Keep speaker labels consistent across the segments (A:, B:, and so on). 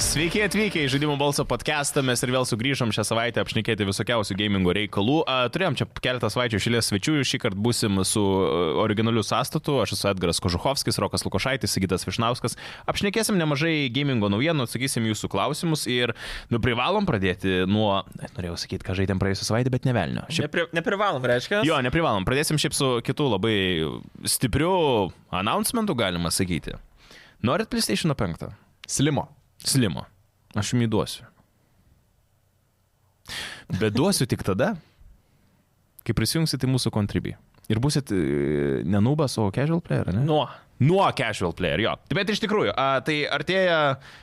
A: Sveiki atvykę į Žaidimų balso podcastą, mes ir vėl sugrįžom šią savaitę apšnekėti visokiausių gamingo reikalų. A, Turėjom čia keletą savaičių šilės svečių, šį kartą būsim su a, originaliu sastatu, aš esu Edgaras Kožuhovskis, Rokas Lukošaitis, Sigitas Višnauskas. Apšnekėsim nemažai gamingo naujienų, atsakysim jūsų klausimus ir nu, privalom pradėti nuo, norėjau sakyti, ką žaidėm praėjusią savaitę, bet nevelnio. Šiaip
B: Nepri, neprivalom, reiškia.
A: Jo, neprivalom. Pradėsim šiaip su kitu labai stipriu announcementu, galima sakyti. Norit PlayStation 5?
C: Slimo.
A: Slimo. Aš jums įduosiu. Bet duosiu tik tada, kai prisijungsit į mūsų kontribį. Ir busit e, ne nubas, o casual player, ne?
B: Nuo.
A: Nuo casual player, jo. Tai Bet iš tikrųjų, a, tai artėja,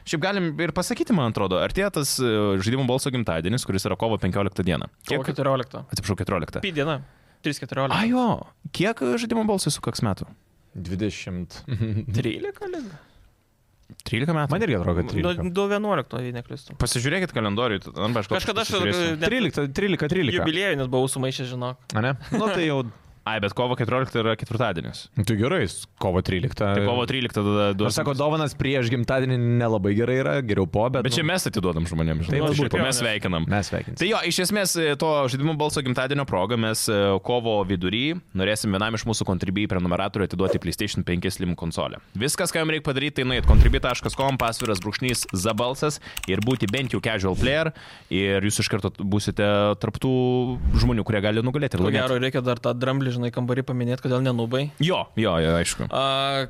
A: šiaip galim ir pasakyti, man atrodo, artėja tas e, žaidimų balso gimtadienis, kuris yra kovo 15 diena.
B: Kiek 14?
A: Atsiprašau, 14.
B: Pi diena. 3.14.
A: A jo, kiek žaidimo balsai sukaks metų?
C: 20.
B: Mhm. 13 lygų.
A: 13 metų.
C: Man irgi atrodo, kad
B: Nu,
C: 13.
B: 2.11, jei neklystu.
A: Pasižiūrėkit kalendorių, arba aš
B: Kažkada aš
C: Nu,
A: pasižiūrėsiu.
B: net
C: 13, 13, 13.
B: jubiliejinis buvau sumaišęs, žinok.
C: A ne? Nu tai jau.
A: Ai, bet kovo 14 yra ketvirtadienis.
C: Tai gerai, s- kovo 13.
A: Tai kovo 13 tada
C: Aš
A: duosim.
C: sako, dovanas prieš gimtadienį nelabai gerai yra, geriau po, bet...
A: Bet čia
C: nu,
A: mes atiduodam žmonėms, žinai.
C: Taip,
A: Taip,
C: turbūt.
A: taip, mes sveikinam.
C: Tai mes sveikiname.
A: Tai jo, iš esmės e, to žaidimų balso gimtadienio proga mes e, kovo vidury norėsim vienam iš mūsų kontribijai prenumeratorių atiduoti PlayStation 5 Slim konsolę. Viskas, ką jums reikia padaryti, tai nuėjai kontribui.com, pasviras brūkšnys za balsas ir būti bent jau casual player ir jūs iš karto būsite tarptų žmonių, kurie gali nugalėti ir
B: Ko
A: laimėti.
B: gero, reikia dar tą dramblį, žinai, kambarį paminėti, kodėl nenubai.
A: Jo, jo, jo, aišku.
B: A,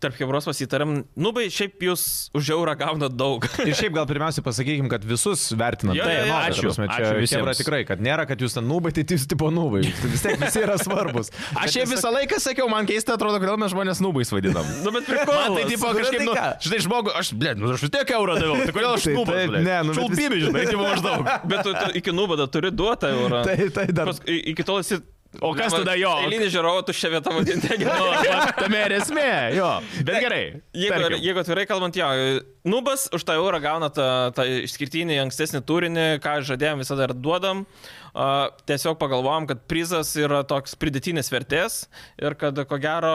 B: tarp Hebros pasitarėm, nubai, šiaip jūs už eurą gaunat daug.
C: Ir šiaip gal pirmiausia pasakykim, kad visus vertinam.
B: Jo, jo,
C: Taip,
B: jo,
C: nu, ta
A: ačiū.
C: prasme, čia
A: Ačiū visiems.
C: chebra tikrai, kad nėra, kad jūs ten nubai, tai jūs tipo nubai. Vis tiek visi yra svarbus.
A: Aš jie visą laiką sakiau, man keista atrodo, kodėl mes žmonės nubais vadinam.
B: nu, bet prikolas.
A: Man tai tipo kažkaip, nu,
C: ką?
A: žinai, žmogu, aš, blė, nu, aš vis tiek eurą daviau, tai kodėl aš
C: Tai
A: nubais?
C: taip, ne, nu, bet vis-
A: šulpybė, žinai, tai maždaug.
B: Bet tu, tu iki nubada turi duotą eurą.
C: Tai, tai dar.
B: Pas, i- iki tol esi...
A: O kas tada jo?
B: Eilinį žiūrovą tu šią vietą vadinti negerai.
A: Vat Tame ir esmė, jo. Bet gerai.
B: Jeigu,
A: tarkim.
B: jeigu atvirai kalbant, jo, nubas už tą eurą gauna tą, tą išskirtinį ankstesnį turinį, ką žadėjom visada ir duodam. A, Tiesiog pagalvojom, kad prizas yra toks pridėtinės vertės ir kad ko gero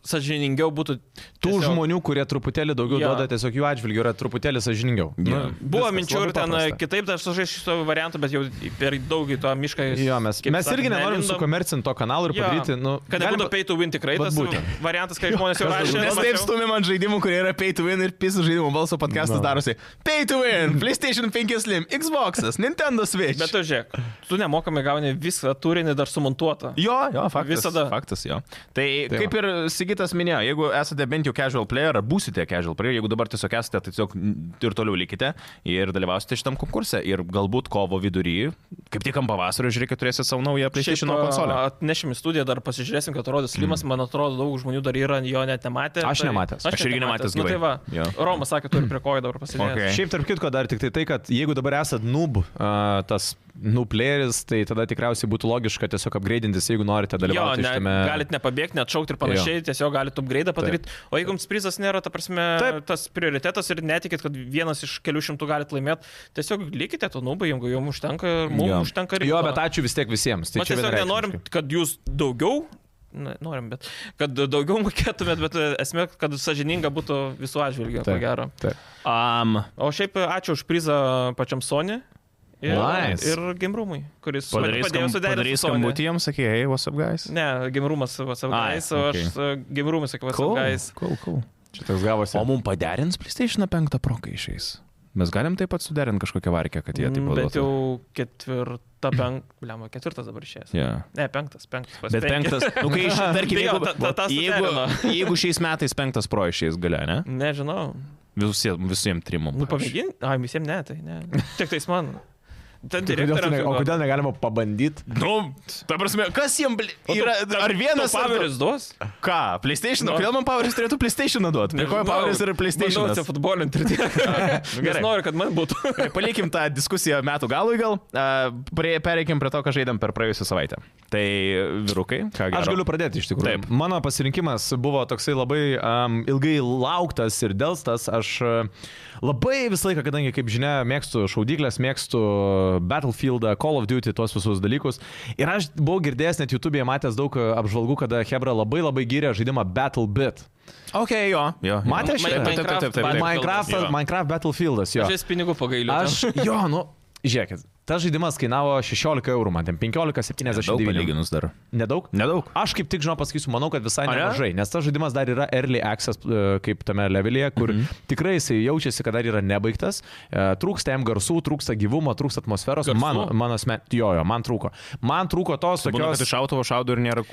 B: sažiningiau būtų
C: Tų
B: tiesiog-
C: žmonių, kurie truputėlį daugiau
B: Jo. Nu,
C: duoda, tiesiog jų atžvilgių yra truputėlį sažiningiau.
A: Jo.
B: Buvo
C: viskas,
B: minčių ir
C: labai
B: ten e,
C: paprasta.
B: kitaip, dar sužaisiu šito variantu, bet jau per daug į tą mišką.
C: Jo, mes,
B: kaip
C: mes
B: sakant,
C: irgi nenorim
B: nelindom.
C: sukomercinti to kanalo ir
B: Jo,
C: padaryti, nu,
B: Kad
C: galim
B: nebūtų
C: pa-
B: pay to win tikrai
C: Vat
B: tas
C: būtent.
B: variantas, kai žmonės jau rašė.
A: Nes taip stumim ant žaidimų, kurie yra pay to win ir pisų žaidimų balso podcastas
C: Na.
A: darosi. Pay to win, PlayStation 5 Slim, Xbox, Nintendo Switch.
B: Bet tu žiūrėk, tu nemokamai gauni visą turinį dar sumontuotą.
A: Jo, jo, faktas.
B: Visada.
A: Faktas, jo. Tai, tai
C: Tai
A: kaip ir Sigitas minėjo, jeigu esate bent jau casual player, ar būsite casual player, jeigu dabar tiesiog esate, tai tiesiog ir toliau likite ir dalyvausite šitam konkurse. Ir galbūt kovo vidury, kaip tik ant pavasario, žiūrėkit, turėsite savo naują PlayStation
B: Šiaip,
A: konsolę.
B: a, Atnešim į studiją, dar pasižiūrėsim, kad rodys Limas, man atrodo, daug žmonių dar yra jo net nematę. Tai
C: Aš nematęs.
A: Aš irgi nematęs
B: Nu, tai
A: gyvai.
B: va.
A: Jo.
B: Romas sakė, turi prie kojo dabar pasidėti.
A: Okay.
C: Šiaip tarp kitko dar tik tai tai, kad jeigu dabar esat noob, a, tas noob playeris, tai tada tikriausiai būtų logiška tiesiog upgraidintis, jeigu norite
B: Jo,
C: dalyvauti
B: ne,
C: šitame.
B: galit nepabėgti, neatšaukti ir panašiai, jo. tiesiog galit upgrade padaryti. O jeigu jums prizas nėra, ta prasme, Taip.
C: Taip.
B: tas prioritetas ir netikit, kad vienas iš kelių šimtų galit laimėti, tiesiog likite to nubai, jeigu jums užtenka ir mums
A: Jo.
B: užtenka ir...
C: Jo, bet ačiū vis tiek visiems. Tai
B: Mes
C: čia
B: tiesiog
C: vienareikšmiškai.
B: nenorim, kad jūs daugiau, na, norim, bet kad daugiau mokėtumėt, bet e, esmė, kad sažininga būtų visų atžvilgių, ko
C: Taip.
B: gero.
C: Taip.
A: Um,
B: O šiaip e, ačiū už prizą pačiam Sony. Ir,
C: Nice.
B: ir Gimrumui, kuris man
A: padarys
B: padėjo
A: skam,
B: suderinti
A: padarys
B: su Sony.
A: skambutį jiems, sakė, hey, what's up, guys?
B: Ne, Gimrumas Vasavgais, o
A: Ai,
B: aš e, Gimrumui sakiau
A: Cool,
B: Vasavgais.
A: cool, cool.
C: Čia toks gavosi.
A: O mum paderins PlayStation 5 pro, kai išeis. Mes galim taip pat suderinti kažkokią varkę, kad jie taip pat.
B: Mm, Bet jau ketvirta, penk... Bliam, ketvirtas dabar išėjęs.
A: Yeah.
B: Ne, penktas, penktas. pas
A: Bet
B: penkis.
A: penktas, nu kai iš, tarkim,
B: Tai jo,
A: jeigu,
B: ta- ta- tas
A: jeigu,
B: suderino.
A: jeigu šiais metais penktas pro išeis gale, ne?
B: Nežinau.
A: Visiems, visiems trimum.
B: Nu,
A: pavyzdžiui.
B: pamėgin. Ai, visiems ne, tai ne. Tik tais man. Ten
C: Tai kodėl, tu
B: direktorius.
C: ne- o kodėl negalima pabandyti?
A: Nu, ta prasme, kas jiems yra, ar vienas ar
B: Paveris Nu, duos?
A: du- Ką, PlayStation?
B: Nu.
A: Kodėl man Paveris turėtų PlayStation duoti? Prie ko Paveris yra PlayStation?
B: Aš futbolinti ir
C: Nu,
B: tiek.
A: gerai.
B: Nes noriu, kad man būtų.
A: Tai Palikim tą diskusiją metų galui gal, a, prie, pereikim prie to, ką žaidėm per praėjusią savaitę. Tai vyrukai, ką gero?
C: Aš galiu pradėti iš tikrųjų.
A: Taip.
C: Mano pasirinkimas buvo toksai labai um, ilgai lauktas ir e, dėlstas. Aš uh, labai visą laiką, kadangi, kaip žinia, mėgstu šaudyklės, mėgstu Battlefieldą, Call of Duty, tuos visus dalykus. Ir aš buvau girdėjęs net YouTube'e matęs daug apžvalgų, kada Hebra labai labai gyrė žaidimą BattleBit.
A: Ok, jo. jo, jo.
C: Matė šitą?
A: Taip, taip, taip, taip, taip.
B: Minecraft-
C: Minecraft,
A: Jo.
C: Minecraft Battlefieldas, jo.
B: Aš vis pinigų pagailiu. tam.
C: Aš, jo, nu, žiūrėkit, tas žaidimas kainavo 16 eurų, man ten 15,79.
A: palyginus dar.
C: Nedaug?
A: Nedaug.
C: Aš kaip tik, žinau, pasakysiu, manau, kad visai
A: Ar ne?
C: nemažai, nes tas žaidimas dar yra early access e, kaip tame levelyje, kur mm
A: Mhm.
C: -hmm. tikrai jisai jaučiasi, kad dar yra nebaigtas, e, trūksta jam garsų, trūksta gyvumo, trūksta atmosferos,
B: Garsų?
C: mano, mano asmen, jo, jo, man trūko. Man trūko tos
A: Būna,
C: tokios...
A: kad iš autovo šaudo ir nėra...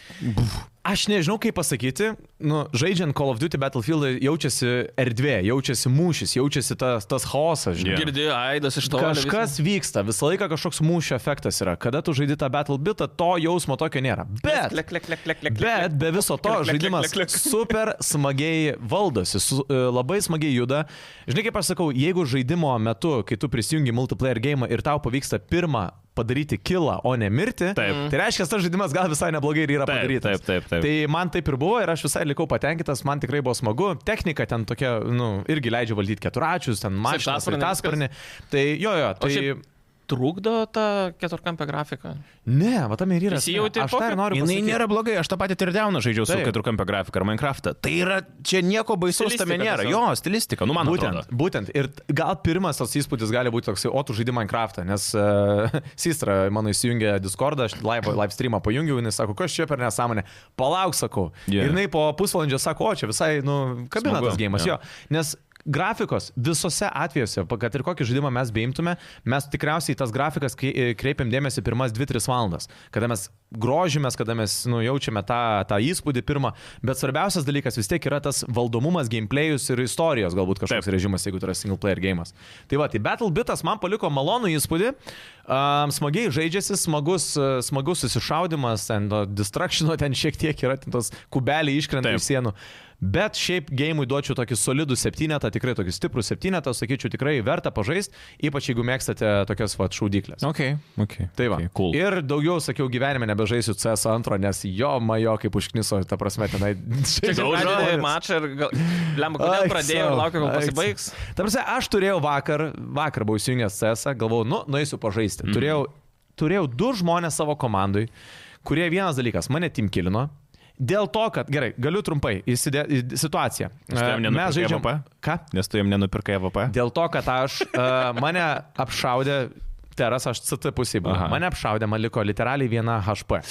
C: Aš nežinau, kaip pasakyti, nu, žaidžiant Call of Duty Battlefield jaučiasi erdvė, jaučiasi mūšis, jaučiasi tas, tas chaosas, žinai.
A: Jo.
B: Girdėjau, Aidas iš to.
C: Kažkas vyksta, visą laiką kažkoks mūšio efektas yra. Kada tu žaidži tą battle bitą, to jausmo tokio nėra. Bet,
B: Klek, klek, klek, klek, klek.
C: bet be viso to
B: Klek, klek,
C: žaidimas
B: klek, klek.
C: super smagiai valdosi, su, e, labai smagiai juda. Žinai, kaip aš sakau, jeigu žaidimo metu, kai tu prisijungi multiplayer game ir tau pavyksta pirmą padaryti kilą, o ne mirti,
A: Taip.
C: tai reiškia, tas žaidimas gal visai neblogai ir yra
A: Taip,
C: padarytas.
A: taip, taip, taip.
C: Tai man taip ir buvo ir aš visai likau patenkintas, man tikrai buvo smagu. Technika ten tokia, nu, irgi leidžia valdyti keturačius, ten mašiną,
B: Sraigtasparnį,
C: sraigtasparnį. Tai jo, jo,
B: O
C: tai...
B: šiaip Trukdo tą keturkampę grafiką.
C: Ne, va tam ir yra. esmė.
B: Įsijauti
C: Aš tai
B: poker?
C: ir noriu
A: Jis
C: pasakyti.
A: nėra blogai, aš tą patį tirdiauną žaidžiau su
C: Taip.
A: keturkampio grafika ar Minecraftą. Tai yra, čia nieko baisaus
B: Stilistika
A: tame nėra.
B: tiesiog.
A: Jo, stilistika, nu man
C: Būtent,
A: būtent.
C: būtent. Ir t- gal pirmas tas įspūdis gali būti toks, o tu žaidi Minecraftą, nes uh, Sistra mano įsijungė Discordą, aš live, live streamą pajungiau, jinai sako, kas čia per nesąmonę, palauk, sakau.
A: Jo.
C: Yeah. Ir jinai po pusvalandžio sako, o čia visai, nu, kabina
A: Smagu,
C: tas gėjimas,
A: jo.
C: yeah. jo. Nes grafikos visose atvejuose, pa- kad ir kokį žaidimą mes beimtume, mes tikriausiai į tas grafikas krei- kreipiam dėmesį pirmas 2-3 valandas, kada mes grožimės, kada mes nu, jaučiame tą, tą įspūdį pirmą, bet svarbiausias dalykas vis tiek yra tas valdomumas, gameplayus ir istorijos galbūt kažkoks
A: Taip.
C: režimas, jeigu tai yra single player gėjimas. Tai va, tai Battle Bitas man paliko malonų įspūdį, um, smagiai žaidžiasi, smagus, uh, smagus susišaudimas, ten to destructiono ten šiek tiek yra, ten tos kubeliai iškrenta
A: Taip.
C: iš sienų. Bet šiaip gėjimui duočiau tokį solidų septynetą, tikrai tokį stiprų septynetą, sakyčiau, tikrai verta pažaisti, ypač jeigu mėgstate tokias va šaudyklės.
A: Ok, ok.
C: Tai va.
A: Okay,
C: Okay,
A: cool.
C: Ir daugiau, sakiau, gyvenime nebežaisiu CS2, nes jo, majo, kaip užkniso, ta prasme, tenai...
B: Čia
A: Daužo
B: pradėjo
C: žmonės.
B: mačą ir gal... Lemba, kodėl
C: Ai,
B: pradėjo ir
C: sau,
B: laukia, kol
C: ai,
B: pasibaigs.
C: sau. Ta prasme, aš turėjau vakar, vakar buvau įsijungęs CS, galvojau, nu, nueisiu pažaisti.
B: Mhm.
C: Mm. Turėjau, turėjau du žmonės savo komandai, kurie vienas dalykas, mane timkilino. Dėl to, kad, gerai, galiu trumpai įsidė, į situaciją.
A: Aš tavim
C: E,
A: nenupirkai VP?
C: Ką?
A: Nes tu jam nenupirkai VP.
C: Dėl to, kad aš, uh, mane apšaudė, teras aš CT pusėje buvau,
A: Aha.
C: mane apšaudė, man liko literaliai viena HP.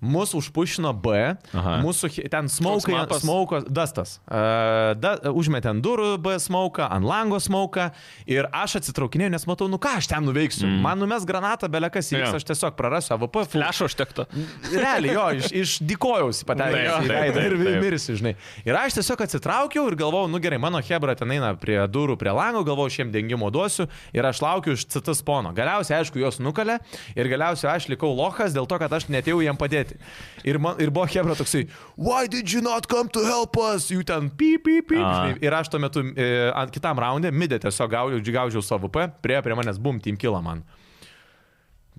C: Mūsų užpušino B, Aha.
A: Aha.
C: mūsų chi- ten
B: Koks
C: smaukai,
B: mapas?
C: smaukas, dastas. Uh, da, užmetė ant durų B smauką, ant lango smauką ir aš atsitraukinėjau, nes matau, nu ką aš ten nuveiksiu. Mm. Man numes granatą, belekas įvyks,
A: Jo.
C: yeah. aš tiesiog prarasiu AVP. full
B: Flešo užtektų.
C: Realiai, jo, iš, iš dikojausi
A: Taip,
C: patenkęs į
A: taip,
C: veidą ir
A: taip, taip.
C: mirsi, žinai. Ir aš tiesiog atsitraukiau ir galvojau, nu gerai, mano Hebra ten eina prie durų, prie lango, galvojau, šiem dengimo duosiu ir aš laukiu iš CT spono. Galiausiai, aišku, jos nukalė ir galiausiai aš likau lohas dėl to, kad aš netėjau jiem padėti. Ir, man, ir buvo Hebra toksai, why did you not come to help us? You ten pip, pip, pip.
A: Aha.
C: žinai. Ir aš tuo metu e, ant kitam raundė, midė tiesiog gaudžiau, gaudžiau savo P, prie, prie manęs, bum, tim kila man.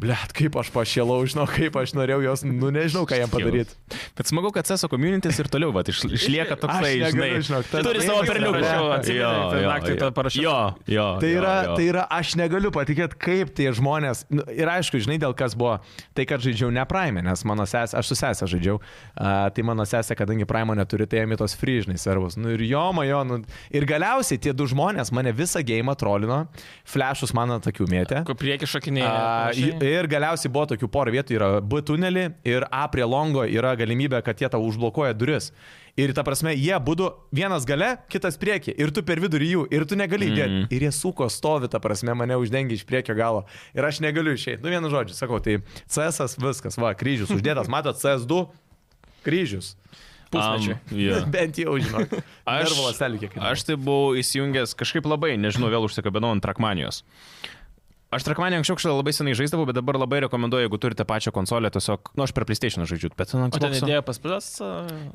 C: Blet, kaip aš pašėlau, žinau, kaip aš norėjau jos, nu nežinau, ką jam padaryti.
A: Bet smagu, kad CSO communities ir toliau vat, iš, išlieka toksai,
C: Aš negaliu,
A: žinai,
C: žinok, tas-
A: turi
C: tai
A: savo
C: irgi
A: perliuką.
C: parašiau,
B: atsimeni,
A: Jo,
B: ten
A: jo,
B: naktį
A: jo.
B: tą parašiau.
A: Jo, jo.
C: Tai
A: jo,
C: yra,
A: jo.
C: tai yra, aš negaliu patikėti, kaip tie žmonės. Nu, ir aišku, žinai, dėl kas buvo, tai kad žaidžiau ne Prime, nes mano sesė, aš su sesė žaidžiau, a, tai mano sesė, kadangi Prime neturi, tai jame tos fryžnai servus. Nu ir jo, majo, nu. Ir galiausiai tie du žmonės mane visą gėjimą trolino, flashus man ant akių mėtė.
B: Kur prieki šakiniai.
C: A,
B: panašiai.
C: ir galiausiai buvo tokių porų vietų, yra B tunelį ir A prie longo yra galimybė, kad jie tau užblokuoja duris. Ir ta prasme, jie būdu vienas gale, kitas priekį, ir tu per vidurį jų, ir tu negali įdėti. Mm. Ir jie suko stovi, ta prasme, mane uždengia iš priekio galo. Ir aš negaliu išeiti. Nu, vienu žodžiu, sakau, tai CS viskas, va, kryžius uždėtas, matot, CS2 kryžius.
B: Pusmečiui.
A: Am, jo.
C: Bent jau, žinok.
A: Aš,
C: Nervų ląstelių kiek kainuoja.
A: aš tai buvau įsijungęs kažkaip labai, nežinau, vėl užsikabinau ant Trakmanijos. Aš Trakmaniją anksčiau kažkada labai senai žaisdavau, bet dabar labai rekomenduoju, jeigu turite pačią konsolę, tiesiog, nu, aš per PlayStation žaidžiu, bet ten
B: O ten
A: Xbox'o-
B: idėja pas pras?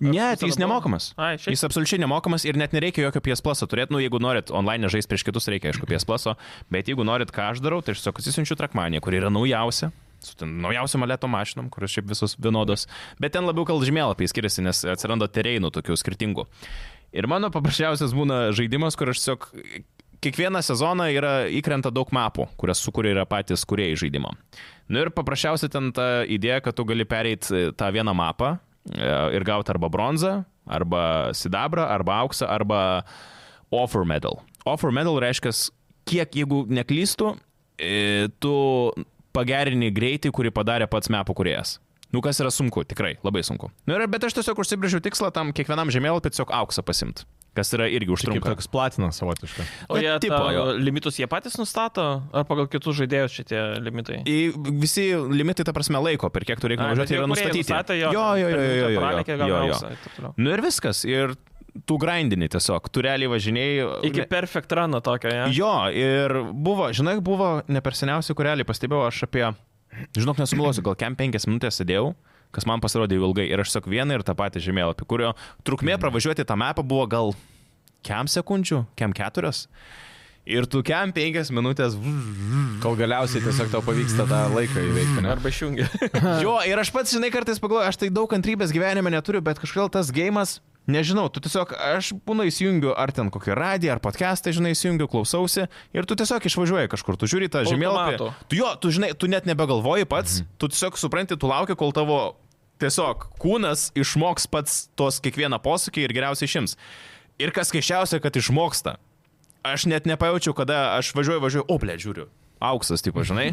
A: Ne, tai jis nemokamas.
B: Ai, šiaip.
A: Jis absoliučiai nemokamas ir net nereikia jokio PS Plus turėti, nu jeigu norit online žaisti prieš kitus, reikia aišku PS Plus, bet jeigu norit ką aš darau, tai aš tiesiog atsisiunčiu trakmaniją, kur yra naujausia. Su ten naujausiam aleto mašinom, kuris šiaip visus vienodos. Bet ten labiau kal žemėlapiai skiriasi, nes atsiranda tereinų tokių skirtingų. Ir mano paprasčiausias būna žaidimas, kur aš tiesiog kiekvieną sezoną yra įkrenta daug mapų, kurias sukuria yra patys kuriejai žaidimo. Nu ir paprasčiausiai ten ta idėja, kad tu gali pereiti tą vieną mapą e, ir gauti arba bronzą, arba sidabrą, arba auksą, arba offer medal. Offer medal reiškia, kiek, jeigu neklystu, e, tu pagerini greitį, kurį padarė pats mapų kuriejas. Nu, kas yra sunku, tikrai, labai sunku. Nu ir bet aš tiesiog užsibrėžiau tikslą tam kiekvienam žemėlapį tiesiog auksą pasimti, kas yra irgi
C: Tai Kaip
A: užtrunka.
C: toks platinas savotiškas.
B: O jie
A: tipo
B: tipo,
A: jo.
B: limitus jie patys nustato, ar pagal kitus žaidėjus šitie limitai?
A: Į- Visi limitai, ta prasme, laiko, per kiek tu reikia
B: Ai, bet
A: nuvažiuoti,
B: tie
A: yra
B: kūrėjai
A: nustatyti.
B: nustatė
A: jo, jo, jo, jo, jo,
B: natūraliai, kiek
A: jo, jo,
B: gauna
A: jo.
B: auksą ir taip toliau.
A: Nu ir viskas, ir tu grindini tiesiog, tu realiai važinėjai.
B: Iki
A: ne-
B: perfect runo tokio, ne?
A: Jo, ir buvo, žinai, buvo ne per seniausiai, kurelį pastebėjau, aš apie, žinok, nesumilosiu, gal kem penkias minutės sėdėjau, kas man pasirodė jau ilgai, ir aš tiesiog vieną ir tą patį žemėlapį, kurio
B: Mhm.
A: trukmė pravažiuoti tą mapą buvo gal kem sekundžių, kem keturias. Ir tu kem penkias minutės
C: Kol galiausiai tiesiog tau pavyksta tą laiką įveikti. Ne?
B: Arba išjungia.
A: Jo, ir aš pats, žinai, kartais pagalvoju, aš tai daug kantrybės gyvenime neturiu, bet kažkodėl tas gėjimas, nežinau, tu tiesiog, aš būna įsijungiu ar ten kokį radiją, ar podcastą, žinai, įsijungiu, klausausi ir tu tiesiog išvažiuoji kažkur, tu žiūri tą žemėlapį.
B: Automatu.
A: Tu jo, tu žinai, tu net nebegalvoji pats,
C: Mhm.
A: tu tiesiog supranti, tu lauki, kol tavo tiesiog kūnas išmoks pats tos kiekvieną posūkį ir geriausiai išims. Ir kas keščiausia, kad išmoksta. Aš net nepajaučiau, kada aš važiuoju, važiuoju, oblė, žiūriu. Auksas, tipo, žinai.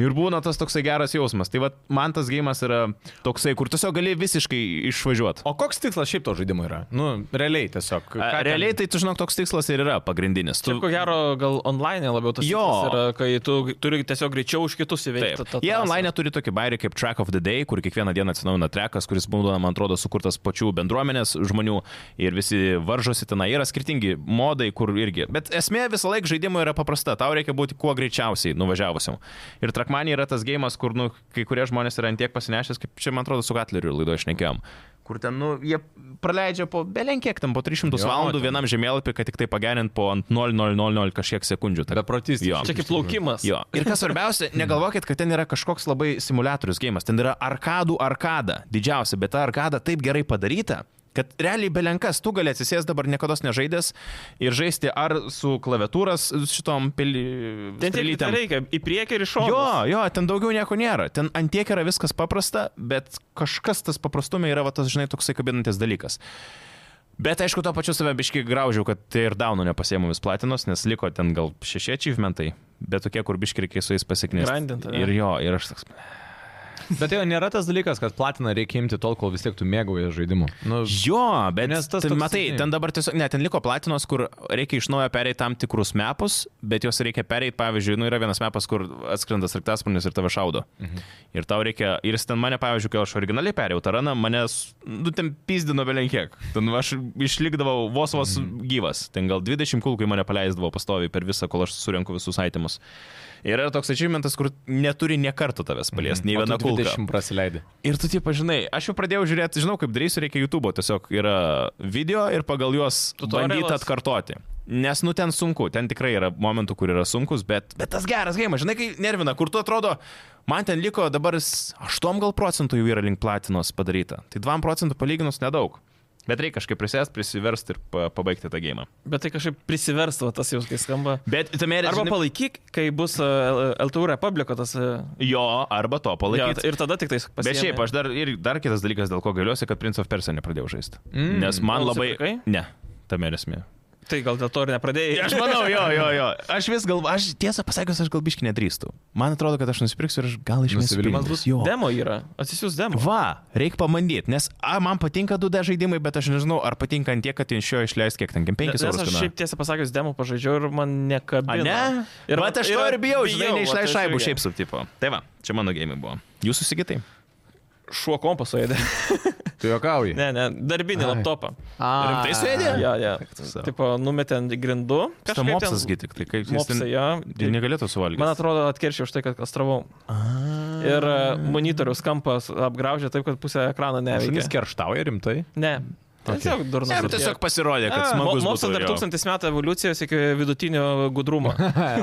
A: Ir būna tas toksai geras jausmas. Tai va, man tas gėjimas yra toksai, kur tiesiog gali visiškai išvažiuoti.
C: O koks tikslas šiaip to žaidimo yra? Nu, realiai tiesiog. ką ten-
A: Realiai tai, tu žinok, toks tikslas ir yra pagrindinis. Tu...
B: Taip, ko gero, gal online labiau tas
A: Jo.
B: tikslas yra, kai tu turi tiesiog greičiau už kitus įveikti. tą
A: Taip. Jie
B: trasą.
A: online turi tokį bairį kaip Track of the Day, kur kiekvieną dieną atsinaujina trekas, kuris būna, man atrodo, sukurtas pačių bendruomenės žmonių ir visi varžosi tenai. Yra skirtingi modai, kur irgi. Bet esmė visą laiką žaidimo yra paprasta. Tau reikia būti kuo greičiausiai nuvažiavusiam. Ir Trackmania yra tas gėjimas, kur nu, kai kurie žmonės yra antiek pasinešęs, kaip čia, man atrodo, su Gatleriu laidoje išnekėjom. Kur ten, nu, jie praleidžia po belenkiek ten, po 300
C: Jo,
A: valandų
C: ten.
A: vienam žemėlapį, kad tik tai pagerint po ant 0,000 kažkiek sekundžių. Tai
C: Beprotystė.
A: Jo.
B: Čia kaip laukimas.
A: Jo. Ir kas svarbiausia, negalvokit, kad ten yra kažkoks labai simulatorius gėjimas. Ten yra arkadų arkada. Didžiausia, bet ta arkada taip gerai padaryta. Kad realiai belenkas, tu gali atsisės dabar niekada nežaidęs ir žaisti ar su klaviatūras šitom pili...
B: Ten tiek
A: strėlytėm.
B: ir reikia, į priekį ir iš šono.
A: Jo, jo, ten daugiau nieko nėra. Ten antiek yra viskas paprasta, bet kažkas tas paprastumė yra va, tas, žinai, toksai kabinantis dalykas. Bet aišku, to pačiu save biški graužiau, kad tai ir daunų nepasėmė vis platinos, nes liko ten gal šeši achievementai, bet tokie, kur biški reikėjo su jais pasiknėti.
B: Grindint, ane?
A: Ir jo, ir aš toks.
C: Bet tai jau nėra tas dalykas, kad platiną reikia imti tol, kol vis tiek tu mėgauji žaidimu. Nu,
A: Jo, bet nes
C: Nes
A: tas...
C: tas
A: Tai,
C: toks,
A: matai,
C: žinai-
A: ten dabar tiesiog, ne, ten liko platinos, kur reikia iš naujo pereiti tam tikrus mepus, bet juos reikia pereiti, pavyzdžiui, nu yra vienas mepas, kur atskrenda sarktasparnis ir tave šaudo. Mhm. Ir tau reikia, ir jis ten mane, pavyzdžiui, kai aš originaliai perėjau taraną, mane, s- nu, ten pizdino belenkiek. Ten aš išlikdavau vos vos mhm. gyvas. Ten gal 20 kulkų į mane paleisdavo pastoviai per visą, kol aš surinku visus aitimus. Ir yra toks achievementas, kur neturi niekartų tavęs paliesti, nei viena kulka.
C: 20 praleidai.
A: Ir tu taip, žinai, aš jau pradėjau žiūrėti, žinau, kaip darysiu, reikia YouTube, tiesiog yra video ir pagal juos
B: Tutorialas.
A: bandyti atkartoti. Nes, nu, ten sunku, ten tikrai yra momentų, kur yra sunkus, bet, bet tas geras gėjimas, žinai, kai nervina, kur tu atrodo, man ten liko dabar 8 gal procentų jau yra link platinos padaryta. Tai 2 procentų palyginus nedaug. Bet reikia kažkaip prisėsti, prisiversti ir pa- pabaigti tą gėjimą.
B: Bet tai kažkaip prisiverstvo tas jau, kai skamba.
A: Bet tame yra...
B: Arba
A: žinai,
B: palaikyk, kai bus uh, LTU Republiko tas. uh,
A: Jo, arba to
B: Jo, tai
A: palaikyti.
B: ir tada tik tais pasiemi.
A: Bet šiaip, aš dar, ir dar kitas dalykas, dėl ko gailiuosi, kad Prince of Persia nepradėjau žaisti. Mm.
C: Mm.
A: Nes man
B: O
A: labai...
B: nusipirkai?
A: Ne, tam ir esmė.
B: Tai gal dėl to ir nepradėjai.
A: Aš manau, jo, jo, jo. Aš vis galvoju, aš tiesą pasakius, aš gal biški nedrįstu. Man atrodo, kad aš nusipirksiu ir aš gal iš
C: Nusivylimas bus?
A: Jo.
B: Demo yra. Atsisius demo.
A: Va, reikia pamandyti, nes a, man patinka 2D žaidimai, bet aš nežinau, ar patinka ant tiek, kad iš jo išleis kiek ten, 5 eurus.
B: Nes aš
A: kainuoja.
B: šiaip tiesą pasakius, demo pažaidžiau ir man
A: A,
B: nekabina.
A: ne? Ir vat aš to ir bijau, žinai,
B: vat
A: neišleis
B: aš
A: šaibų
B: irgi.
A: šiaip su tipo. Tai va, čia mano gėjimai buvo. Jūs susikitai?
B: Šuo kompą suėdė.
C: Tu juokauji.
B: Ne, ne, darbinį
C: Ai.
B: laptopą.
C: A.
A: Rimtai suėdė?
B: Jo, jo.
A: savo.
B: Taip, numetė ant grindų.
A: Kažkas mopsas gitik, tai kaip jis ten...
B: Mopsai, jo.
A: Jis negalėtų suvalgyti.
B: Man atrodo, atkeršiau už tai, kad kastravau. Ir e, monitoriaus kampas apgraužė taip, kad pusę ekrano
C: Šunys
B: neveikia.
C: kerštauja rimtai.
B: Ne. Tiesiog durnas.
A: Ne, bet tiesiog pasirodė, kad smagus buvo.
B: Mopsas dar tūkstantis metų evoliucijos iki vidutinio gudrumo.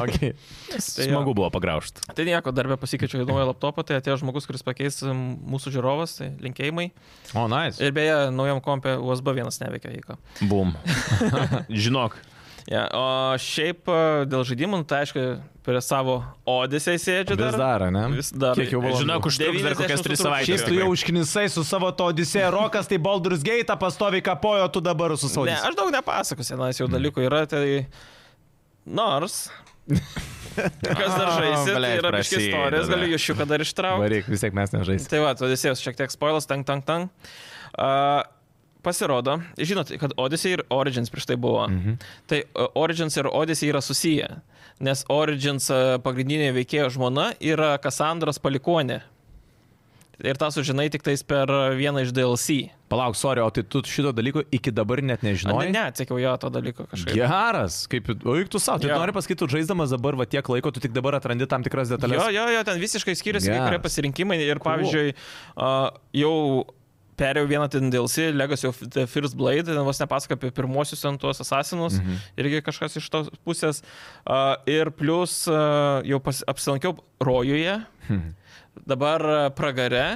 C: okay.
B: Tai jo.
A: Smagu buvo pagraužti.
B: Tai nieko, darbę pasikeičiau į naują laptopą, tai atėjo žmogus, kuris pakeis m, mūsų žiūrovas, tai linkėjimai.
C: O, nice.
B: Ir beje, naujam kompė USB vienas neveikia. Jeigu.
A: Bum. Žinok,
B: Ja, o šiaip a, dėl žaidimų, nu, tai aišku, prie savo Odisei sėdžiu
C: Vis
B: dar.
C: dar, ne?
B: Vis dar.
C: Kiek jau valandų?
A: Žinau, užtruks dar
B: 90
A: kokias 3
B: truks.
A: savaitės.
C: Šiaip tu jau užknisai su savo to Odisėja Rokas, tai Baldur's Gate pastovi kapojo, tu dabar su savo.
B: Ne,
C: Odisėja.
B: aš daug nepasakosiu, nes
C: Hmm.
B: jau dalykų yra, tai nors. Kas dar žaisi, tai
A: blet,
B: yra kažkiek
A: prasideda.
B: istorijos, galiu iš jų ką dar ištraukti.
C: Varyk, vis tiek mes nežaisime.
B: Tai va, Odisėjus šiek tiek spoilas, tank, tank, tank. Uh, pasirodo, žinot, kad Odisėjai ir Origins prieš tai buvo. Mhm. Tai uh, Origins ir Odisėjai yra susiję, nes Origins uh, pagrindinė veikėjo žmona yra Kassandros palikonė. Ir tą sužinai tik tais per uh, vieną iš DLC.
C: Palauk, sorry, o tai tu šito dalyko iki dabar net
B: O,
C: nežinojai?
B: ne, neatsakiau jo to dalyko kažkaip.
C: Geras, kaip, o juk tu savo, tai
B: Jo.
C: yeah. nori pasakyti, tu žaisdamas dabar va tiek laiko, tu tik dabar atrandi tam tikras detalės.
B: Jo, jo, jo, ten visiškai skiriasi kai
C: Geras.
B: kurie pasirinkimai ir pavyzdžiui, uh, jau perėjau vieną ten DLC, Legacy of the First Blade, ten vos nepasako apie pirmosius ten tuos asasinus, mhm. irgi kažkas iš tos pusės. Uh, ir plus uh, jau pas, apsilankiau rojuje, mhm. dabar uh, pragare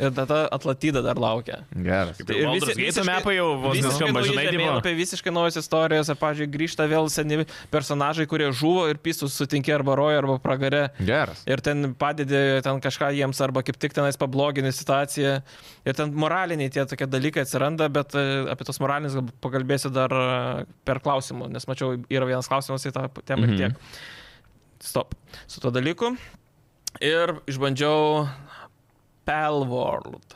B: ir tada Atlatida dar laukia.
C: Geras.
A: Tai Baldur's Gate mepai jau vos neskamba, žinai, Dimo.
B: Apie visiškai naujas istorijas, ir, pavyzdžiui, grįžta vėl seni personažai, kurie žuvo ir pistus sutinkė arba rojo, arba pragare.
C: Geras.
B: Ir ten padedi ten kažką jiems, arba kaip tik tenais pablogini situaciją. Ir ten moraliniai tie tokie dalykai atsiranda, bet e, apie tos moralinius gal pakalbėsiu dar e, per klausimų, nes mačiau, yra vienas klausimas į tą temą mm
C: Mhm.
B: -hmm. ir tiek. Stop. Su tuo dalyku. Ir išbandžiau Pelworld.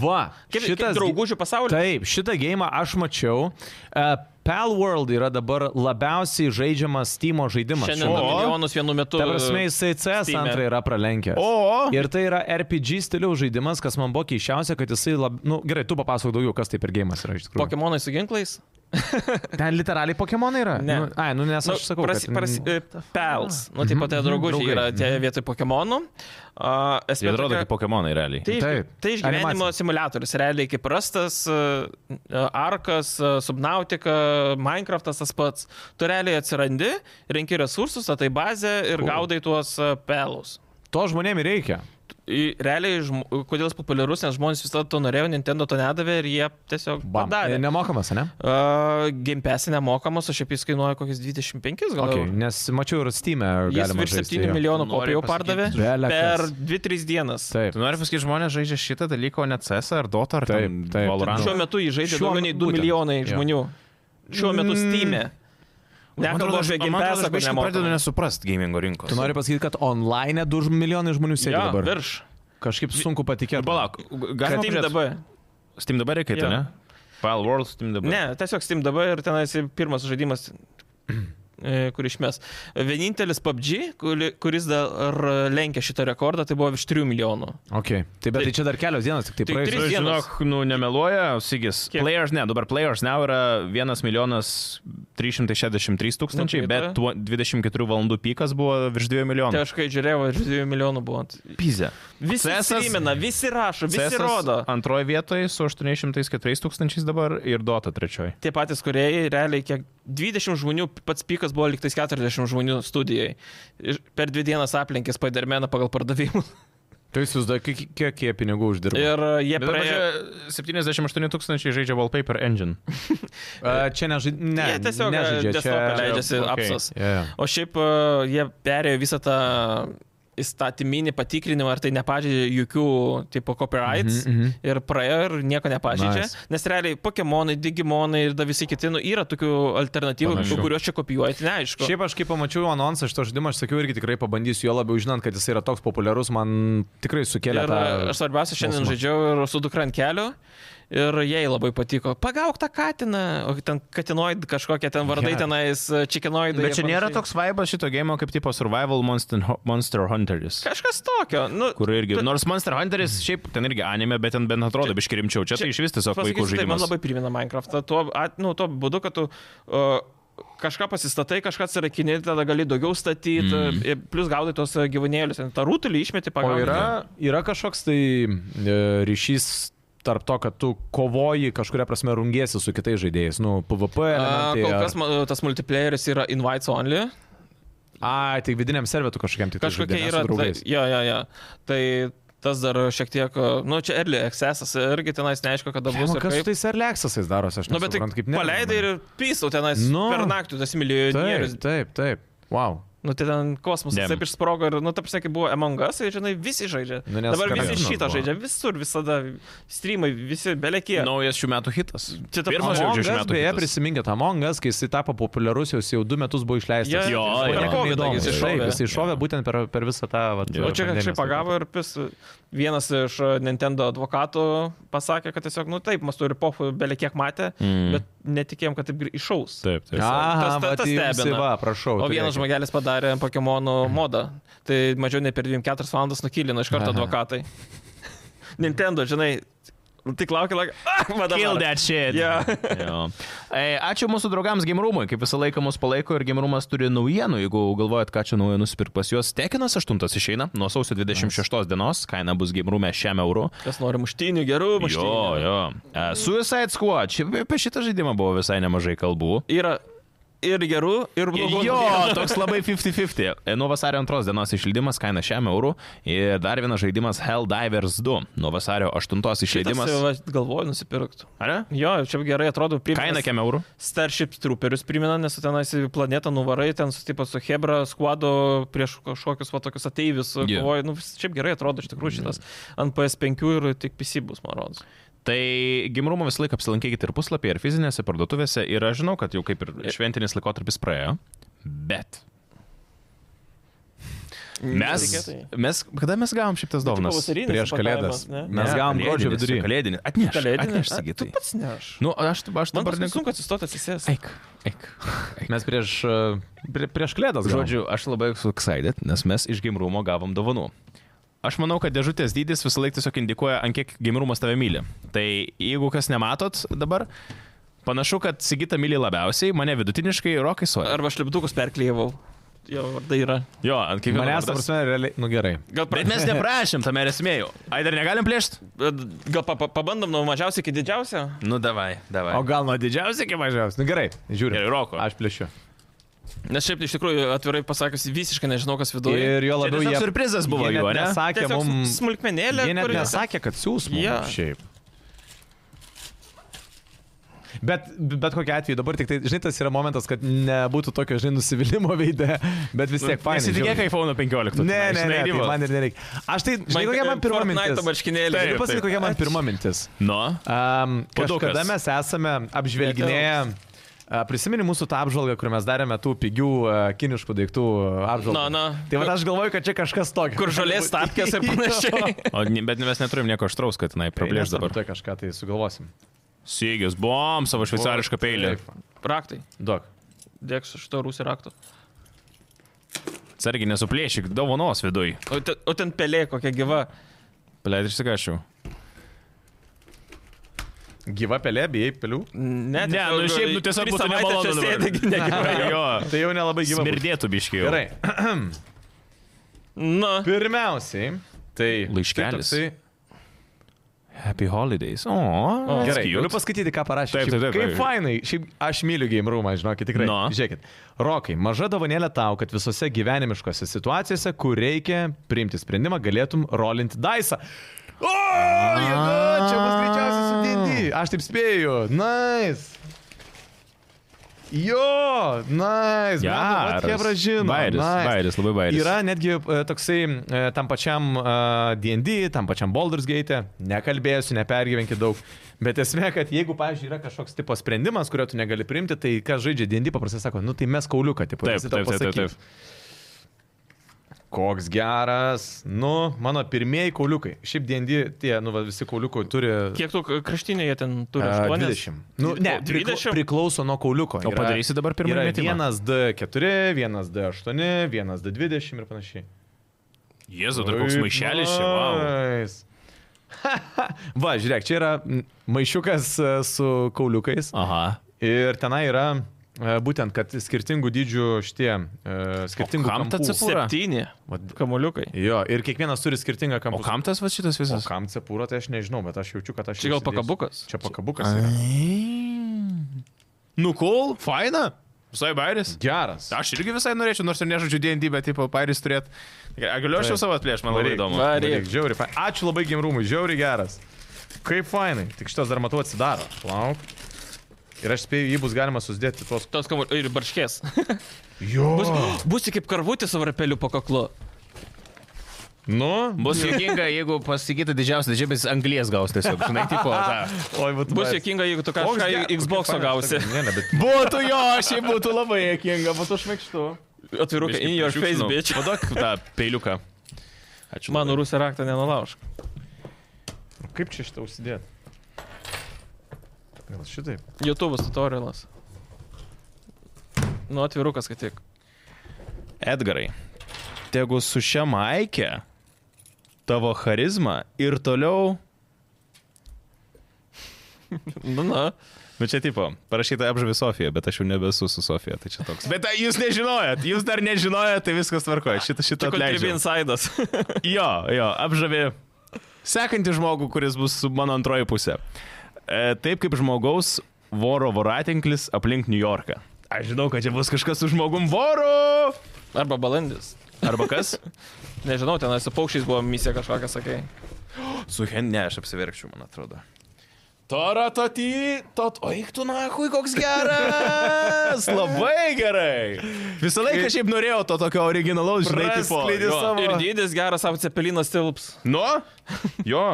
C: Va,
B: Kaip,
C: šitas Tai-
B: kaip draugužių pasaulis.
C: Taip, šitą gėjimą aš mačiau. Uh, Pal World yra dabar labiausiai žaidžiamas Steam žaidimas.
B: Šiandien
A: O.
B: du milijonus vienu metu.
C: Ta prasme, jisai CS
B: Steam'e.
C: antrą yra pralenkęs.
A: O,
C: Ir tai yra RPG stiliaus žaidimas, kas man buvo keiščiausia, kad jisai labai... Nu, gerai, tu papasakok daugiau, kas tai per gėjimas yra iš tikrųjų.
B: Pokemonai su ginklais?
C: Ten literaliai Pokemonai yra?
B: Ne.
C: Nu, ai, nu nes aš
B: Nu,
C: sakau.
B: Prasi,
C: kad- Mhm,
B: prasi, e, pels. Nu, taip pat tie draugužiai
C: draugai.
B: yra tie vietoj Pokemonų. Uh,
A: Jie atrodo kaip Pokemonai realiai.
B: Tai,
C: Taip.
B: Taip, tai išgyvenimo
C: Animacija.
B: simulatorius, realiai kaip rastas, arkas, e, subnautika, Minecraftas tas pats. Tu realiai atsirandi, renki resursus, tai bazę ir
C: Cool.
B: gaudai tuos pelus.
C: To žmonėmi reikia.
B: Realiai, žmo- kodėl jis populiarus, nes žmonės visada to norėjo, Nintendo to nedavė ir jie tiesiog
C: Bam.
B: padarė.
C: Nemokamas, ne?
B: Uh, Gimpesi nemokamas, o šiaip jis kainuoja kokius 25 gal.
C: Okay,
B: eurų.
C: nes mačiau ir Steam'e.
B: Jis
C: galima
B: virš
C: žaisti
B: 7
C: jo.
B: milijonų
A: Tu nori
B: kopijų pardavė
A: pasakyti,
C: Bele
B: per
C: kas.
B: 2-3 dienas.
C: Taip.
A: Tu nori pasakyti, žmonės žaidžia šitą dalyką, o ne CS ar Dota ar
C: Taip,
A: ten
C: taip.
A: Valorant.
B: Šiuo metu jį žaidžia
C: Šiuo
B: daugiau nei 2
C: būtent.
B: milijonai
C: Jo.
B: žmonių. Šiuo metu
C: Mm.
B: Steam'e.
A: Man atrodo,
B: Nekalbu
A: aš-
B: apie
A: man atrodo, aš
B: gimpesą, kur
A: biškį pradedu
B: nemokamas.
A: nesuprast gamingo rinkos.
C: Tu nori pasakyti, kad online 2 milijonai žmonių sėdi
B: Jo,
C: dabar.
B: virš.
C: Kažkaip sunku patikėti.
A: Palauk, galima
B: Steam
A: pažiūrėt-
B: dabar.
A: Steam dabar reikia, tai
B: Jo.
A: ne? Pal World Steam dabar.
B: Ne, tiesiog Steam dabar ir tenais pirmas žaidimas, e, kur išmės. Vienintelis PUBG, kuri- kuris dar lenkia šitą rekordą, tai buvo virš 3 milijonų.
C: Okay. Tai bet tai čia dar kelios dienos, tik tai
B: Tai
C: praeis.
A: Nu,
B: tris- dienos.
A: Žinok, nu nemeluoja, Sigis.
B: Kiek?
A: Players, ne, dabar Players Now yra 1 milijonas 363 tūkstančiai,
B: Nu, tai
A: bet
B: yra.
A: tuo 24 valandų pikas buvo virš 2 milijonų.
B: Tai aš kai žiūrėjau, virš 2 milijonų buvo.
A: Pizė.
B: Visi
A: CS-as
B: įsimena, visi rašo, visi
A: CS
B: rodo.
A: Antroje vietoje su 804 tūkstančiais dabar ir Dota trečioje.
B: Tie patys kuriejai, realiai kiek 20 žmonių, pats pikas buvo liktais 40 žmonių studijai. Ir Per dvi dienas aplinkė Spidermaną pagal pardavimus.
C: Tai jūs jūs dar kiek, kiek jie pinigų uždirba?
B: Ir uh, jie
A: Bet
B: praėjo.
A: praėjo... 78 tūkstančiai žaidžia Wallpaper Engine.
C: A, čia nežaidžia. Ne,
B: Jie tiesiog uh,
C: nežaidžia.
B: desktopą leidžiasi
A: okei.
B: apsas.
C: Yeah.
B: O šiaip e, jie perėjo visą tą įstatyminį patikrinimą, ar tai nepažeidžia jokių tipo copyrights mm
C: Mhm,
B: -hmm.
C: mhm.
B: ir praėjo ir nieko nepažeidžia.
C: Nice.
B: Nice. Nes realiai Pokemonai, Digimonai ir da visi kiti, nu, yra tokių alternatyvų,
A: Panašių.
B: kuriuos čia kopijuoti, neaišku.
C: Šiaip aš kaip pamačiau anonsą šito žaidimo, aš sakiau irgi tikrai pabandysiu, jo labiau žinant, kad jis yra toks populiarus, man tikrai sukėlė
B: Ir
C: tą...
B: e, aš svarbiausia, šiandien
C: smalsumą.
B: žaidžiau ir su dukra ant kelio. Ir jai labai patiko. Pagauk tą katiną, o ten katinoid kažkokie ten vardai
C: Geras.
B: tenais, čikinoidai.
A: Bet čia
B: ir
A: nėra
B: panašiai.
A: toks vaibas šito gėjimo kaip tipo Survival Monster, Monster Hunteris.
B: Kažkas tokio. Nu,
A: Kur irgi.
B: tu-
A: Nors Monster Hunteris šiaip ten irgi anime, bet ten bent atrodo biški rimčiau. Čia, tai iš vis tiesiog vaikų
B: Pasakysiu, tai man
A: žaidimas.
B: labai primena Minecraftą. Tuo, at, nu, tuo būdu, kad tu uh, kažką pasistatai, kažką atsirakini, tada gali daugiau statyti,
A: Mm.
B: mm. plus gaudai tos e, gyvūnėlius. Ten Tą rutulį išmeti
C: O
B: pagal.
C: yra, yra kažkoks tai e, ryšys tarp to, kad tu kovoji kažkuria prasme rungiesi su kitais žaidėjais, nu,
B: A,
C: PvP. elementai
B: E, kol
C: ar-
B: kas ma- tas multiplayeris yra invites only.
C: Ai, tik vidiniam servetu kažkokiam tik tai
B: Kažkokia
C: žaidi, ne, su
B: yra.
C: draugais.
B: Ta, jo, jo, jo. Tai Tas dar šiek tiek, nu čia early accessas irgi tenais neaišku, kada bus. ir
C: Žinau, nu, kas su
B: kaip.
C: tais Erleksasais darosi, aš
B: Nu, bet
C: nežinau,
B: tai
C: kaip ne.
B: paleidai ir pysau tenais
C: Nu.
B: nu, per naktį tas
C: Taip,
B: milijonierius.
C: taip, taip. Wow.
B: Nu, tai ten kosmosas
A: Damn.
B: taip išsprogo ir, nu, taip sakai, buvo Among Us, ir, žinai, visi žaidžia.
C: Nu, nes
B: Dabar visi
C: karantinas
B: šitą
C: buvo. Nu,
B: žaidžia, visur, visada, streamai, visi, belekie.
A: Naujas šių metų hitas.
B: Čia ta
A: Pirmas jau
B: Among
A: čia šių
C: Mongas,
A: metų.
C: beje,
A: hitas.
C: prisiminkit tą Mongas, kai jis tapo populiarus, jos jau du metus buvo išleistas.
B: Jo,
A: Jo,
B: jo,
A: jo.
B: per
A: Nieko
C: Niekam
B: COVID
C: neįdomu.
B: jis
C: Taip,
B: iššovė.
C: jis iššovė būtent per, per visą tą... Vat,
A: Jo.
B: O čia
C: pandemijos
B: kažkaip pagavo ir pis, vienas iš e, Nintendo advokatų pasakė, kad tiesiog, nu taip, mes turi popų belekiek matę,
A: Mm.
B: bet netikėjom, kad taip gri- iššaus.
A: Taip, tai taip.
C: Aha,
B: Tas- tas- tas
C: vat jums,
B: stebina.
C: Va, prašau.
B: O vienas
C: turėkit.
B: žmogelis padarė Pokemonų modą. Tai mažiau nei per 24 valandas nukilino iš karto
C: Aha.
B: advokatai. Nintendo, žinai, tik laukia, laukia. Ah, va dabar.
A: Kill that shit.
B: Jo.
A: Jo. Ei, ačiū mūsų draugams Gimrumui, kaip visą laiką mus palaiko ir Gimrumas turi naujienų. Jeigu galvojat, ką čia naujienų nusipirkti pas juos, Tekinas 8 išeina nuo sausio 26 dienos, kaina bus Gimrume šiam eurų.
B: Kas nori muštinių, gerų muštinių.
A: Jo, jo. E, Suicide Squad, čia apie šitą žaidimą buvo visai nemažai kalbų.
B: Yra ir gerų, ir blogų.
A: Jo, toks labai 50-50. E, Nuo vasario 2 dienos išleidimas kaina šiam eurų. Ir dar vienas žaidimas Helldivers 2. Nuo vasario 8
B: Šitas,
A: išleidimas.
B: va, galvoju, nusipirktų.
A: Ar ne?
B: Jo, čia gerai atrodo. primena
A: Kaina kiam eurų.
B: Starship Trooperius primena, nes tu tenais į planetą nuvarai, ten susitipa su Hebra, skuado prieš kažkokius va tokius ateivius.
A: Jo.
B: Yeah. Kovoji, nu, šiaip gerai atrodo iš tikrųjų šitas. Ant PS5 ir tik PC bus, man rodos.
A: Tai gimrumo visą laiką apsilankykite ir puslapyje, ir fizinėse parduotuvėse. Ir aš žinau, kad jau kaip ir šventinis laikotarpis praėjo, bet mes...
B: Netikėtai.
A: mes kada mes gavom šitas
B: Tai
A: dovanas?
B: pavasarinis
C: prieš
B: supakavimas,
C: Kalėdas.
B: ne?
C: Mes gavom gruodžio
A: kalėdinis,
C: vidury.
A: Kalėdinį. Atnešk.
B: Kalėdinį.
A: Atnešk,
B: A, Tu
A: sakytai.
B: pats ne aš.
A: Nu, aš, aš
B: Man
A: dabar
B: dabar
A: ne...
B: nesunku atsistoti atsisės.
A: Eik, eik.
C: Mes prieš, e, prie- prieš klėdas.
A: Žodžiu, aš labai esu excited, nes mes iš gimrumo gavom dovanų. Aš manau, kad dėžutės dydis visą laiką tiesiog indikuoja, ant kiek gimrumas tave myli. Tai jeigu kas nematot dabar, panašu, kad Sigita myli labiausiai, mane vidutiniškai rokai suoja.
B: Arba šlipdukus perklyjavau. Jo vardai yra.
A: Jo, ant kiekvieno.
C: Manęs, ta
A: vardas.
C: prasme, realiai, nu gerai.
B: Gal, pra...
A: Bet mes neprašym tame esmėjų. Ai, dar negalim plėšti?
B: Gal pa, pa, pabandom nuo mažiausio iki didžiausio?
A: Nu, davai, davai.
C: O gal nuo didžiausio iki mažiausio? Nu gerai, žiūriu.
A: Gerai, Roko.
C: Aš plėšiu.
B: Nes šiaip iš tikrųjų atvirai pasakius, visiškai nežinau, kas viduje.
C: Ir jo
A: Čia
C: labiau
A: tiesiog
C: jie...
A: surprizas buvo
C: jie net
A: jo, ne?
C: Nesakė
B: Tiesiog
C: mums...
B: smulkmenėlė.
C: Jie net
B: kuri-
C: nesakė, kad siūs mums.
B: Jo.
C: Šiaip. Bet, bet kokia atveju dabar tik tai, žinai, tas yra momentas, kad nebūtų tokio, žinai, nusivylimo veidė, bet vis tiek fainai.
A: Nesitikėk Nu,
C: žiauriai.
A: iPhone 15.
C: Ne, ne, ne, tai man ir nereikia. Aš tai, žinai, kokia man pirma
B: Fortnite'o
C: mintis.
B: marškinėliai.
A: Taip,
C: Galiu pasakyti,
A: taip.
C: kokia man pirma mintis.
A: Nu,
C: Um,
A: Puodukas.
C: kažkada mes esame apžvelginėję. a, Prisimeni mūsų tą apžvalgą, kur mes darėme tų pigių a, kiniškų daiktų a, apžvalgą.
B: Na, na.
C: Tai va, aš galvoju, kad čia kažkas tokio.
B: kur žolės tapkės ir panašiai.
A: o, ne- bet mes neturim nieko aštraus, kad jinai praplėš dabar.
C: Tai kažką tai sugalvosim.
A: Sėgius, bom, savo šveicarišką peilį.
C: Taip.
B: Raktai.
C: Duok.
B: Dėks šito rūsio rakto.
A: Sargi nesuplėšyk, dovanos viduj.
B: O, te, o ten pelė kokia gyva.
A: Paleid išsikašiau.
C: Gyva pelė, bijai pelių.
B: Ne,
A: Ne, nu šiaip, nu tiesiog būtų nemalonu dabar.
B: negyva.
A: Jo,
C: Tai jau nelabai gyva. bus.
A: smirdėtų biškiai.
C: Gerai.
B: Na,
C: Pirmiausiai, tai.
A: Laiškelis.
C: tai toksai-
A: Happy holidays. O, o
C: Gerai, galiu paskaityti, ką parašė.
A: Taip,
C: Šiaip
A: taip, taip,
C: Kaip
A: taip.
C: fainai, šiaip aš myliu game roomą, žinokit, tikrai.
A: Na.
C: Žiūrėkit. Rokai, maža davonėlė tau, kad visose gyvenimiškose situacijose, kur reikia priimti sprendimą, galėtum rolinti daisą. O,
A: Ah.
C: jėga, čia bus greičiausiai su DD. Aš taip spėju. Nice. Jo, nice.
A: Geras.
C: Hebra žino.
A: Bairis,
C: nice.
A: bairis, labai bairis.
C: Yra netgi e, toksai e, tam pačiam e, D&D, tam pačiam Baldur's Gate, nekalbėsiu, nepergyvenkit daug. Bet esmė, kad jeigu, pavyzdžiui, yra kažkoks tipo sprendimas, kurio tu negali priimti, tai kas žaidžia D&D paprastai sako, nu tai mes kauliuką, tipo,
A: Taip,
C: visi tau
A: taip, taip, taip,
C: pasakys.
A: taip.
C: Koks geras, nu, mano pirmieji kauliukai. Šiaip D&D tie, nu, va, visi kauliukai turi...
B: kiek tų kraštinėje ten turi?
C: e,
B: 8?
C: 20. Nu, ne, prikla,
B: 20.
C: priklauso nuo kauliuko.
A: O padarysi dabar pirmąjį
C: Yra
A: metimą?
C: 1D4, 1D8, 1D20 ir panašiai.
A: Jėzau, dar koks
C: Taip,
A: maišelis čia, wow.
C: nice. Va, žiūrėk, čia yra mm, maišiukas e, su kauliukais.
A: Aha.
C: Ir tenai yra e, būtent, kad skirtingų dydžių šitie, e, skirtingų
A: kam ta
C: kampų.
A: cepu- Pūra.
B: Septyni.
C: Vat-
B: Kamoliukai.
C: Jo, ir kiekvienas turi skirtingą
A: O
C: kampą.
A: kam tas va šitas
C: O
A: visas?
C: kam cepūra, tai aš nežinau, bet aš jaučiu, kad aš...
B: Čia gal
C: įsidėsiu.
B: pakabukas?
C: Čia pakabukas. Yra.
A: Nu, kol, faina. Visai bairis?
C: Geras.
A: Aš irgi visai norėčiau, nors ir nežaidžiu DND, bet tipo bairis turėt. Ar galiu aš jau savo atplėšti, man labai
C: Varyk,
A: įdomu.
B: va.
C: Varyk, Žiauri, fain. Ačiū labai gimrumui, žiauri geras. Kaip fainai, tik šitas dar matau atsidaro. Lauk. Ir aš spėju, jį bus galima susidėti tuos...
B: Tos kamuoliai ir barškės.
C: Jo.
B: Bus, būsi kaip karvutis su varpeliu po kaklu.
C: Nu,
A: Bus juokinga, jeigu pasakytų didžiausias didžiulis anglies gaus tiesiog, žinai, tipo. tą.
C: Oi, vat,
B: Bus
C: mes-
B: juokinga, jeigu tu
C: Koks
B: kažką
C: ge-
B: į Xbox
C: kokia faina
B: gausi.
C: šita- Ne, ne, bet
A: Būtų jo, šiaip būtų labai juokinga, būtų šmėkštu.
B: Atvirukai, in your face,
C: nu.
B: bitch.
A: Padok tą peiliuką. Ačiū.
B: Mano rusė raktą nenulaužk.
C: Kaip čia šitą užsidėti? Gal šitaip.
B: YouTube'as tutorialas. Nu, atvirukas, kad tik.
A: Edgarai, tegu su šia maike tavo charizma ir toliau...
B: Nu, na.
A: Bet čia tipo, parašyta apžavi Sofiją, bet aš jau nebesu su Sofija, tai čia toks. Bet tai jūs nežinojat, jūs dar nežinojat, tai viskas tvarkoja. Šitą šitą
B: Tik
A: atleidžiu.
B: Kultribi Insidas.
A: Jo, jo, apžavi sekantį žmogų, kuris bus su mano antroji pusė. E, taip kaip žmogaus voro voratinklis aplink New Yorką. Aš žinau, kad čia bus kažkas su žmogum voru.
B: Arba balandis.
A: Arba kas?
B: Nežinau, ten su paukščiais buvo misija kažkokia, sakai.
A: Su hen, ne, aš apsiverkčiau, man atrodo. Taratati, tot, o eik tu nahui, koks geras! Labai gerai! Visą laiką šiaip norėjau to tokio originalaus, žinai, tipo.
C: Praskleidi
A: jo.
C: savo-
B: Ir dydis geras, savo cepelinas tilps.
A: Nu? Jo.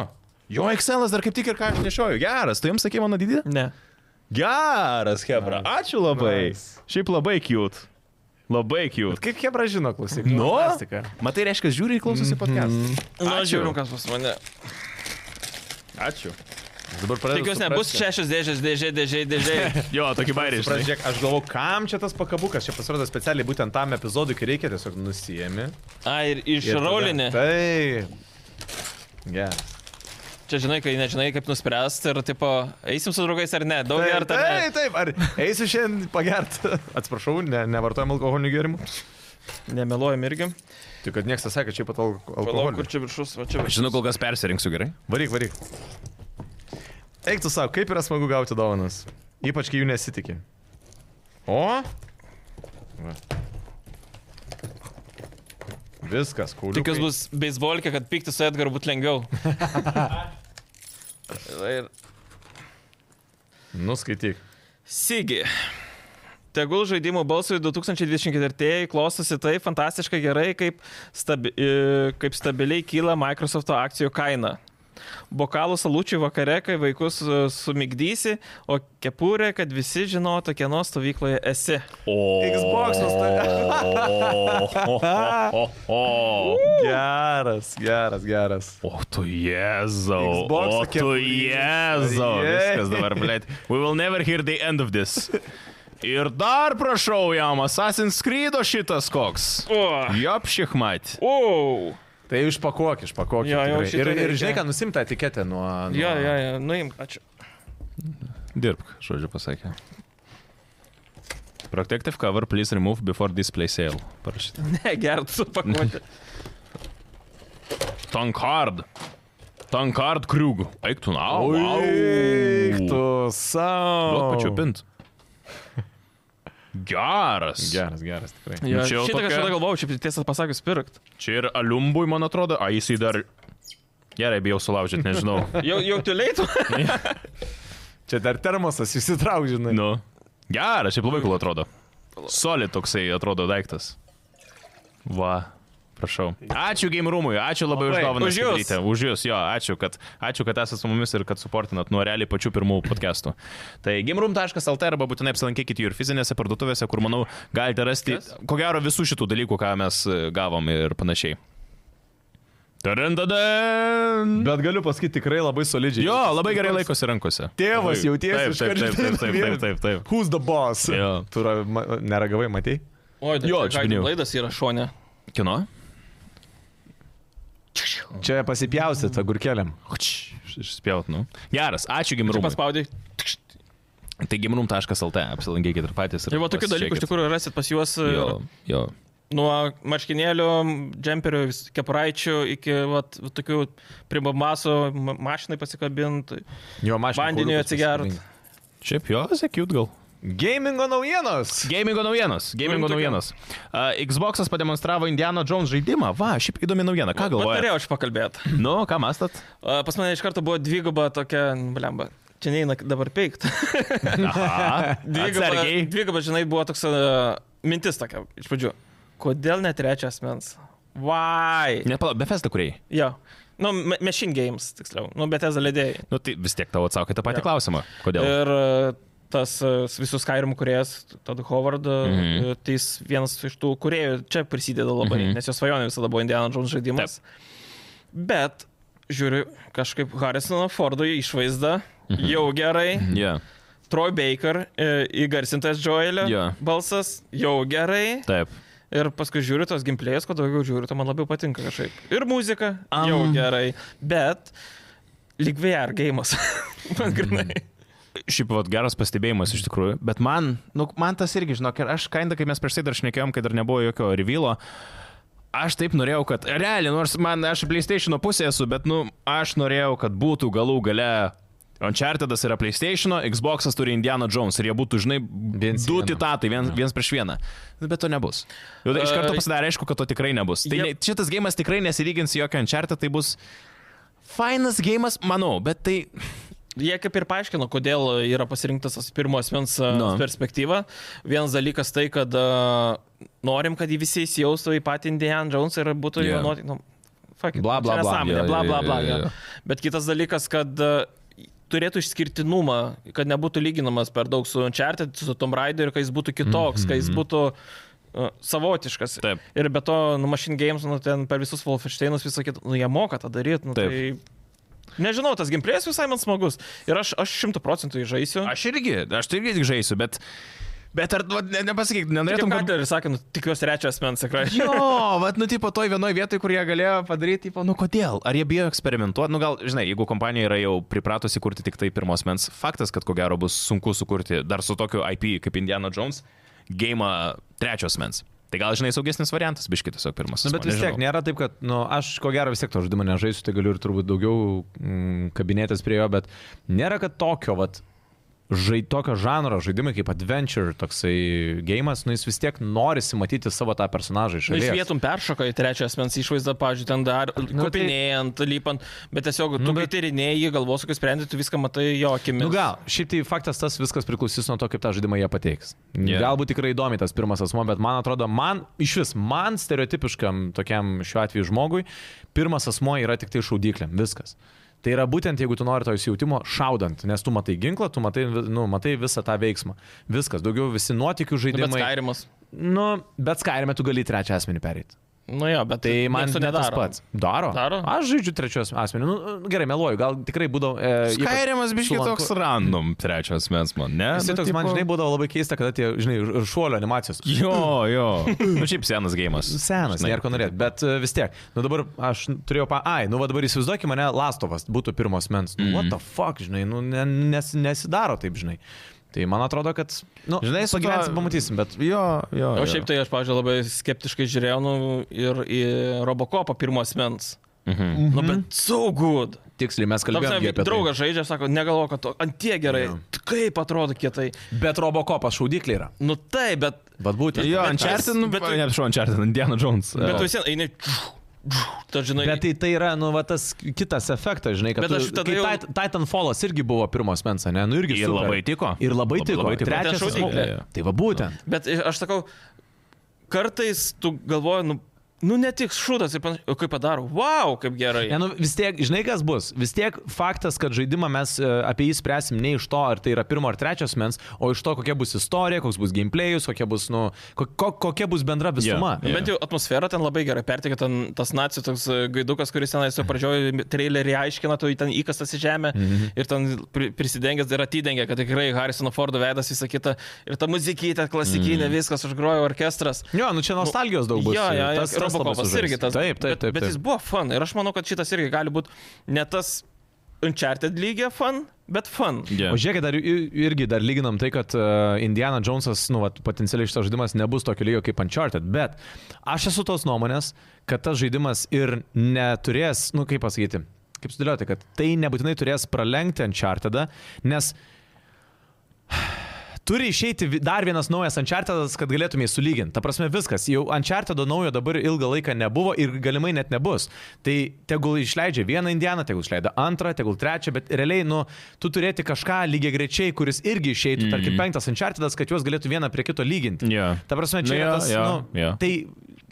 A: Jo, Excelas dar kaip tik ir ką aš nešioju. Geras, tu jums sakė mano dydį?
B: Ne.
A: Geras, Hebra. Ačiū labai.
C: Nice.
A: Šiaip labai cute. Labai cute.
C: Kaip jie bražino, klausyk.
A: Nu, Mhm.
C: fantastika.
A: matai, reiškia, žiūri ir klausosi podcast.
B: Na,
A: Ačiū.
B: žiūrim, kas pas mane.
A: Ačiū.
C: Dabar pradedu.
B: Tikiuosi, nebus šešios dėžės, dėžė, dėžė, dėžė.
A: Jo, tokį bairį išrašė.
C: Pradžiak, aš galvoju, kam čia tas pakabukas, čia pasirodo specialiai būtent tam epizodui, kai reikia tiesiog nusijėmi.
B: A, ir išraulinė.
C: Tai. Gerai.
B: Čia žinai, kai nežinai, kaip nuspręsti ir, tipo, eisim su draugais ar ne. Daug
C: Taip,
B: ar tai ne.
C: taip, taip, ar eisiu šiandien pagerti? Atsiprašau, ne, nevartojam alkoholinių gėrimų.
B: Nemeluojam irgi.
C: Tik kad niekas nesakė, čia pat alko-
B: Palauk,
C: alkoholį.
B: kur čia viršus, va čia viršus.
A: Žinau, kol kas persirinksiu gerai.
C: Varyk, varyk. Eik tu savo, kaip yra smagu gauti dovanas. Ypač kai jų nesitikė. O? Va. Viskas, kauliukai.
B: Tikiuosi bus beisbolkė, kad pykti su Edgaru būtų lengviau. ir...
C: Nuskaityk.
B: Sigi. Tegul žaidimų balsui 2024 klostosi taip fantastiškai gerai, kaip, stabi, i, kaip stabiliai kyla Microsoft akcijų kaina. Bokalų salučių vakare, kai vaikus e, sumigdysi, o kepurė, kad visi žinotų, kieno stovykloje esi.
A: O.
C: Xbox'as
A: O. O.
C: Geras, geras, geras.
A: O tu jezau.
C: Xbox'o
A: O tu
C: kepurys.
A: jezau.
C: Jei.
A: Viskas dabar, blėt. We will never hear the end of this. Ir dar prašau jam, Assassin's Creed šitas koks.
B: O.
A: Jop šikmat.
B: O.
C: Tai išpakuok, išpakuok.
B: Jo, jo,
C: tikrai.
B: šitą
C: ir, ir
B: reikia.
C: žinai, ką nusimta etiketė nuo... nuo...
B: Jo, jo, jo, nuimk, ačiū.
A: Dirbk, žodžiu pasakė. Protective cover, please remove before display sale. Parašyta.
B: Ne, gertų supakuoti.
A: Tankard. Tankard kriug. Eik tu na. au, au.
C: Eik tu savo.
A: Duok pačiupint. Geras.
C: Geras, geras, tikrai.
B: Jo,
A: Čia jau
B: šitą
A: tokia-
B: kažkada galvojau, šiaip tiesą pasakius, pirkt.
A: Čia ir aliumbui, man atrodo. A, jisai dar... Gerai, bijau sulaužyti, nežinau.
B: Jau, jau tulėtų.
C: Čia dar termosas išsitrauk, žinai.
A: nu. Geras, šiaip labai cool atrodo. Solid toksai atrodo daiktas. Va. Prašau. Ačiū Game Roomui, ačiū labai už
C: Labai.
A: dovaną.
B: Už jus.
A: Už jūs, jo, ačiū, kad, ačiū, kad esate su mumis ir kad suportinat nuo realiai pačių pirmų podcastų. Tai gameroom.lt arba būtinai apsilankykite jų ir fizinėse parduotuvėse, kur, manau, galite rasti,
B: Kas?
A: ko gero, visų šitų dalykų, ką mes e, gavom ir panašiai. Tarandadan!
C: Bet galiu pasakyti tikrai labai solidžiai.
A: Jo, labai gerai laikosi rankose.
C: Tėvas
A: Labai-
C: jautiesi
A: Taip,
C: iškart
A: taip, taip, taip,
C: žinai,
A: taip, taip, taip.
C: Who's the boss?
A: Jo.
C: Tu ra- ma- neragavai, matei?
B: Oi,
A: Jo, čiupinėjau.
B: Laidas yra šonė.
A: Kino?
C: Čia pasipjausit agurkeliam.
A: Išspjaut, nu. Geras, ačiū
B: Tu
A: Gimrūmui.
B: paspaudai.
A: Tai gimrum.lt, apsilankykit ir patys.
B: Ir Tai va tokių dalykų iš tikrųjų rasit pas juos ir
A: Jo, jo.
B: nuo marškinėlių, džemperių, vis- kepuraičių iki vat, va tokių pribamasų ma- mašinai pasikabinti,
C: Jo, mažai.
B: vandeniu atsigert.
A: Šiaip jo, sekit gal.
C: Gamingo naujienos.
A: Gamingo naujienos. Gamingo
B: tokių.
A: naujienos. Uh, Xbox'as pademonstravo Indiana Jones žaidimą. Va, šiaip įdomi naujiena. Ką galvojate?
B: Norėjau aš pakalbėti.
A: Nu, ką mastat?
B: Pas mane iš karto buvo dviguba tokia, nu, blemba. Čia neina dabar peikt.
A: Aha.
B: Dviguba,
A: Atsargiai.
B: dviguba, žinai, buvo toks uh, mintis tokia iš pradžių. Kodėl ne trečias asmens? Why? Ne.
A: Ne, palauk, Bethesda kuriai.
B: Jo. Nu, me- Machine Games, tiksliau. Nu, bet esu ledėjai.
A: Nu, tai vis tiek tau atsakė tą patį
B: Jo.
A: klausimą. Kodėl?
B: Ir uh, tas uh, visų Skyrim kuriejas, Todd Howard,
A: Mhm.
B: mhm. tai jis vienas iš tų kuriejų čia prisideda labai,
A: Mhm.
B: mhm. nes jo svajonė visada buvo Indiana Jones žaidimas. Taip. Bet, žiūriu, kažkaip Harrisono Fordo išvaizda mhm. jau gerai.
A: Yeah.
B: Troy Baker e, įgarsintas Joelio
A: Jo.
B: balsas jau gerai.
A: Taip.
B: Ir paskui žiūriu tos gimplėjus, kuo daugiau žiūriu, to man labiau patinka kažkaip. Ir muzika um. jau
A: Am.
B: gerai. Bet lyg VR gėjimas. man grinai.
A: Šiaip vat, geras pastebėjimas iš tikrųjų, bet man, nu, man tas irgi, žinok, ir aš kainda, kai mes prieš tai dar šnekėjom, kai dar nebuvo jokio revylo, aš taip norėjau, kad, realiai, nors man, aš PlayStation pusė esu, bet, nu, aš norėjau, kad būtų galų gale. Unchartedas yra PlayStation, Xbox'as turi Indiana Jones ir jie būtų, žinai,
C: Viens
A: du
C: vieną.
A: titatai, vien, viens prieš vieną. Nu, Bet to nebus. Jau iš karto
B: E,
A: pasidarė aišku, kad to tikrai nebus. Tai
B: jie-
A: ne, šitas gėjimas tikrai nesilygins į jokio Uncharted, tai bus fainas gėjimas, manau, bet tai...
B: Jie kaip ir paaiškino, kodėl yra pasirinktas tas pirmo asmens no.
A: Nu.
B: perspektyva. Vienas dalykas tai, kad a, norim, kad jį visi įsijaustų į patį Indiana Jones ir būtų
A: Jo.
B: jo nuotik. Nu, fuck it,
C: Bla, bla,
B: čia
C: bla.
B: nesąmonė,
C: Jo, jo,
B: bla, bla,
C: jo,
B: bla,
C: jo,
B: jo.
C: jo.
B: Bet kitas dalykas, kad a, turėtų išskirtinumą, kad nebūtų lyginamas per daug su Uncharted, su Tom Raider, kad jis būtų kitoks, mm -hmm. kad
C: Mhm,
B: jis būtų a, savotiškas.
A: Taip.
B: Ir be to, nu, Machine Games, nu, ten per visus Wolfensteinus visą kitą, nu, jie moka tą daryti, nu,
A: Taip.
B: tai Nežinau, tas gimplėjas visai man smagus. Ir aš, aš šimtų procentų jį žaisiu. Aš
A: Aš irgi, aš tai irgi tik žaisiu, bet... Bet ar, va, ne, nepasakyk,
B: norėtum,
A: nenorėtum,
B: kad...
A: kad...
B: Ir sakė, nu, tikiuosi trečio asmens, tikrai.
A: Jo, vad, nu, tipo, toj vienoje vietoje, kur jie galėjo padaryti, tipo, nu, kodėl? Ar jie bijo eksperimentuoti? Nu, gal, žinai, jeigu kompanija yra jau pripratusi kurti tik tai pirmos mens, faktas, kad ko gero bus sunku sukurti dar su tokiu IP kaip Indiana Jones, game trečios mens. Tai gal, žinai, saugesnis variantas, biškit tiesiog pirmas.
C: Na, Nu, bet vis tiek nėra taip, kad, na, nu, aš ko gero vis tiek to žaidimo nežaisiu, tai galiu ir turbūt daugiau mm, kabinėtis prie jo, bet nėra, kad tokio, vat, žai, tokio žanro žaidimai kaip Adventure, toksai gėjimas, nu, jis vis tiek norisi matyti savo tą personažą iš
B: Nu, iš
C: šalies.
B: vietų peršoka į trečio asmens išvaizdą, pažiūrėjau, ten dar
C: tai-
B: kopinėjant, lypant, bet tiesiog tu
C: Nu,
B: nu,
C: bet-
B: bet... tyrinėjai, galvos, kai sprendi, tu viską matai jo akimis.
C: Nu gal, šiaip tai faktas tas viskas priklausys nuo to, kaip tą žaidimą jie pateiks.
A: Jo.
C: Yeah. Galbūt tikrai įdomi tas pirmas asmo, bet man atrodo, man iš vis, man stereotipiškam tokiam šiuo atveju žmogui, pirmas asmo yra tik tai šaudyklėm, viskas. Tai yra būtent, jeigu tu nori to įsijautimo, šaudant, nes tu matai ginklą, tu matai, vi- nu, matai visą tą veiksmą. Viskas, daugiau visi nuotikių
B: Nu, bet
C: žaidimai.
B: skairimas.
C: Nu, bet skairime tu gali į trečią asmenį pereiti.
B: Nu jo, bet
C: Tai man
B: nieks to
C: ne tas pats. Daro.
B: Daro?
C: Aš žaidžiu trečios asmenį. Nu, gerai, meluoju, gal tikrai būdavo... E, ypač
A: Kairiamas biškit
C: sulanku-
A: toks random trečios mens, man, ne?
C: Jisai
A: Nu,
C: toks, man
A: tipo-
C: žinai, būdavo labai keista, kada tie, žinai, ir- ir šuolio animacijos.
A: Jo, jo. Nu, šiaip senas gėjimas.
C: Senas, nėra ko norėti, bet e, vis tiek. Na nu, dabar aš turėjau, pa... ai, nu va dabar įsivaizduokime mane, Lastovas būtų pirmos mens. Nu, what the fuck, žinai, nu, ne, nes, nesidaro taip, žinai. Tai man atrodo, kad, nu, žinai,
A: Žinai, su
C: pagyvensim,
A: tuo-
C: pamatysim, bet...
A: Jo, jo.
B: O šiaip tai aš, pažiūrėjau, labai skeptiškai žiūrėjau nu, ir į Robocopą pirmo asmens.
A: Mhm.
B: Mm -hmm. Nu, bet so good.
C: Tiksliai, mes kalbėjome
B: Kalbėjom,
C: apie tai.
B: draugas žaidžia, sako, negalvo, kad to ant tie gerai.
C: Jo.
B: Yeah. Kaip atrodo kietai.
C: Bet Robocopas šaudyklė yra.
B: Nu taip, bet,
C: Bet būtent.
A: Jo,
B: Bet
A: Uncharted,
B: tas-
A: nu,
B: bet-
A: bet... Ne, atsiprašau, Uncharted, Indiana Jones. e,
B: bet
A: Jo.
B: tu vis vien eini. Ta, žinai,
C: Bet tai, tai yra, nu, va, tas kitas efektas, žinai, kad...
B: Bet aš
C: tu-
B: tada
C: kaip
B: jau-
C: Tit- Titanfallas irgi buvo pirmos mens, ne? Nu, irgi
A: Ir
C: super.
A: labai tiko.
C: Ir labai
A: Labai-
C: tiko.
A: labai tiko.
C: Trečias
B: Ten
C: asmuo.
A: šaudyklė.
C: Tai va būtent.
B: bet aš sakau, kartais tu galvoji, nu, nu netiks šūdas ir panašiai, o kaip padaro, wow, kaip gerai.
C: Ne, nu, vis tiek, žinai kas bus, vis tiek faktas, kad žaidimą mes e, apie jį spręsim ne iš to, ar tai yra pirmo ar trečios mens, o iš to, kokia bus istorija, koks bus gameplayus, kokia bus, nu, ko, ko, kokia bus bendra visuma.
A: Jo,
C: Yeah,
A: jo.
C: yeah.
B: Nu, Bent jau atmosfera ten labai gerai pertikė, ten tas nacijų toks e, gaidukas, kuris tenais jau pradžioje trailerį aiškina, tu į ten įkastas į žemę mm
C: Mhm.
B: -hmm. ir ten pri- prisidengęs ir atidengia, kad tikrai Harrisono Fordo veidas visą kitą ir ta muzikytė klasikinė, mm -hmm. viskas užgrojo orkestras.
C: Jo, Mhm. nu čia nostalgijos daug bus.
B: Jo, jo, tas, tas
C: labai
B: Robocopas
C: sužais.
B: irgi tas.
C: Taip, taip,
B: bet,
C: taip.
B: Bet
C: taip.
B: jis buvo fan ir aš manau, kad šitas irgi gali būti ne tas Uncharted lygio fan, bet fan.
A: Jo.
C: O žiūrėkit, dar i- irgi dar lyginam tai, kad e, Indiana Jonesas, nu, vat, potencialiai šitas žaidimas nebus tokio lygio kaip Uncharted, bet aš esu tos nuomonės, kad tas žaidimas ir neturės, nu, kaip pasakyti, kaip sudėlioti, kad tai nebūtinai turės pralenkti Unchartedą, nes Turi išeiti vi- dar vienas naujas Unchartedas, kad galėtumėjai sulyginti. Ta prasme, viskas. Jau Unchartedo naujo dabar ilgą laiką nebuvo ir galimai net nebus. Tai tegul išleidžia vieną Indianą, tegul išleidžia antrą, tegul trečią, bet realiai, nu, tu turėti kažką lygiai grečiai, kuris irgi išeitų, mm. tarkim, penktas Unchartedas, kad juos galėtų vieną prie kito lyginti.
A: Jo.
C: Ta prasme, čia
A: Nu
C: yra
A: jo,
C: tas,
A: jo,
C: nu,
A: jo.
C: tai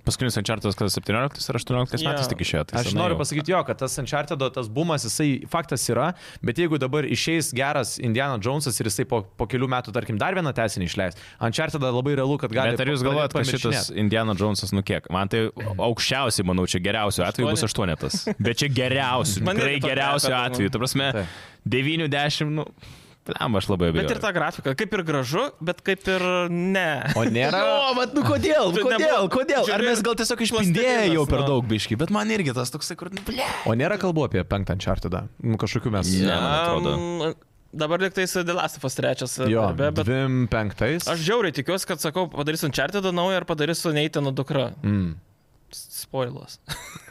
A: Paskutinis Uncharted, kas 17 ar 18 metais
B: Jo.
A: tik išėjo. Tai
C: Aš
A: senai
C: noriu
A: jau.
C: pasakyti jo, kad tas Uncharted, tas bumas, jisai faktas yra, bet jeigu dabar išeis geras Indiana Jonesas ir jisai po, po kelių metų, tarkim, dar vieną tesinį išleis, Uncharted labai realu, kad gali.
A: Bet ar jūs galvojat, kad šitas Indiana Jonesas nukiek? Man tai aukščiausiai, manau, čia geriausiu atveju bus aštuonetas. Bet čia geriausiu,
B: Man
A: tikrai
B: irgi tokia
A: geriausiu
B: karta,
A: atveju.
B: manau.
A: Ta prasme,
C: Taip.
A: 90, nu, pliam, aš labai abejoju.
B: Bet ir ta grafika, kaip ir gražu, bet kaip ir ne.
C: O nėra.
A: O, bet nu kodėl,
B: Tu
A: kodėl,
B: nebuvo-
A: kodėl? Ar
B: žiūri,
A: mes gal tiesiog išpindėjome
B: plastilinas,
A: jau per
B: nu.
A: daug biški, bet man irgi tas toksai, kur, nu, ble.
C: O nėra kalbų apie penktą Uncharted. Nu, kažkokiu mes.
A: Ne, man atrodo.
B: Am, Dabar liktai su Dilastifas trečias.
C: Jo,
B: darbe, bet
C: dvim penktais.
B: Aš žiauriai tikiuosi, kad sakau, padarysiu Uncharted naują ir padarysiu Neitano dukra.
C: Mm.
B: Spoilas.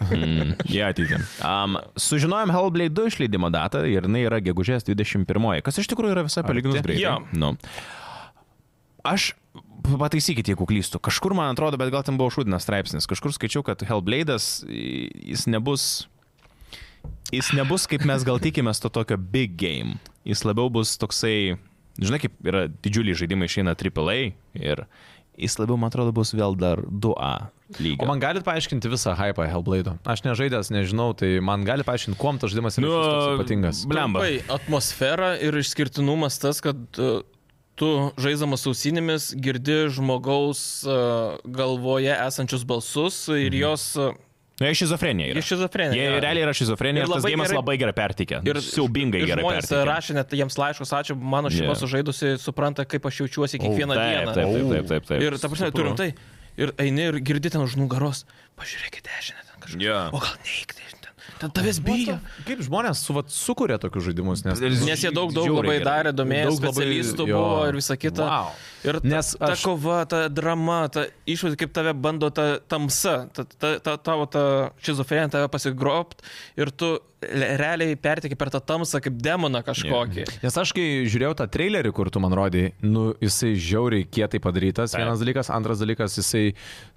A: Mm, į ateitį. Um, sužinojom Hellblade 2 išleidimo datą ir jinai yra gegužės 21, kas iš tikrųjų yra visai palyginus
C: Arti.
A: greitai.
B: Jo.
A: Nu. Aš pataisykite, jeigu klystu. Kažkur, man atrodo, bet gal ten buvo šūdinas straipsnis. Kažkur skaičiau, kad Hellblade'as, i- jis nebus... Jis nebus, kaip mes gal tikimės, to tokio big game. Jis labiau bus toksai... Žinai, kaip yra didžiuliai žaidimai išeina AAA ir jis labiau, man atrodo, bus vėl dar 2A lygio.
C: O man galit paaiškinti visą hypą Hellblade'o. Aš nežaidęs, nežinau, tai man gali paaiškinti, kuom tas žaidimas yra
A: Nu,
C: išvis toks ypatingas.
A: Blemba.
B: Labai atmosfera ir išskirtinumas tas, kad uh, tu žaidžiamas ausinėmis girdi žmogaus uh, galvoje esančius balsus
A: Mhm.
B: ir jos... uh,
A: Nu, jie šizofrenija yra.
B: Jie šizofrenija,
A: Jie
B: jo.
A: realiai yra šizofrenija ir,
B: Ir
A: ir tas
B: labai
A: gėjimas
B: gerai-
A: labai gerai perteikia. Ir siaubingai
B: ir
A: gerai
B: žmonės
A: perteikia.
B: rašė net jiems laiškus, ačiū, mano šeima
A: Jo.
B: yeah. sužaidusi, supranta, kaip aš jaučiuosi kiekvieną
A: taip,
B: dieną.
A: Taip, taip, taip, taip. taip.
B: Ir, ta prasme, turim tai. Ir eini ir girdi ten už nugaros, pažiūrėk į dešinę ten kažką.
A: Jo.
B: O gal neik dešinę ten. Ten tavęs bijo.
C: Kaip žmonės suvat sukuria tokius žaidimus, nes...
B: Nes jie daug, daug
A: Žiauriai
B: labai
A: gerai.
B: darė, domėjosi,
C: Daug labai-
B: specialistų
C: jo.
B: buvo ir visa kita.
C: Wow.
B: Ir ta,
C: Nes
B: ta
C: aš-
B: kova, ta drama, ta išvaizda, kaip tave bando ta tamsa, ta, ta, ta, tavo ta šizofrenija tave pasigrobt ir tu le- realiai perteki per tą tamsą kaip demoną kažkokį. Yeah.
C: Nes aš kai žiūrėjau tą trailerį, kur tu man rodai, nu, jisai žiauriai kietai padarytas,
A: Taip.
C: vienas dalykas, antras dalykas, jisai,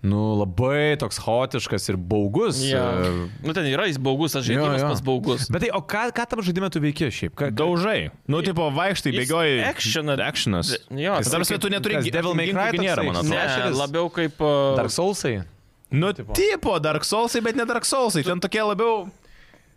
C: nu, labai toks chaotiškas ir baugus.
B: Yeah.
C: e,
B: Nu ten yra jis baugus, aš
C: jo,
B: žaidimas
C: jo.
B: pas baugus.
C: Bet tai, o ką, ką tam žaidime tu veiki šiaip? Ką,
A: Daužai. Nu, tipo, vaikštai,
B: Jis
A: bėgioji.
B: actioną-
A: Actionas.
B: Jo,
A: Jis tarsi tu neturi
C: kas,
A: gi-
C: Devil May
A: ginklų
C: Cry
A: gi tai nėra,
C: toksai?
A: man
B: Ne,
A: atrodo.
C: Slasheris?
B: labiau kaip... uh,
C: Dark Soulsai?
A: Nu, tipo, Dark Soulsai, bet ne Dark Soulsai. Ten tokie labiau...
B: Nu,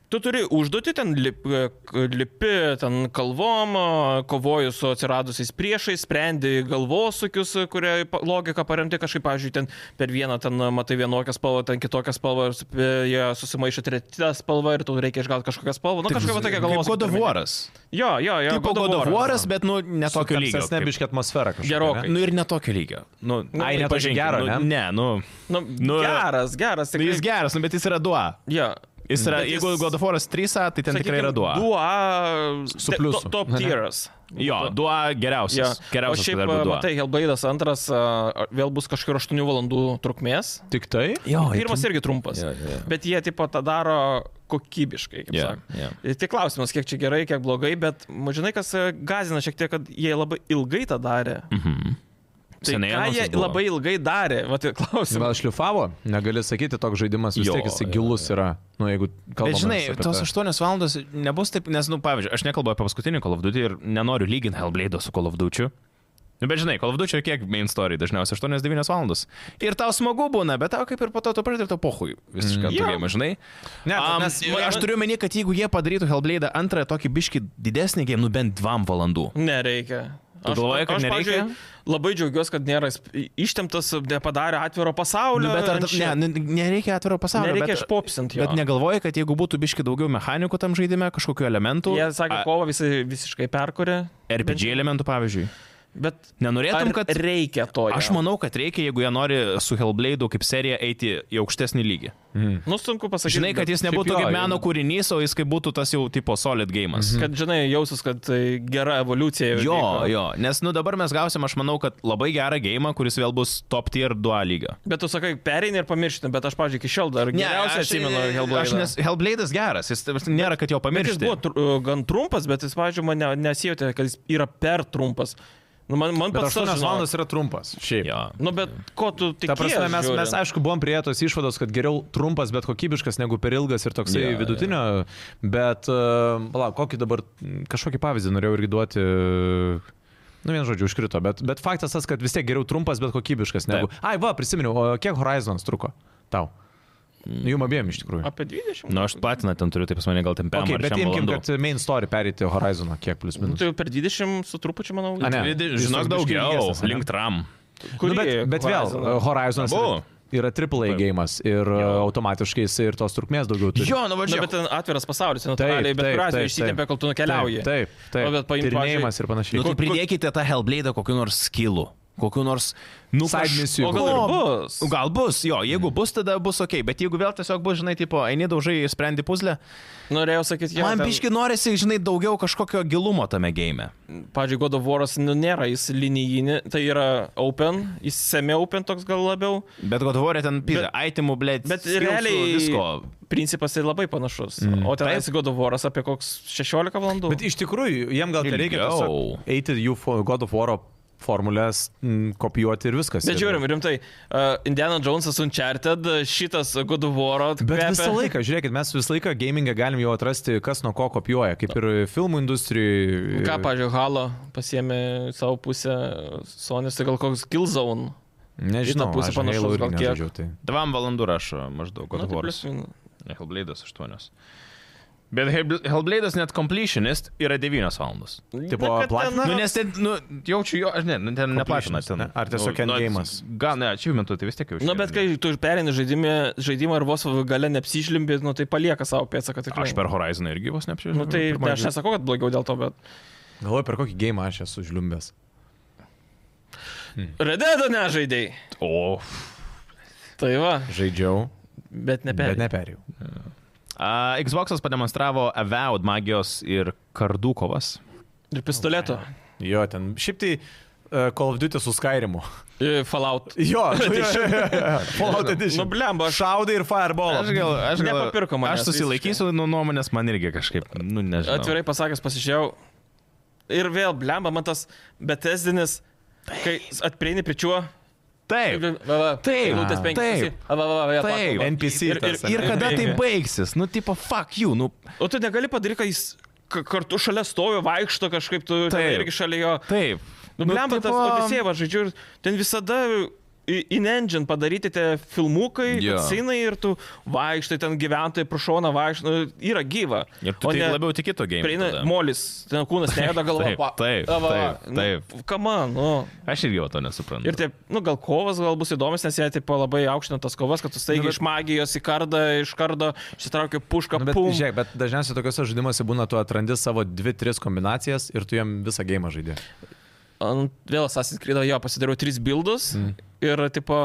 B: Tu turi užduoti ten lip, e, lipi, ten kalvom, e, kovoji su atsiradusiais priešais, sprendi galvosukius, kurie pa- logika paremti kažkaip, pavyzdžiui, ten per vieną ten matai vienokią spalvą, ten kitokią spalvą, ir sup- jie susimaišo trečią spalvą ir tau reikia išgauti kažkokią spalvą. Nu, kažkokia va tokia galvosūkių.
A: Godovoras.
B: pirminė. Jo, jo, jo.
A: Tipo
B: God of Waras.
A: Godovoras, bet, nu, netokio lygio. kaip-
C: Nebiškia atmosfera kažkokia.
B: Gerokai.
A: Nu ir netokio lygio. Nu,
C: ai,
A: tai
C: ne tokio
A: pažinkim,
C: gero,
A: nu,
C: ne?
A: Ne, nu.
B: Nu,
A: Nu,
B: geras, geras.
A: Tai
B: Tikrai,
A: jis geras, nu, bet jis yra 2A.
B: Ja.
A: Jis yra,
B: Bet jis-
A: jeigu Godovoras 3A, tai ten tikrai yra 2A.
B: 2A.
C: Su pliusu.
B: Top
C: Ne?
B: tieras.
A: Jo, duo geriausias. Yeah.
B: O
A: Geriausias,
B: šiaip,
A: kad dar būtų.
B: matai, Helbaidas antras a, vėl bus kažkur 8 valandų trukmės.
C: Tik tai?
A: jo,
B: Pirmas irgi trumpas.
A: Jo, jo, jo.
B: Bet jie tipo tą daro kokybiškai, kaip
A: Jo,
B: yeah, sakoma.
A: jo.
B: Yeah. Tik klausimas, kiek čia gerai, kiek blogai, bet ma, žinai, kas a, gazina šiek tiek, kad jie labai ilgai tą darė. Tai
A: Mhm. Senai
B: ką jie
A: anonsas buvo.
B: labai ilgai darė, va tai klausimas.
C: Gal šliufavo, negali sakyti, toks žaidimas vis
A: Jo,
C: tiek
A: jo,
C: jisai gilus yra. Nu, jeigu kalbame.
A: Bet žinai,
C: apie
A: tos
C: tą-
A: 8 valandos nebus taip, nes, nu, pavyzdžiui, aš nekalbu apie paskutinį Call of Duty ir nenoriu lyginti Hellblade su Call of Duty. Nu, bet žinai, Call of Duty kiek main story, dažniausiai 8-9 valandos. Ir tau smagu būna, bet tau kaip ir po to tu pradedi ir tau pohui visiškai
B: Mm.
A: mm.
B: Jo.
A: tokiai, žinai.
C: Ne,
A: Am,
C: nes-
A: aš turiu meni, kad jeigu jie padarytų Hellblade antrą tokį biškį didesnį game, nu bent 2 valandų.
B: Nereikia.
A: Tu galvoji, kad
B: aš,
A: nereikia?
B: pavyzdžiui, Labai džiaugiuosi, kad nėra sp- ištemtas, nepadarė atviro pasaulio.
A: Nu, bet ar,
B: ant šito.
A: ne, nu, nereikia atviro pasaulio.
B: Nereikia
A: bet-
B: išpopsint jo.
A: Bet negalvoji, kad jeigu būtų biški daugiau mechanikų tam žaidime, kažkokių elementų.
B: Jie sakė, kovą visi visiškai perkurė.
A: a, RPG elementų, pavyzdžiui.
B: Bet
A: Nenorėtum,
B: ar
A: kad...
B: reikia to.
A: Aš manau, kad reikia, jeigu jie nori su Hellblade'u kaip serija eiti į aukštesnį lygį.
B: Nu, sunku pasakyti.
A: Žinai, kad
B: bet-
A: jis nebūtų
C: šiaip jo,
A: kaip meno kūrinys, o jis kaip būtų tas jau tipo solid game'as.
B: Kad,
C: Hmm.
B: žinai, jausis, kad tai gera evoliucija. jau
A: Jo,
B: vyko.
A: jo, nes nu dabar mes gausim, aš manau, kad labai gerą game, kuris vėl bus top tier 2 lygio.
B: Bet tu sakai, pereini ir pamiršti, bet aš, pažiūrėjau, iki šiol dar geriausiai atsimenu
A: Aš nes
B: Hellblade.
A: Hellblade'as geras, jis ta prasme, nėra, kad jo
B: Bet jis
A: pamiršti.
B: buvo tru, gan trumpas, bet jis, pažiūrėjau, man ne, nesijutė, kad jis yra per trumpas. Nu, man man
C: Bet
B: pats tas
C: 8
B: žinok.
C: valandos yra trumpas. Šiaip.
A: Jo.
B: Nu, bet ko tu tik
C: Ta prasme, mes, mes aišku buvom prie tos išvados, kad geriau trumpas, bet kokybiškas negu per ilgas ir toksai
A: Jo, jo.
C: yeah, vidutinio. Yeah. Bet, uh, palauk, kokį dabar mm, kažkokį pavyzdį norėjau irgi duoti. Nu, vien žodžiu, užkrito, bet, bet faktas tas, kad vis tiek geriau trumpas, bet kokybiškas negu. Taip. Ai, va, prisiminiau, o kiek Horizons truko tau? Jum abiem iš tikrųjų.
B: Apie 20.
A: Nu, aš platiną ten turiu, tai pas mane gal ten
C: Okay,
A: penkis.
C: bet imkim, kad main story perėti Horizoną, kiek plus
B: Nu,
C: minus.
B: tai jau per 20 su trupučiu, manau.
C: A, ne. Jis
A: Žinok
C: toks biškį
A: daugiau,
C: ilgesnis, ane?
A: link tram.
C: Nu, bet, bet vėl, uh,
B: Horizoną?
C: Horizonas
A: Abu.
C: yra, yra AAA gėjimas ir uh, automatiškai jis ir tos trukmės daugiau turi.
A: Jo, nu
B: Na,
A: važiuoju.
B: bet e, ten atviras pasaulis, natūraliai, bet kuriuo atveju išsitempia, kol tu nukeliauji.
C: Taip, taip.
B: O, bet paimk,
C: Tyrinėjimas
B: pavyzdžiui,
C: ir panašiai.
A: Nu, tai
B: Ko-
A: pridėkite tą Hellblade kokiu nors skilu, kokiu nors
C: Side
A: nukaž...
C: misijų.
B: O Nu, gal ir bus?
A: nu, Gal bus, jo, jeigu bus, tada bus ok, bet jeigu vėl tiesiog bus, žinai, tipo, eini daužai, sprendi puzlę,
B: Norėjau sakyti,
A: ja,
B: jie.
A: man ten... biški norisi, žinai, daugiau kažkokio gilumo tame game.
B: Pavyzdžiui, God of Waras nu, nėra jis linijinį, tai yra open, jis semi open toks gal labiau.
A: Bet Godvorė ten pyrė, aitimų, blėt,
B: Bet realiai
A: visko.
B: Principas tai labai panašus. Mm. O ten esi God of Waras apie koks 16 valandų.
C: Bet iš tikrųjų, jiem gal tereikia
A: Ilgiau.
C: tiesiog eiti jų fo- God of War formulės, m, kopijuoti ir viskas.
B: Bet žiūrim, rimtai, uh, Indiana Jonesas Uncharted, šitas God of War.
C: Bet visą laiką, žiūrėkit, mes visą laiką gamingą galim jau atrasti, kas nuo ko kopijuoja, kaip ir filmų e, industrijai.
B: Ką, pažiūrėjau, Halo pasiemė į savo pusę Sonis, tai gal koks Killzone.
C: Nežinau,
B: į tą pusę
C: aš panašiai
B: panašaus gal
C: lauriu,
B: kiek.
C: nežaidžiau. Tai.
A: Dvam valandų rašo maždaug
B: Nu, tai
A: Godvoras.
B: plius minus.
A: Ne, Hellblade'as 8. Bet Hell- Hellblade'as net completionist yra 9 valandos.
C: Tipo,
B: Na, kad ten-
C: platina?
A: Nu, nes ten, nu, jaučiu jo, aš ne, nu, ten neplatina ten.
C: ne? Ar tiesiog
A: nu,
C: endgame'as?
A: Gal ne, achievementų, tai vis tiek jau.
B: Nu, bet kai tu perini žaidimą, žaidimą ir vos gale neapsižlimbi, nu, tai palieka savo pėdsaką tikrai.
A: Aš per Horizoną irgi vos neapšviečiu.
B: Nu, tai ne, aš nesakau, kad blogiau dėl to, bet...
C: Galvoju, per kokį game aš esu žliumbęs.
B: Rededo nežaidėjai.
A: O.
B: Tai va,
C: Žaidžiau,
B: bet
C: bet
B: neperėjau.
C: neperėjau.
A: A, Xbox'as pademonstravo Avowed magijos ir kardų kovas.
B: Ir pistoleto.
C: Jo, ten šiaip tai e, Call of Duty su Skyrimu.
B: Ir Fallout.
C: Jo,
A: Tai
C: nu, jo, jo, jo, jo. Fallout Edition.
B: Nu, blemba, aš...
C: Šaudai ir fireball.
A: Aš gal, aš gal,
B: Nepapirko manęs
A: aš
B: tai
A: susilaikysiu nuo nuomonės, man irgi kažkaip, nu, nežinau.
B: Atvirai pasakęs, pasižiūrėjau. Ir vėl blemba, man tas betesdinis, kai atprieini pričiuo.
A: Taip. Taip,
B: Lūtės penkias.
A: taip,
B: Va, va, va, vėl
A: taip.
B: pakalba.
C: NPC
B: Ir- ir-
C: tas, ane?
A: Ir kada tai baigsis? Nu, tipo, fuck you, nu.
B: O tu negali padaryti, kad jis ka- kartu šalia stovi, vaikšto kažkaip, tu ten
A: Taip.
B: irgi šalia jo.
A: Taip.
B: Nu, blemba, tas Odisėva, žodžiu, ir ten visada i- in engine padaryti tie filmukai,
A: Jo.
B: yeah. scenai ir tu vaikštai, ten gyventojai prašona vaikštai, nu, yra gyva.
A: Ir tu
B: O
A: tai
B: ne-
A: labiau tiki to game.
B: Prieina
A: tada.
B: molis, ten kūnas nejuda galva.
A: Taip, taip, taip, taip.
B: Kama, nu.
A: Aš irgi va to nesuprantu.
B: Ir taip, nu gal kovas gal bus įdomus, nes jie taip labai aukština tas kovas, kad tu staigiai nu, bet... iš magijos į kardą, iš kardo, išsitraukia pušką,
C: Nu,
B: nu,
C: bet,
B: pum.
C: žiūrėk, bet dažniausiai tokiuose žaidimuose būna, tu atrandi savo 2-3 kombinacijas ir tu jam visą gėjimą žaidži.
A: Tai
B: ant, nu, vėl Assassin's Creed, jo, pasidariau tris bildus mm. ir, tipo,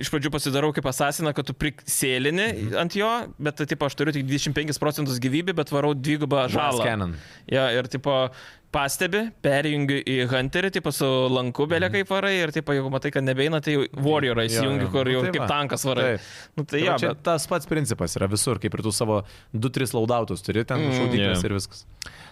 B: iš pradžių pasidarau kaip Assassin'ą, kad tu prisėlini
C: Mhm.
B: mm. ant jo, bet, tai, tipo, aš turiu tik 25 procentus gyvybę, bet varau dvigubą žalą.
C: Scanon.
B: Ja, ir, tipo, pastebi, perjungi į Hunterį, tipo, su lanku belė kaip varai ir, tipo, jeigu matai, kad nebeina, tai Warriorą
C: Mhm. Jo,
B: įsijungi,
C: jo.
B: kur
C: Nu,
B: jau
C: tai
B: kaip
C: va.
B: tankas varai.
C: Taip.
B: Nu, tai
C: Tai
B: jo,
C: va, čia
B: bet...
C: tas pats principas yra visur, kaip ir tu savo 2-3 laudautus turi, ten mm, šaudyklės
A: jo.
C: yeah. ir viskas.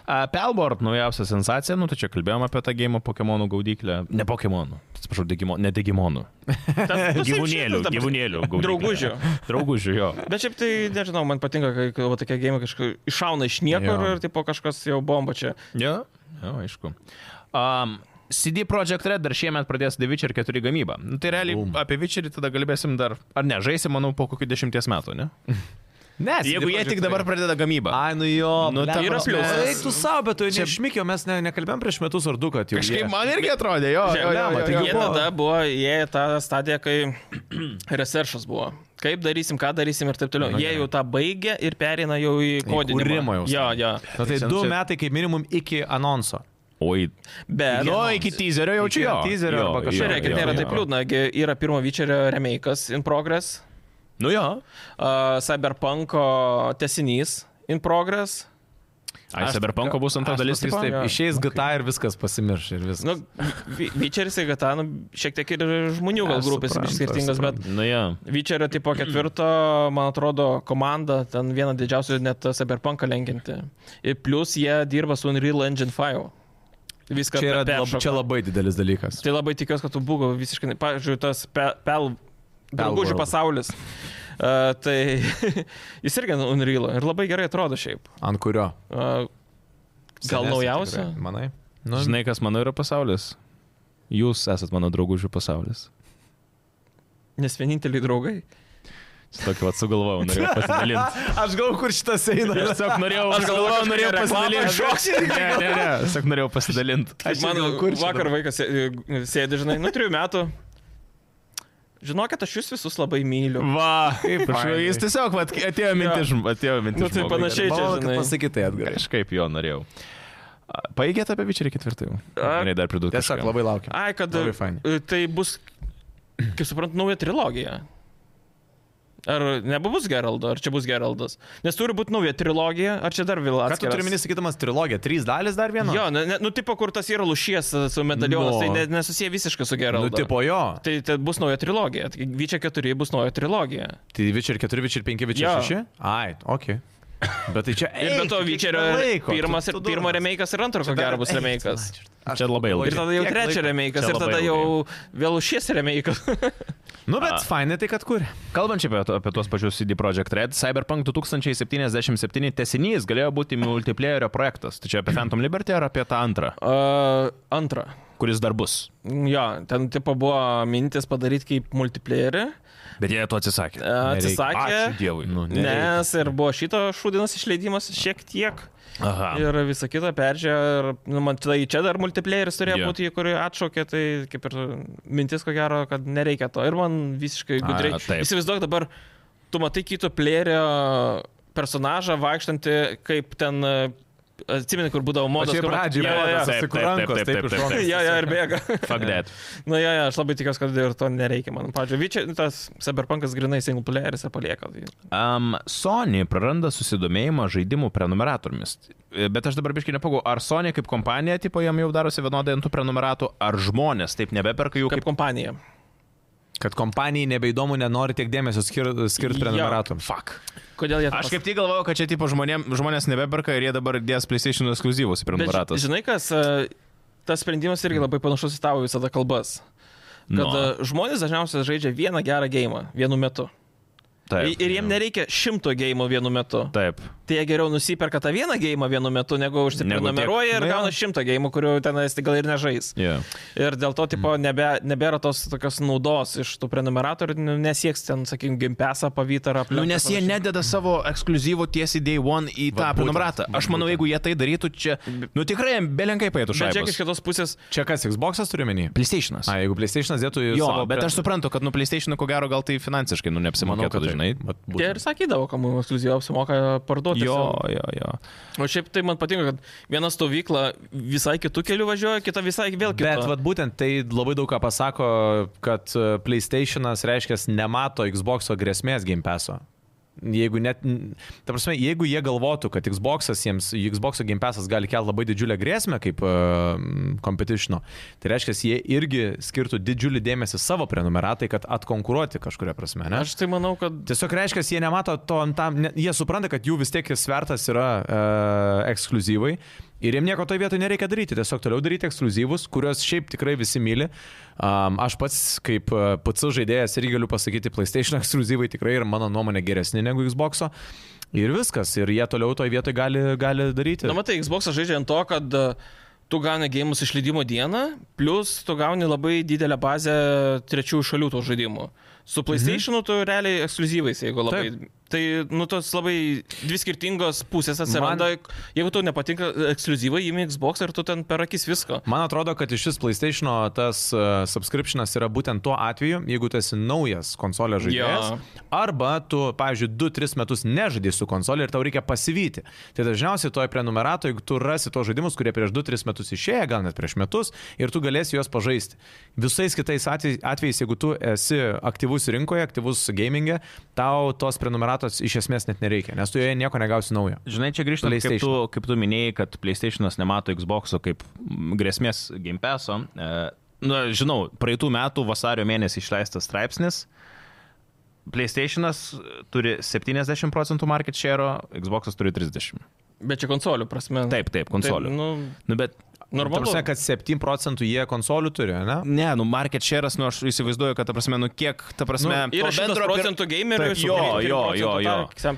A: Pelborb naujausia sensacija, nu tai čia kalbėjom apie tą game Pokemonų gaudyklę. Ne Pokemonų, atsiprašau, Digimo, ne Digimonų.
B: ten- nu,
A: Gyvūnėlių,
B: šiaip,
A: gyvūnėlių. gaudyklę.
B: Draugužių.
A: Draugužių, jo.
B: Bet šiaip tai, nežinau, man patinka, kai kai va tokie gėjimai kažkaip iššauna iš niekur
C: Jo.
B: ir, tipo, kažkas jau bomba čia.
A: Jo, jo aišku. Um, CD Projekt Red dar šiemet pradės The Witcher 4 gamybą. Nu, tai realiai Boom.
C: Boom.
A: apie Witcherį tada kalbėsim dar, ar ne, žaisim, manau, po kokių dešimties metų, ne?
C: Ne,
A: Jeigu jie tik dabar pradeda gamybą.
C: Ai, nu jo,
A: Nu, ta
B: yra
C: prasme,
B: pliusas.
C: Eik tu savo, bet tu Mm. čia šmikio, mes ne, nekalbėjom prieš metus ar du, kad jau.
A: Kažkaip
C: jie-
A: man irgi atrodė, jo, jo, jo,
C: blemba,
A: jo,
C: tai
A: jo.
B: Jie
C: buvo-
B: tada buvo, jie į tą stadiją, kai researchas buvo. Kaip darysim, ką darysim ir taip toliau. Jie jau tą baigė ir perina jau į kodinimą.
C: kūrimą jau.
B: Jo, jo.
C: Na, tai
A: Čia-
C: du
A: čia-
C: metai kaip minimum iki anonso.
A: Oi.
B: Bet...
A: Nu, iki teaserio jaučiu
C: Iki
A: jo.
C: teaserio
A: Jo,
C: arba
A: jo,
C: kažkokio.
B: Žiūrėkit,
A: jo,
B: nėra
A: jo.
B: taip liūdna. gi Yra pirmo vyčerio remake'as in progress,
A: Nu jo.
B: uh, Cyberpunk'o tesinys in progress.
A: Ai,
C: Aš-
A: Cyberpunk'o bus antra
C: Aš
A: dalis.
C: pasakysiu
A: tipo?
C: Taip,
B: Jo.
C: išeis GTA ir viskas pasimirš. Ir viskas.
B: Nu, vyčeris, jeigu ta, nu, šiek tiek ir žmonių gal
C: Aš
B: grupės
C: suprantu,
B: biškį
C: aš
B: skirtingas, bet
A: Nu jo.
B: Vyčerio tipo tai ketvirto, man atrodo, komanda, ten viena didžiausių net Cyberpunk lenkinti. Ir plus jie dirba su Unreal Engine 5. viską
C: Čia, yra,
B: per-
C: lab,
B: peršoko.
C: čia labai didelis dalykas.
B: Tai labai tikiuosi, kad tu būgo visiškai, ne- pavyzdžiui, tas pe- pel... Drabužių
C: World.
B: pasaulis. Uh, tai jis irgi ant Unreal ir labai gerai atrodo šiaip.
C: Ant kurio?
B: Uh, gal
C: Senesnį
B: naujausia?
C: tikrai, Manai? Nu,
A: Žinai, kas mano yra pasaulis? Jūs esat mano draugužių pasaulis.
B: Nes vieninteliai draugai.
A: Čia Tokį vat sugalvojau, norėjau pasidalinti.
C: Aš gal kur šitas eina.
A: Aš tiesiog norėjau,
B: Aš
A: aš
B: galvojau,
A: galvojau, norėjau
B: kažkokia reklama
A: pasidalinti. Ne, ne, ne, tiesiog norėjau pasidalinti.
C: Aš
B: Man
C: irgi, kur čia
B: vakar
C: dabar?
B: vaikas sė- sėdi, žinai, nu trijų metų. Žinokit, aš jūs visus labai
C: Mm.
B: myliu.
A: Va, kaip
C: fainai.
A: Jis tiesiog vat, atėjo mintis, žm- atėjo mintis.
B: Nu, tai
A: žmogui.
B: panašiai. čia, žinai.
C: Pasakytai atgal.
A: Kažkaip jo norėjau. A, Paeigėt apie Vičerį ketvirtą jau.
B: A,
A: Gerai, dar pridūrė.
C: Tiesiog labai laukiam.
B: Ai, kad
C: Labai fainai.
B: e, tai bus, kaip suprantu, nauja trilogija. Ar nebus Geraldo, ar čia bus Geraldas? Nes turi būti nauja trilogija, ar čia dar vėl
C: Ką tu
B: atskiras?
C: turi minį sakydamas trilogiją? Trys dalis dar vieno?
B: Jo, ne, ne, nu tipo, kur tas yra lušies e, su medalionas,
C: Nu.
B: tai ne, nesusiję visiškai su
C: Nu,
B: Geraldu.
C: tipo jo.
B: Tai, tai bus nauja trilogija. Vyčia 4 bus nauja trilogija.
C: Tai Vičer 4, Vičer 5, Vičer
B: Jo.
C: 6? Ai, ok. Bet tai čia...
B: Ir be to, Vyčerio pirmas ir pirmo
C: remėjas.
B: remake'as ir antro, ko gero, bus remake'as.
A: Čia labai
B: Ir
A: ilgai.
B: tada jau
C: Kiek
B: trečią
C: laiko?
B: remake'as,
A: Čia
B: ir
A: labai
B: tada jau vėl šis remake'as.
C: Nu, bet fainai tai, kad kur.
A: Kalbant čia apie, apie tuos pačius CD Projekt Red, Cyberpunk 2077 tesinys galėjo būti multiplayerio projektas. Tai čia apie Phantom Liberty ar apie tą antrą,
B: Uh, antra.
A: kuris dar bus.
B: Jo, ten tipo buvo mintis padaryti kaip multiplayerį.
A: Bet jie to atsisakė.
B: E, atsisakė.
A: Ačiū Dievui. Nu,
C: nereikia.
B: Nes ir buvo šito šūdinas išleidimas šiek tiek.
A: Aha.
B: Ir visa kita peržiūrė. ir, Nu, man tai čia dar multiplayeris turėjo
A: Jo.
B: yeah. būti, kurį atšaukė. Tai kaip ir mintis, ko gero, kad nereikia to. Ir man visiškai
A: A,
B: gudriai.
A: taip.
B: Įsivaizduok dabar, tu matai kito playerio personažą vaikštantį, kaip ten... e, Atsimeni, kur būdavo modas.
C: Pačiai
B: kur mat-
C: pradžiai
B: Jo,
C: buvo
B: jo,
C: tas-
B: jo. Jo, jo, ir bėga.
A: Fuck that.
B: Na, jo, jo, aš labai tikiuosi, kad ir to nereikia. Man, pavyzdžiui, vyčia, tas Cyberpunkas grinai single playeris palieka. Tai...
A: Um, Sony praranda susidomėjimą žaidimų prenumeratorimis. Bet aš dabar biškai nepagau, ar Sony kaip kompanija, tipo, jam jau darosi vienodai ant tų prenumeratų, ar žmonės taip nebeperka jų
B: Kaip
A: kaip...
B: kompanija.
C: Kad kompanijai nebeįdomu, nenori tiek dėmesio skirti skir
B: Jo.
C: prenumeratom.
A: Fuck.
B: Kodėl jie
A: Aš kaip tik galvoju, kad čia tipo žmonėm, žmonės nebeperka ir jie dabar dės PlayStation ekskluzyvus į
B: Bet,
A: prenumeratas.
B: žinai, kas, e, tas sprendimas irgi
A: Mm.
B: labai panašus į tavo visada kalbas.
A: Nu.
B: Kad no. žmonės dažniausiai žaidžia vieną gerą gėjimą vienu metu. Taip, ir jiem nereikia šimto gėjimų vienu metu. Taip.
A: Taip.
B: Tai jie geriau nusiperka tą vieną gėjimą vienu metu, negu užsiprenumeruoja
A: tiek.
B: ir
A: Na, nu jo.
B: gauna šimtą gėjimų, kurių ten esi gal ir nežais.
A: Yeah.
B: Ir dėl to, tipo,
A: Mm.
B: nebe, nebėra tos tokios naudos iš tų prenumeratorių, nu, nesieks ten, sakykim, gimpesą pavytą ar aplinkui.
A: Nu, nes jie nededa savo ekskluzyvo tiesiai Day One į tą
C: Va, būtent,
A: prenumeratą. Aš manau, jeigu jie tai darytų, čia... Nu tikrai, belenkai paėtų
B: Bet čia iš
A: šaibas.
B: kitos pusės,
C: Čia kas, Xbox'as turi menį?
A: PlayStation'as.
C: A, jeigu PlayStation'as dėtų į...
A: Jo,
C: savo
A: bet
C: pre-
A: aš suprantu, kad nu PlayStation, ko gero, gal tai finansiškai, nu,
C: manau, kad
A: neapsimokėtų, žinai.
C: dažnai.
B: jie ir sakydavo, kam ekskluzyvą apsimoka parduoti.
A: Jo, jo, jo.
B: O šiaip tai man patinka, kad viena stovykla visai kitų kelių važiuoja, kita visai vėl kita.
C: Bet vat, būtent tai labai daug ką pasako, kad e, PlayStation'as reiškia nemato Xbox'o grėsmės Game Pass'o. Jeigu net, n- ta prasme, jeigu jie galvotų, kad Xbox'as jiems, Xbox'o Game Pass'as gali kelti labai didžiulę grėsmę kaip uh, competition'o, tai reiškia, jie irgi skirtų didžiulį dėmesį savo prenumeratai, kad atkonkuruoti kažkuria prasme. Ne?
B: Aš tai manau, kad
C: Tiesiog reiškia, jie nemato to ant tam, ne, jie supranta, kad jų vis tiek svertas yra uh, ekskluzyvai ir jiem nieko toje vietoje nereikia daryti, tiesiog toliau daryti ekskluzyvus, kuriuos šiaip tikrai visi myli. Um, aš pats kaip uh, PC žaidėjas irgi galiu pasakyti, PlayStation ekskluzyvai tikrai yra mano nuomonė geresni negu Xbox'o ir viskas, ir jie toliau toje vietoje gali, gali daryti.
B: Na, matai, Xbox žaidžia ant to, kad e, tu gauni gėjimus išleidimo dieną, plus tu gauni labai didelę bazę trečiųjų šalių to žaidimų. Su PlayStation'u tu realiai ekskluzyvais, jeigu labai. Taip. Tai, nu, tos labai dvi skirtingos pusės atsiranda. Man... Jeigu tau nepatinka ekskluzyvai, įimi Xbox ir tu ten per akis visko.
C: Man atrodo, kad iš šis PlayStation tas uh, subscriptionas yra būtent tuo atveju, jeigu tu esi naujas konsolės žaidėjas.
B: Jo.
C: Ja. Arba tu, pavyzdžiui, 2-3 metus nežaidai su konsolė ir tau reikia pasivyti. Tai dažniausiai toje prenumeratoje, jeigu tu rasi tos žaidimus, kurie prieš 2-3 metus išėjo, gal net prieš metus, ir tu galėsi juos pažaisti. Visais kitais atvej- atvejais, jeigu tu esi aktyvus rinkoje, aktyvus gamingė, tau tos prenumeratos iš esmės net nereikia, nes tu joje nieko negausi naujo.
A: Žinai, čia grįžtant, kaip tu,
C: PlayStation.
A: kaip tu minėjai, kad PlayStation'as nemato Xbox'o kaip mm, grėsmės Game Pass'o. E, na, žinau, praeitų metų vasario mėnesį išleistas straipsnis. PlayStation'as turi 70 procentų market share, Xbox'as turi 30.
B: Bet čia konsolių prasme.
A: Taip, taip, konsolių.
B: Taip,
A: nu...
B: nu,
A: Nu, bet
C: Ta
B: Normalu.
C: prasme, kad 7 procentų jie konsolių turi, ne?
A: Ne, nu, market share'as, nu, aš įsivaizduoju, kad, ta prasme, nu, kiek, ta prasme,
B: Ir
A: to
B: 100
A: pir-
B: procentų gamerių,
A: Taip, jo, jo, jo, jo.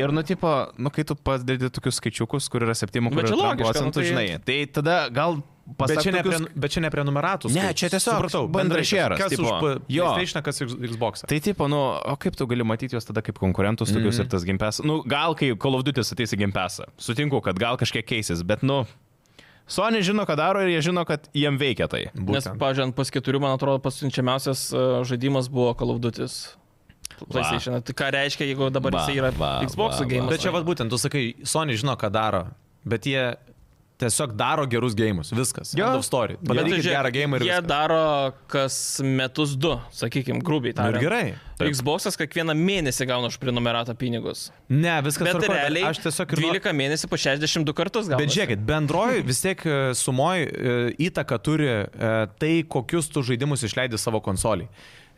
A: Ir, nu, tipo, nu, kai tu pats dedi tokius skaičiukus, kur yra 7
B: Bet čia logiška, nu,
A: procentų,
B: tai-
A: žinai, tai tada gal
C: Bet
A: pasak
C: čia, ne
A: tokius-
C: pren, bet čia ne prenumeratus.
A: Ne, čia tiesiog bendrai šeras,
C: Kas
A: tipo.
C: už P-
A: Jo.
C: PlayStation, kas už Xbox.
A: Tai tipo, nu, o kaip tu gali matyti juos tada kaip konkurentus, tokius mm -hmm. ir tas gimpesas. Nu, gal kai Call of Duty ateis į gimpesą, sutinku, kad gal kažkiek keisis, bet, nu, Sony žino, ką daro ir jie žino, kad jiem veikia tai.
B: Nes,
C: Būtent.
B: pažiūrėjant, pas keturių, man atrodo, pasunčiamiausias e, žaidimas buvo Call of Duty. PlayStation. Tai ką reiškia, jeigu dabar
A: Va,
B: jisai yra
A: va,
B: Xbox tai-
A: va, va.
B: game?
C: Bet čia vad būtent, tu sakai, Sony žino, ką daro, bet jie tiesiog daro gerus gėjimus, viskas.
A: Jo. tai
C: End of story. Padarykit gerą gėjimą ir
B: Jie
C: viskas.
B: daro kas metus du, sakykime, grubiai
C: Nu
B: tariant. Tai
C: ir gerai.
B: Xbox'as kiekvieną mėnesį gauna už prenumeratą pinigus.
C: Ne, viskas
B: Bet
C: tvarkoj,
B: realiai
C: aš tiesiog ir... noriu-
B: 12 mėnesių po 62 kartus gauna.
C: Bet žiūrėkit, bendroji vis tiek e, sumoj e, įtaka turi e, tai, kokius tu žaidimus išleidi savo konsoliai.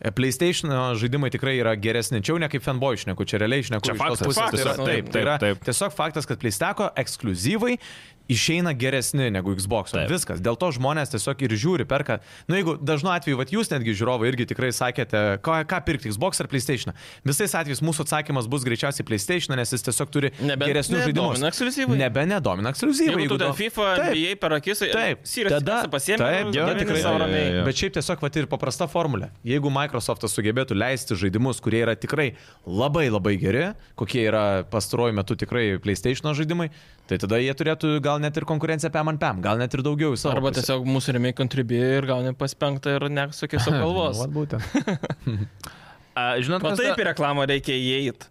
C: E, PlayStation žaidimai tikrai yra geresni. Čia jau ne kaip fanboy išneku, čia realiai išneku
A: Čia
C: iš tos
A: faktas,
C: pusės.
A: faktas,
C: tai yra,
B: nu,
C: taip, tai yra
A: taip, taip.
C: tiesiog faktas, kad PlayStation ekskluzyvai išeina geresni negu Xbox.
A: Taip.
C: Viskas. Dėl to žmonės tiesiog ir žiūri, perka. Na, nu, jeigu dažnu atveju, vat jūs netgi žiūrovai irgi tikrai sakėte, ką, ką pirkti, Xbox ar PlayStation. Visais atvejais mūsų atsakymas bus greičiausiai PlayStation, nes jis tiesiog turi
B: Nebent
C: geresnius
B: nedomina
C: žaidimus.
B: ekskliuzyvai.
C: Nebe nedomina ekskliuzyvai.
B: Jeigu tu ten
C: do-
B: FIFA,
C: Taip.
B: bijai per akis,
C: Taip,
B: Sirius
C: tada-
B: pasiemi,
C: taip, jo,
B: nu, gamini
C: tikrai,
B: sau
A: jo, jo,
B: ramiai.
A: jo.
C: Bet šiaip tiesiog vat ir paprasta formulė. Jeigu Microsoftas sugebėtų leisti žaidimus, kurie yra tikrai labai labai geri, kokie yra pastaruoju metu tikrai PlayStation žaidimai, tai tada jie turėtų gal net ir konkurenciją PM ant PM, gal net ir daugiau į savo.
B: Arba
C: pusę.
B: tiesiog mūsų remiai kontribi ir gauni pas penktą ir nesukiai savo
A: nu
B: kalbos.
C: Nu, Vat būtent.
A: A, žinot,
B: Na
A: kas
B: taip
A: da-
B: į reklamą reikia įeiti.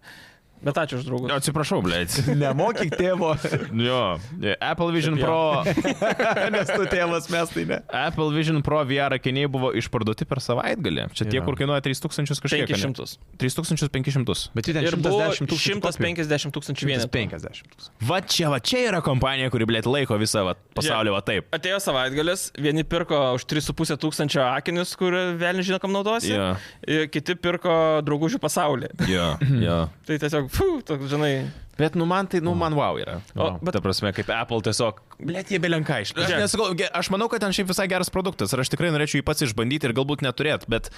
B: Bet ačiū už draugus.
A: Atsiprašau, blėt.
C: Nemokyk tėvo,
A: Nu Jo, e, Apple Vision
B: Taip, jo.
A: Pro.
C: nes tu tėvas mes tai ne.
A: Apple Vision Pro VR akiniai buvo išparduoti per savaitgalį. Čia tie,
C: Jo.
A: kur kainuoja 3000 kažkiek. ane?
B: 500.
A: 3500.
C: Bet jų ten
B: Ir buvo
C: 110 tūkstančių. kopijų.
B: 150 tūkstančių vienetų.
C: 150 tūkstančių.
A: Va čia, va čia yra kompanija, kuri, blėt, laiko visą va, pasaulį, va taip.
B: Atėjo savaitgalis, vieni pirko už 3,5 tūkstančio akinius, kur vėl nežino, kam naudosi,
A: Jo.
B: ir kiti pirko draugužių pasaulį.
A: Jo, jo.
B: Tai tiesiog, fū, toks, žinai,
A: Mhm. Bet, nu, man tai, nu, man wow yra.
B: O,
A: O,
B: bet-
A: bet... Ta prasme, kaip Apple tiesiog, blėt, jie belenka iš. Aš,
B: Žiūrėk.
A: nesakau, ge- aš manau, kad ten šiaip visai geras produktas ir aš tikrai norėčiau jį pats išbandyti ir galbūt neturėt, bet...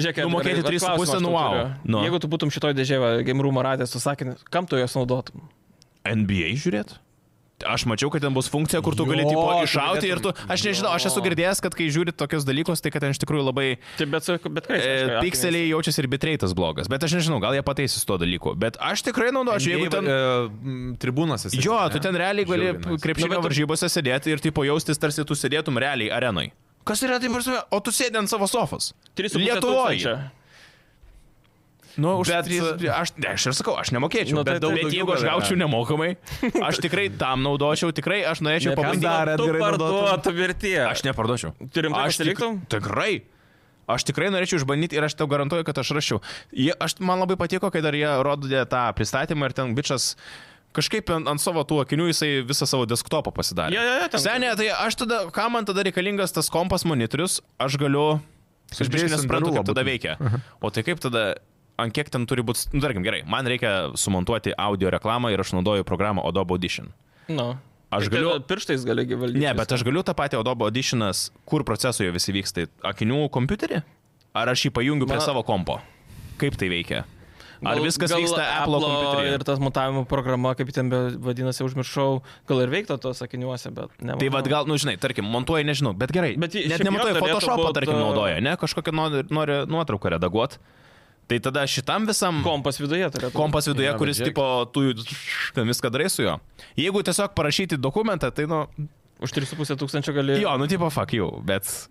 B: žiūrėk,
A: Nu, mokėti
B: Edgarai,
A: 3,5
B: klausimą aš tau
A: nu, wow.
B: turiu.
A: Nu.
B: Jeigu tu būtum šitoj dėžėje game room ratęs, tu sakinai, kam tu jos naudotum?
A: NBA žiūrėt? Aš mačiau, kad ten bus funkcija, kur tu
C: Jo,
A: gali tipo
C: tu
A: iššauti ir tu... Aš nežinau, aš esu girdėjęs, kad kai žiūri tokius dalykus, tai kad ten iš tikrųjų labai...
B: Tai bet, su- bet kai.
A: E, pikseliai jaučiasi ir bitreitas blogas, bet aš nežinau, gal jie pataisys to dalyku, bet aš tikrai naudočiau, jeigu ten...
C: e, Tribūnas esi.
A: Jo, tu ten realiai gali
C: e, Žiauriai nice.
A: krepšinio
B: Nu, bet tu-
A: varžybose sėdėti ir tipo jaustis, tarsi tu sėdėtum realiai arenai. Kas yra taip prasme? O tu sėdė ant savo sofos.
B: 3,5
A: Lietuvoje.
B: tūkstančio.
A: Nu, už
C: Bet-
A: bet, tris, aš, ne, aš ir sakau, aš nemokėčiau. Nu,
B: Nu, tai
A: bet, daug,
B: taip.
A: bet
C: Daugiau
A: jeigu aš
C: gal yra.
A: gaučiau nemokamai, aš tikrai tam naudočiau, tikrai aš norėčiau
C: Ne, kam
A: pabandyti.
C: dar?
B: Ar
C: Ar
B: tu
C: Edgarai naudotum?
B: parduotum ir tie?
A: Aš neparduočiau.
B: Tu rimtai
A: Aš tik-
B: pasiliktum?
A: Tikrai. Aš tikrai norėčiau išbandyti ir aš tau garantuoju, kad aš rašiau. Jie, aš, man labai patiko, kai dar jie rodė tą pristatymą ir ten bičias kažkaip ant, ant savo tų akinių jisai visą savo desktopą pasidarė.
B: Jo, jo, jo, ten-
A: Senė, tai aš tada, kam man tada reikalingas tas kompas monitorius, aš galiu... Aš biškai
C: Sudėjus ant
A: nesuprantu,
C: rūlo
A: kaip tada
C: būtų.
A: veikia. O tai kaip tada, ant kiek ten turi būti... Nu, tarkim, gerai, man reikia sumontuoti audio reklamą ir aš naudoju programą Adobe Audition.
B: Nu.
A: Aš
B: Tai
A: galiu-
B: Pirštais gali gi valdyti.
A: Ne, bet aš galiu tą patį Adobe Auditionas, kur procesoje visi vyksta, tai akinių kompiuterį? Ar aš jį pajungiu prie
B: Man-
A: savo kompo? Kaip tai veikia? Ar
B: Gal-
A: viskas
B: gal
A: vyksta Apple
B: Apple'o
A: kompiuteryje?
B: Ir tas mutavimo programa, kaip ji ten be- vadinasi, užmiršau, gal ir veiktų tos sakiniuose, bet ne.
A: Tai vad gal, nu žinai, tarkim, montuoji, nežinau, bet gerai.
B: Bet
A: Bet
B: ji-
A: net
B: šiaip
A: nematuoji,
B: jo turėtų
A: Photoshop'o,
B: būt,
A: tarkim,
B: a-
A: naudoja, ne, kažkokią nori, nori nuotrauką redaguoti. Tai tada šitam visam
B: Kompas viduje turėtų.
A: kompas viduje,
C: Jo,
A: kuris
C: bet žiūrėk.
A: tipo, tu ten viską darai su juo. Jeigu tiesiog parašyti dokumentą, tai nu,
B: Už 3,5 tūkstančio gali.
A: Jo, nu tipo fuck jau, bet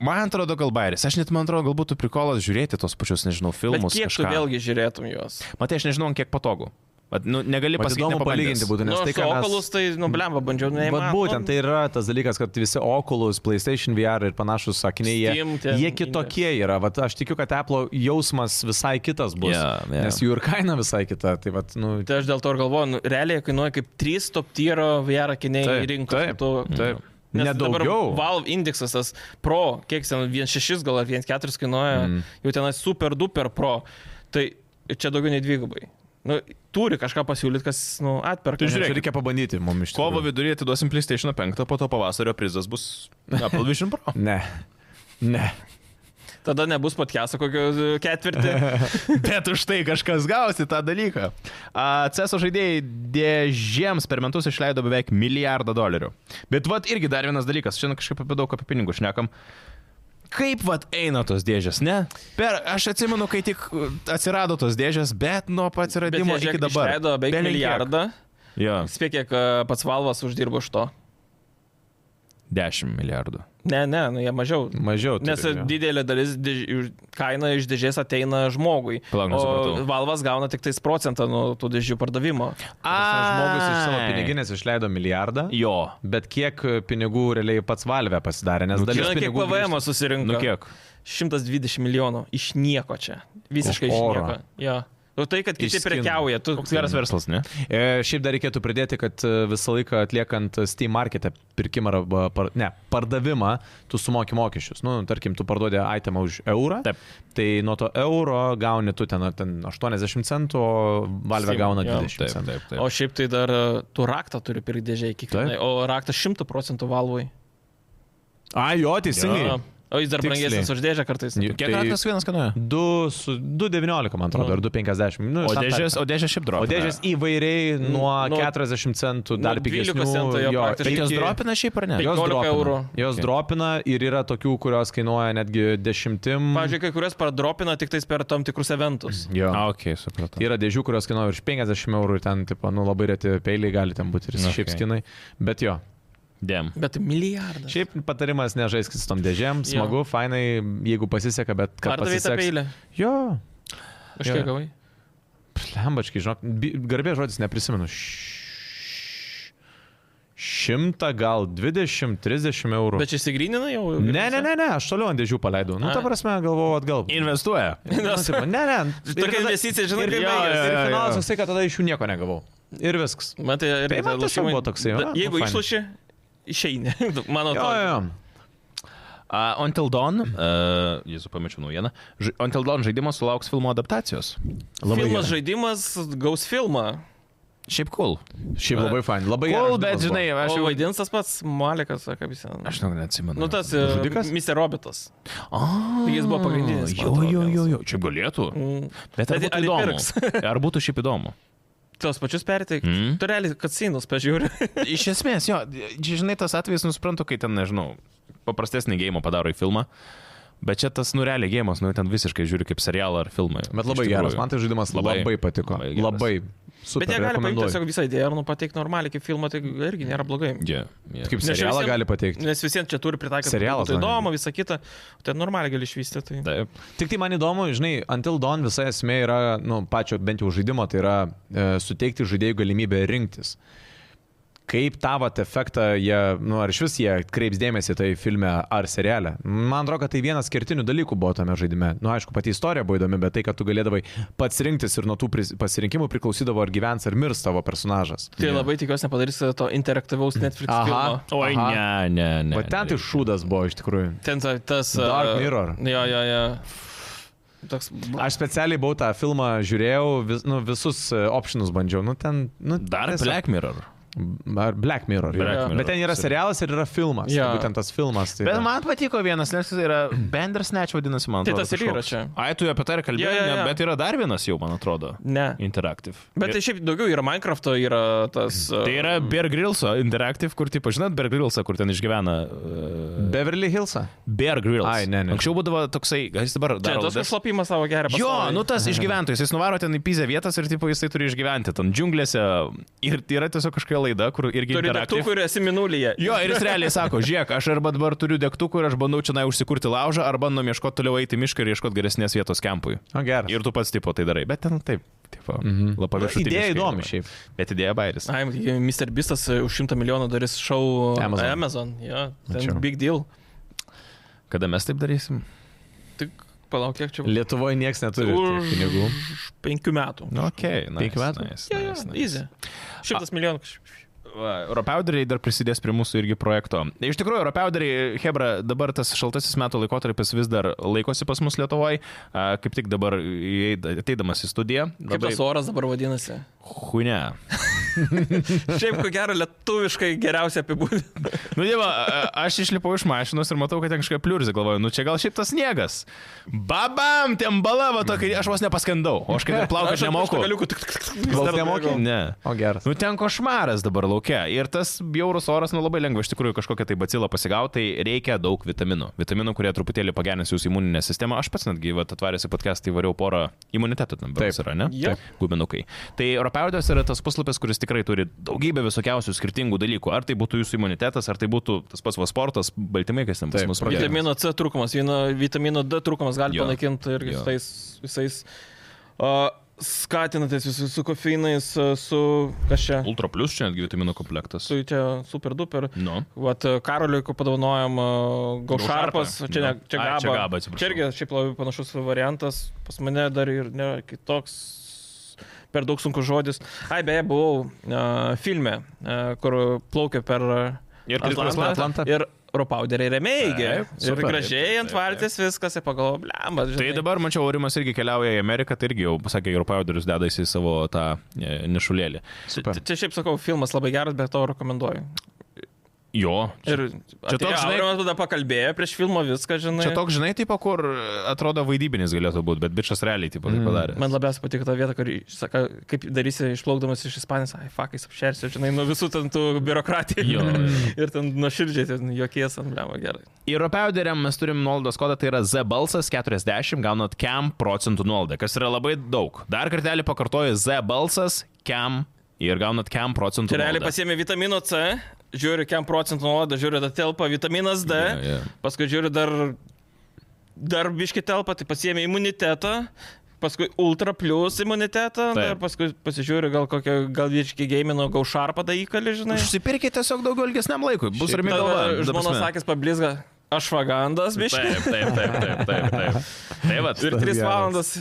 A: man atrodo gal bairis. Aš net man atrodo, galbūt tu prikolas žiūrėti tos pačius, nežinau,
B: bet
A: filmus.
B: kiek tu
A: kažką.
B: vėlgi žiūrėtum juos?
A: Matai, aš nežinau, ant kiek patogu. Vat, nu, negali
C: Vat
A: pasakyti,
C: įdomu palyginti būtų, nes
B: nu,
C: tai,
B: tai
C: ką mes...
B: okalus, tai, nu, blemba, bandžiau,
C: Bet
B: neįmanoma.
C: būtent tai ir yra tas dalykas, kad visi Oculus, PlayStation VR ir panašus sakiniai,
B: Steam
C: jie,
B: ten
C: jie kitokie yra. Vat, aš tikiu, kad Apple jausmas visai kitas bus,
A: Jo, jo.
C: nes jų ir kaina visai kita. Tai vat, nu,
B: Tai aš dėl to ir galvoju, nu, realiai kainuoja kaip 3 top tyro VR akiniai
C: Taip,
B: rinkoje.
C: taip, taip. Nedaugiau.
B: mhm. Valve indeksas tas Pro, kiek ten 1,6 gal ar 1,4 kainuoja, mm. jau tenai super duper Pro. Tai čia daugiau nei dvigubai. Nu, turi kažką pasiūlyti, kas nu, atperka.
A: Tu žiūrėk.
C: Čia reikia pabandyti mums iš
A: Kovo
C: tikrųjų.
A: viduryje atiduosim PlayStation 5, po to pavasario prizas bus Apple Vision Pro.
C: Ne. Ne.
B: Tada nebus podcast'o kokio e, ketvirtį.
A: Bet už tai kažkas gausi tą dalyką. A, CESO žaidėjai dėžėms per metus išleido beveik milijardą dolerių. Bet vat irgi dar vienas dalykas, šiandien kažkaip apie daug apie pinigus šnekam. Kaip vat eina tos dėžės, ne? Per, aš atsimenu, kai tik atsirado tos dėžės, bet nuo pat atsiradimo
B: jie, žiūrėk,
A: iki dabar.
B: Išleido beveik
A: Belenkiek.
B: milijardą.
A: Jo,
B: Spėk, kiek e, pats Valvas uždirbo iš to.
A: 10 milijardų.
B: Ne, ne, nu jie mažiau.
C: Mažiau. turi,
B: Nes
C: jo.
B: didelė dalis dėž... iš- kaina iš dėžės ateina žmogui.
A: Palauk, nesupratau.
B: o valvas gauna tik tais procentą nuo tų dėžių pardavimo.
C: Ta prasme, Žmogus iš savo piniginės išleido milijardą,
A: Jo.
C: bet kiek pinigų realiai pats valvė pasidarė, nes dalis
B: Žinai, Nu, kiek
C: pinigų
B: PVM susirinko?
A: Nu kiek?
B: 120 milijonų. Iš nieko čia. Visiškai iš
C: Oro.
B: nieko. Jo. O tai, kad kiti
C: Iš skinų.
B: prekiauja. Tu...
A: Koks geras verslas, ne?
C: E, Šiaip dar reikėtų pridėti, kad e, visą laiką atliekant Steam marketę pirkimą arba par, ne, pardavimą, tu sumoki mokesčius. Nu, tarkim, tu parduodė itemą už eurą,
A: Taip.
C: tai nuo to euro gauni tu ten, ar ten 80 centų, o Valve
B: Steam,
C: gauna
B: jo.
C: 20 centų.
B: O šiaip tai dar e, tu raktą turi pridėžiai kiekvienai, o raktas 100 procentų valvui.
C: A, jo, teisingai.
B: Jo. O jis dar
C: Tiksliai.
B: brangesnis už dėžę kartais.
C: Ju-
A: Kiek
C: tai-
A: kartas vienas kainuoja?
C: 2,19, man atrodo,
B: Nu.
C: ar 2,50. Nu,
A: O
C: jis tam
A: dėžės,
C: tarpe.
A: o dėžės šiaip dropina.
C: O dėžės įvairiai nuo
B: Nu,
C: 40 centų
B: nu,
C: dar
B: 12
C: pigesnių.
B: centų jo praktiškai.
A: Bet jos
C: iki-
A: dropina šiaip ar ne?
B: Taip.
C: Jos
B: 15
C: dropina.
B: eurų.
C: Jos
A: Okay.
C: dropina ir yra tokių, kurios kainuoja netgi dešimtim.
B: Pavyzdžiui, kai kurias pardropina tik tais per tam tikrus eventus.
C: Jo.
A: A, ok, supratau.
C: Yra dėžių, kurios kainuoja virš 50 eurų ir ten, tipo, nu, labai reti peiliai gali ten būti ir
A: Nu,
C: okay. šiaip
A: okei.
C: skinai. Bet jo.
A: Dėm.
B: Bet milijardas.
C: Mhm. Šiaip patarimas nežaiskit su tom dėžėm,
B: Jo.
C: smagu, fainai, jeigu pasiseka, bet kad
B: Ar davai tą
C: pasiseks.
B: peilį?
C: Jo,
B: Aš
C: Jo.
B: kiek gavai?
C: lembačkai, žinok, bi- garbė žodis neprisimenu. Š- Šimtą gal 20-30 eurų.
B: Bet čia įsigryninai jau?
C: Ne, ne, ne, ne, aš toliau ant dėžių paleidau. Nu, ta
B: Ai.
C: prasme, galvojau atgal.
A: Investuoja.
C: Nu, tipo, ne, ne. Ir
B: Tokia
C: tada-
B: investicija, žinai,
C: ir
B: kaip
C: jo,
B: baigiasi.
C: Ir
A: Jo, jo, jo.
C: finalas toksai, kad tada iš jų nieko negavau. Ir viskas.
B: Man tai ir
C: Tai man tiesiog
B: lošimai-
C: buvo toksai,
B: Bet
C: a,
B: Jeigu
C: nu, fainai.
B: išloši, išeini. Mano
C: Jo,
B: to.
C: jo.
A: Uh, Until Dawn, uh, jėzu pamečiau naujieną, Ž Until Dawn žaidimas sulauks filmo adaptacijos.
C: Labai
B: Filmas
C: gerai.
B: žaidimas gaus filmą.
A: Šiaip cool.
C: Šiaip labai fain. Labai
A: Cool,
C: geras
A: bet
C: žaidimas
A: žinai, aš
B: Aš jau
A: jau...
B: vaidins tas pats Malikas, ar kaip jis ten.
A: Aš nu, neatsimenu.
B: Nu tas e,
C: Žudikas?
B: Mr. Robitas.
A: Oh,
B: Jis buvo pagrindinis, man
A: Jo,
B: atrodo,
A: jo,
B: vienas.
A: jo, jo. Čia galėtų.
B: Mm.
A: Bet ar
B: Bet
A: būtų
B: ar
A: įdomu?
B: įpirks?
A: Ar būtų šiaip įdomu?
B: Tuos pačius perteikti.
A: Mm.
C: Mhm.
B: Mm. Turelį, kad sinus pažiūri.
A: Iš esmės, jo, čia, žinai, tas atvejis nusiprantu, kai ten, nežinau, paprastesnį gėjimą padaro į filmą. Bet čia tas nurelė gėjimas, nu ten visiškai žiūri kaip serialą ar filmą.
C: Bet labai
A: Iš tikrųjų.
C: geras. Man tai žaidimas labai,
A: Labai-
C: labai patiko.
A: labai
C: Labai.
A: geras.
C: labai super,
B: Bet jie gali paimti
C: rekomenduoju.
B: tiesiog visą idėją ir nu pateikti normaliai kaip filmą, tai irgi nėra blogai.
A: Yeah, yeah.
C: Kaip
B: Nes čia
C: serialą
B: visiem-
C: gali pateikti.
B: Nes visiems čia turi pritaikyti.
C: Serialas,
B: Tai
C: man
B: įdomu, visą kitą. O Ten normaliai gali išvysti. Tai...
A: Taip.
C: Tik tai man įdomu, žinai, Until Dawn visa esmė yra, nu, pačio bent jau žaidimo, tai yra e, suteikti žaidėjų galimybę rinktis. Kaip tavat efektą jie, nu, ar iš vis jie kreips dėmesį tai filme ar seriale. Man atrodo, kad tai vienas kertinių dalykų buvo tame žaidime. Nu, aišku, pati istorija buvo įdomi, bet tai, kad tu galėdavai pats rinktis ir nuo tų pris- pasirinkimų priklausydavo, ar gyvens ar mirs tavo personažas.
B: Tai labai tikiuosi nepadarys to interaktyvaus Netflix Aha.
C: Aha.
B: filmo.
A: Oi,
C: Aha.
A: ne, ne, ne.
C: Va ten tai šūdas buvo iš tikrųjų.
B: Ten ta, tas... a,
C: Dark Mirror.
B: Jo, jo, jo. Toks...
C: Aš specialiai buvau tą filmą, žiūrėjau, vis, nu, visus e, optionus bandžiau. Nu, ten, nu,
A: Dar
C: tiesiog-
A: Black Mirror.
B: Tai
C: Ar Black Mirror.
A: Black
C: Black
A: Mirror.
C: Mirror. Bet ten yra serialas ir yra filmas.
B: Jo.
C: Yeah. Būtent tas filmas. Tai
A: Bet
C: yra-
A: man patiko vienas, nes jis yra Bandersnatch vadinasi, man
B: Tai
A: atrodo.
B: tas ir yra
A: kažkoks.
B: čia.
A: Ai, tu apie tai ir kalbėjai,
B: Jo, jo, jo.
A: ne, bet yra dar vienas jau, man atrodo.
B: Ne.
A: Interactive.
B: Bet tai šiaip daugiau yra Minecraft'o, yra tas... a,
A: Tai yra Bear Grills'o Interactive, kur, tipo, žinot, Bear Grills'ą, kur ten išgyvena. Uh,
C: Beverly Hillsą.
A: Bear Grylls.
C: Ai, ne, ne.
A: Anksčiau būdavo toksai, gal jis dabar
B: Čia
A: daro
B: tas
A: laidas.
B: išlopimas savo gerą
A: Jo,
B: pasaulį.
A: nu tas išgyventojas, jis nuvaro ten į pizę vietas ir tipo jisai turi išgyventi ten džiunglėse. Ir yra tiesiog kažkokia laida, kur irgi...
B: Turi
A: interactive.
B: degtukų ir esi minulyje.
A: Jo, ir jis realiai sako, žiūrėk, aš arba dabar turiu degtukų ir aš bandau čia užsikurti laužą, arba bandom ieškoti toliau eiti į mišką ir ieškoti geresnės vietos kempui.
C: O geras.
A: Ir tu pats tipo tai darai, bet ten taip, tipo, mm -hmm. labai
C: Mhm. Na,
A: viršutiniškai.
C: idėja įdomi
A: dabar.
C: šiaip.
A: Bet idėja bairis.
B: Ai, Mr. Bistas už 100 milijonų darys šau
C: Amazon.
B: Amazon. Amazon jo, ten
C: Mačiau.
B: big deal.
A: Kada mes taip darysim?
B: Tik palauk, kiek čia
C: Lietuvoje niekas neturi tiek
B: Už-
C: pinigų.
B: už penkių metų.
A: Nu, ok, na.
C: Penkių metų?
A: Nice,
B: Jo, jo,
A: nice, nice.
B: easy. Šimtas milijonų.
A: Europauderiai dar prisidės prie mūsų irgi projekto. Iš tikrųjų, Europauderiai, Hebra, dabar tas šaltasis metų laikotarpis vis dar laikosi pas mus Lietuvoje. A, Kaip tik dabar įeid- ateidamas į studiją.
B: Kaip tas oras dabar vadinasi?
A: Hune.
B: Šiaip ko gero lietuviškai geriausia apibūdinti.
A: Nu, dieva, a- a- aš išlipau iš mašinos ir matau, kad ten kažkokia pliurzė, galvoju, nu čia gal šiaip tas sniegas. Babam, ten balava tokia, aš vos nepaskendau, o aš kai dar plaukiu, aš nemoku.
B: Galiu, tik tik tik. vis
C: Plaukt
B: dar
C: nemoki?
B: bėgau.
A: Ne.
C: O geras.
A: Nu ten košmaras dabar laukia. Ir tas bjaurus oras, nu labai lengva iš tikrųjų kažkokią tai bacilą pasigauti, tai reikia daug vitaminų. Vitaminų, kurie truputėlį pagerins jūsų imuninę sistemą. Aš pats netgi vat, atvarėsi podcast, tai variau porą imunitetų, tam berods
C: Taip.
A: yra, ne?
B: Taip.
A: Guminukai. Tai Europeudės yra tas puslapis, kuris tikrai turi daugybę visokiausių skirtingų dalykų. Ar tai būtų jūsų imunitetas, ar tai būtų tas pats va sportas, baltymai, kas ten pas
C: Taip,
A: mus
C: pradėjom.
A: pradėjo.
B: Vitamino C trūkumas, vieno- vitamino D trūkumas gali
A: Jo.
B: panaikinti irgi
A: Jo.
B: visais, visais uh, skatinatės visus su kofeinais, uh, su kažia,
A: Ultra plus čia netgi vitaminų
C: Tai-
A: komplektas.
B: su čia super duper.
A: Nu.
B: Vat e, Karoliui, ko e, padovanojom, Gaušarpas,
A: Gaušarpą?
B: čia, ne,
A: Nu.
B: čia
A: Ai,
B: gaba.
A: čia Gaba, atsiprašau.
B: Čia irgi šiaip labai panašus variantas, pas mane dar ir ne, kitoks, per daug sunkus žodis. Ai, beje, buvau uh, filme, uh, kur plaukė per uh,
A: Ir
C: Atlantą.
A: Atlantą.
C: Atlantą.
B: Ir Ropauderiai
A: Taip,
B: remėjai. Ir
A: super.
B: gražiai
A: Taip,
B: ant
A: taip,
B: valties viskas, ir pagalvojau, blemba.
A: Tai dabar, mačiau, Aurimas irgi keliauja į Ameriką, tai irgi jau pasakė, Europauderis dedasi į savo tą e, nišulėlį.
C: Super.
B: Čia šiaip sakau, filmas labai geras, bet to rekomenduoju.
A: Jo.
B: Ir
A: toks,
B: čia toks,
A: žinai-
B: žinai, mes tada pakalbėjo prieš filmo viską, žinai.
A: Čia toks, žinai, tipo, kur atrodo vaidybinis galėtų būti, bet bičias realiai tipo, tai padarė.
B: Mm. Man labiausiai patiko ta vieta, kur, iš- saka, kaip darysi išplaukdamas iš Ispanijos, ai, fakais apšersiu, žinai, nuo visų ten tų biurokratijų.
A: Jo, jo.
B: ir ten nuoširdžiai, ten jokies ant blemo gerai.
A: Europeuderiam mes turim nuolaidos kodą, tai yra Z balsas 40, gaunat KEM procentų nuolaidą, kas yra labai daug. Dar kartelį pakartoju Z balsas KEM ir gaunat KEM procentų
B: Tai realiai
A: nuolaidą.
B: pasiemi vitamino C, žiūri, kiam procentų nuolaidą, žiūri, ta telpa vitaminas D,
A: Jo, jo.
B: paskui žiūri dar, dar biški telpa, tai pasiemi imunitetą. Paskui Ultra Plus imunitetą,
A: Taip.
B: ir paskui pasižiūri, gal kokio, gal virškiai gėmino, gau šarpą da įkalį, žinai.
A: Užsipirkite tiesiog daugiau ilgesniam laikui, bus rami galva.
B: Tada
A: ta
B: Žmonos
A: prasme.
B: sakės pablizga, aš vagandas, biški.
A: Taip, taip, taip, taip, taip. taip. Tai va,
B: Ir
C: Tas
B: 3
C: geras.
B: valandas.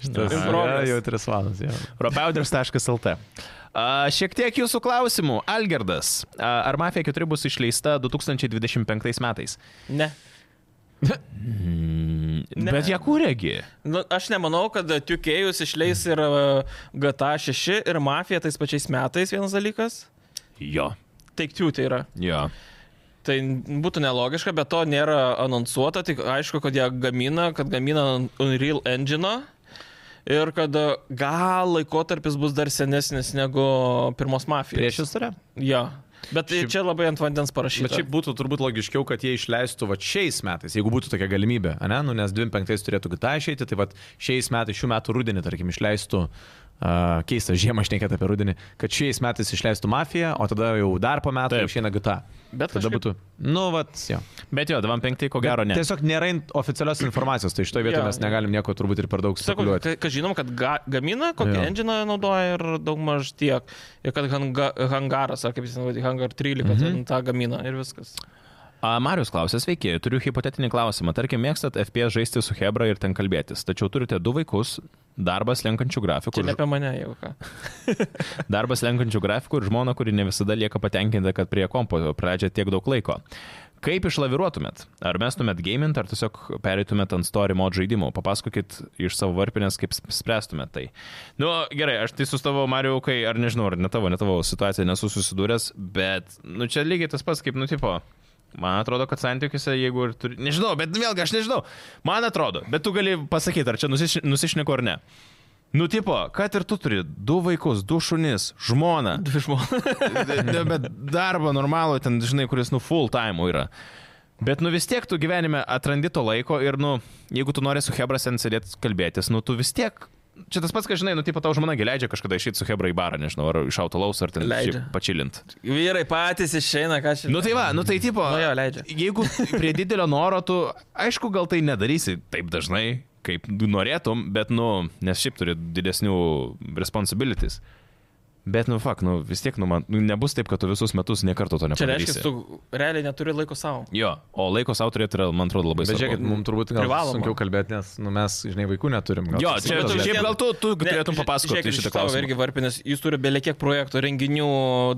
C: Šitas
B: Aha.
C: yra jau 3 valandas. Jau.
A: Ropauders.lt. A, Šiek tiek jūsų klausimų. Algerdas, a, ar Mafija 4 bus išleista 2025 metais?
B: Ne. Ne.
A: Bet ją kūrėgi.
B: Nu, aš nemanau, kad Tukėjus išleis ir e, GTA 6 ir Mafija tais pačiais metais vienas dalykas.
A: Jo.
B: Take two tai yra.
A: Jo.
B: Tai būtų nelogiška, bet to nėra anonsuota, tik aišku, kad jie gamina, kad gamina ant Unreal Engine. Ir kad e, gal laikotarpis bus dar senesnis negu pirmos mafijos.
C: Prieš istoriją?
B: Jo. Bet šiaip... čia labai ant vandens parašyta.
C: Bet šiaip būtų turbūt logiškiau, kad jie išleistų va šiais metais, jeigu būtų tokia galimybė, ane? Nu, nes 25 turėtų kita išeiti, tai va šiais metais, šių metų rudenį, tarkim, išleistų, uh, keista žiemą šnekėti apie rudenį, kad šiais metais išleistų mafiją, o tada jau dar po metų
A: Taip.
C: išeina kita.
B: Bet
C: tada
B: kažkaip-
C: būtų. Nu, va, jo.
A: Bet jo, 25 ko gero ne.
C: Tiesiog nėra in- oficialios informacijos, tai iš to
B: Jo.
C: vietos mes negalim nieko turbūt ir per daug
B: Sakau,
C: spekuliuoti.
B: kad, kad žinom, kad ga, gamina, kokį
C: Jo.
B: engine naudoja ir daugmaž tiek. Ir kad hanga, hangaras, ar kaip jis vadina, hangar 13, mm
A: Mhm.
B: -hmm. tą gamina ir viskas. Tai
A: A, Marius klausė, sveiki, turiu hipotetinį klausimą. Tarkim, mėgstat FPS žaisti su Hebra ir ten kalbėtis, tačiau turite du vaikus, darbas lenkančių grafikų,
B: Čia ne apie mane, jeigu ką.
A: darbas lenkančių grafikų ir žmona, kuri ne visada lieka patenkinta, kad prie kompo praleidžia tiek daug laiko. Kaip išlaviruotumėt? Ar mestumėt gaming, ar tiesiog perėtumėt ant story mod žaidimų? Papasakokit iš savo varpinės, kaip sp- spręstumėt tai. Nu, gerai, aš tai su tavo Mariu, kai, ar nežinau, ar ne tavo, ne tavo situacija nesu susidūręs, bet, nu, čia lygiai tas pats, kaip, nu, tipo, man atrodo, kad santykiuose, jeigu ir turi... Nežinau, bet vėlgi aš nežinau. Man atrodo, bet tu gali pasakyti, ar čia nusiš, nusišneku ar ne. Nu, tipo, kad ir tu turi du vaikus, du šunis, žmoną,
B: Dvi žmonės.
A: Ne, bet darbo normalų ten, žinai, kuris, nu, full time yra. Bet, nu, vis tiek tu gyvenime atrandi to laiko ir, nu, jeigu tu nori su Hebras ten sėdėti kalbėtis, nu, tu vis tiek... Čia tas pats, kad, žinai, nu, tipo, tau žmona gi leidžia kažkada išeiti su Hebra į barą, nežinau, ar iš autolaus, ar ten
B: Leidžia.
A: šiaip pačilint.
B: Vyrai patys išeina, ką čia.
A: Nu, tai va, nu, tai tipo...
B: Nu, jo, leidžia.
A: Jeigu prie didelio noro tu, aišku, gal tai nedarysi taip dažnai, kaip norėtum, bet, nu, nes šiaip turi didesnių responsibilities. Bet nu fak, nu vis tiek, nu man, nu, nebus taip, kad tu visus metus niekarto to
B: Čia
A: nepadarysi.
B: reiškia, tu realiai neturi laiko savo.
A: Jo, o laiko savo turėti yra, man atrodo, labai
C: Bet žiūrėkit,
A: svarbu.
C: mums turbūt gal
B: Privaloma.
C: sunkiau kalbėti, nes nu, mes, žinai, vaikų neturim. Gal
A: Jo,
C: tas
A: čia
C: kitas
B: tu-
A: tu,
C: dalykas.
A: šiaip gal tu, tu turėtum
B: ži-
A: papasakoti
B: žiūrėkit,
A: šitą
B: iš tavo
A: klausimą.
B: irgi varpinės, jūs turite belekiek projektų, renginių,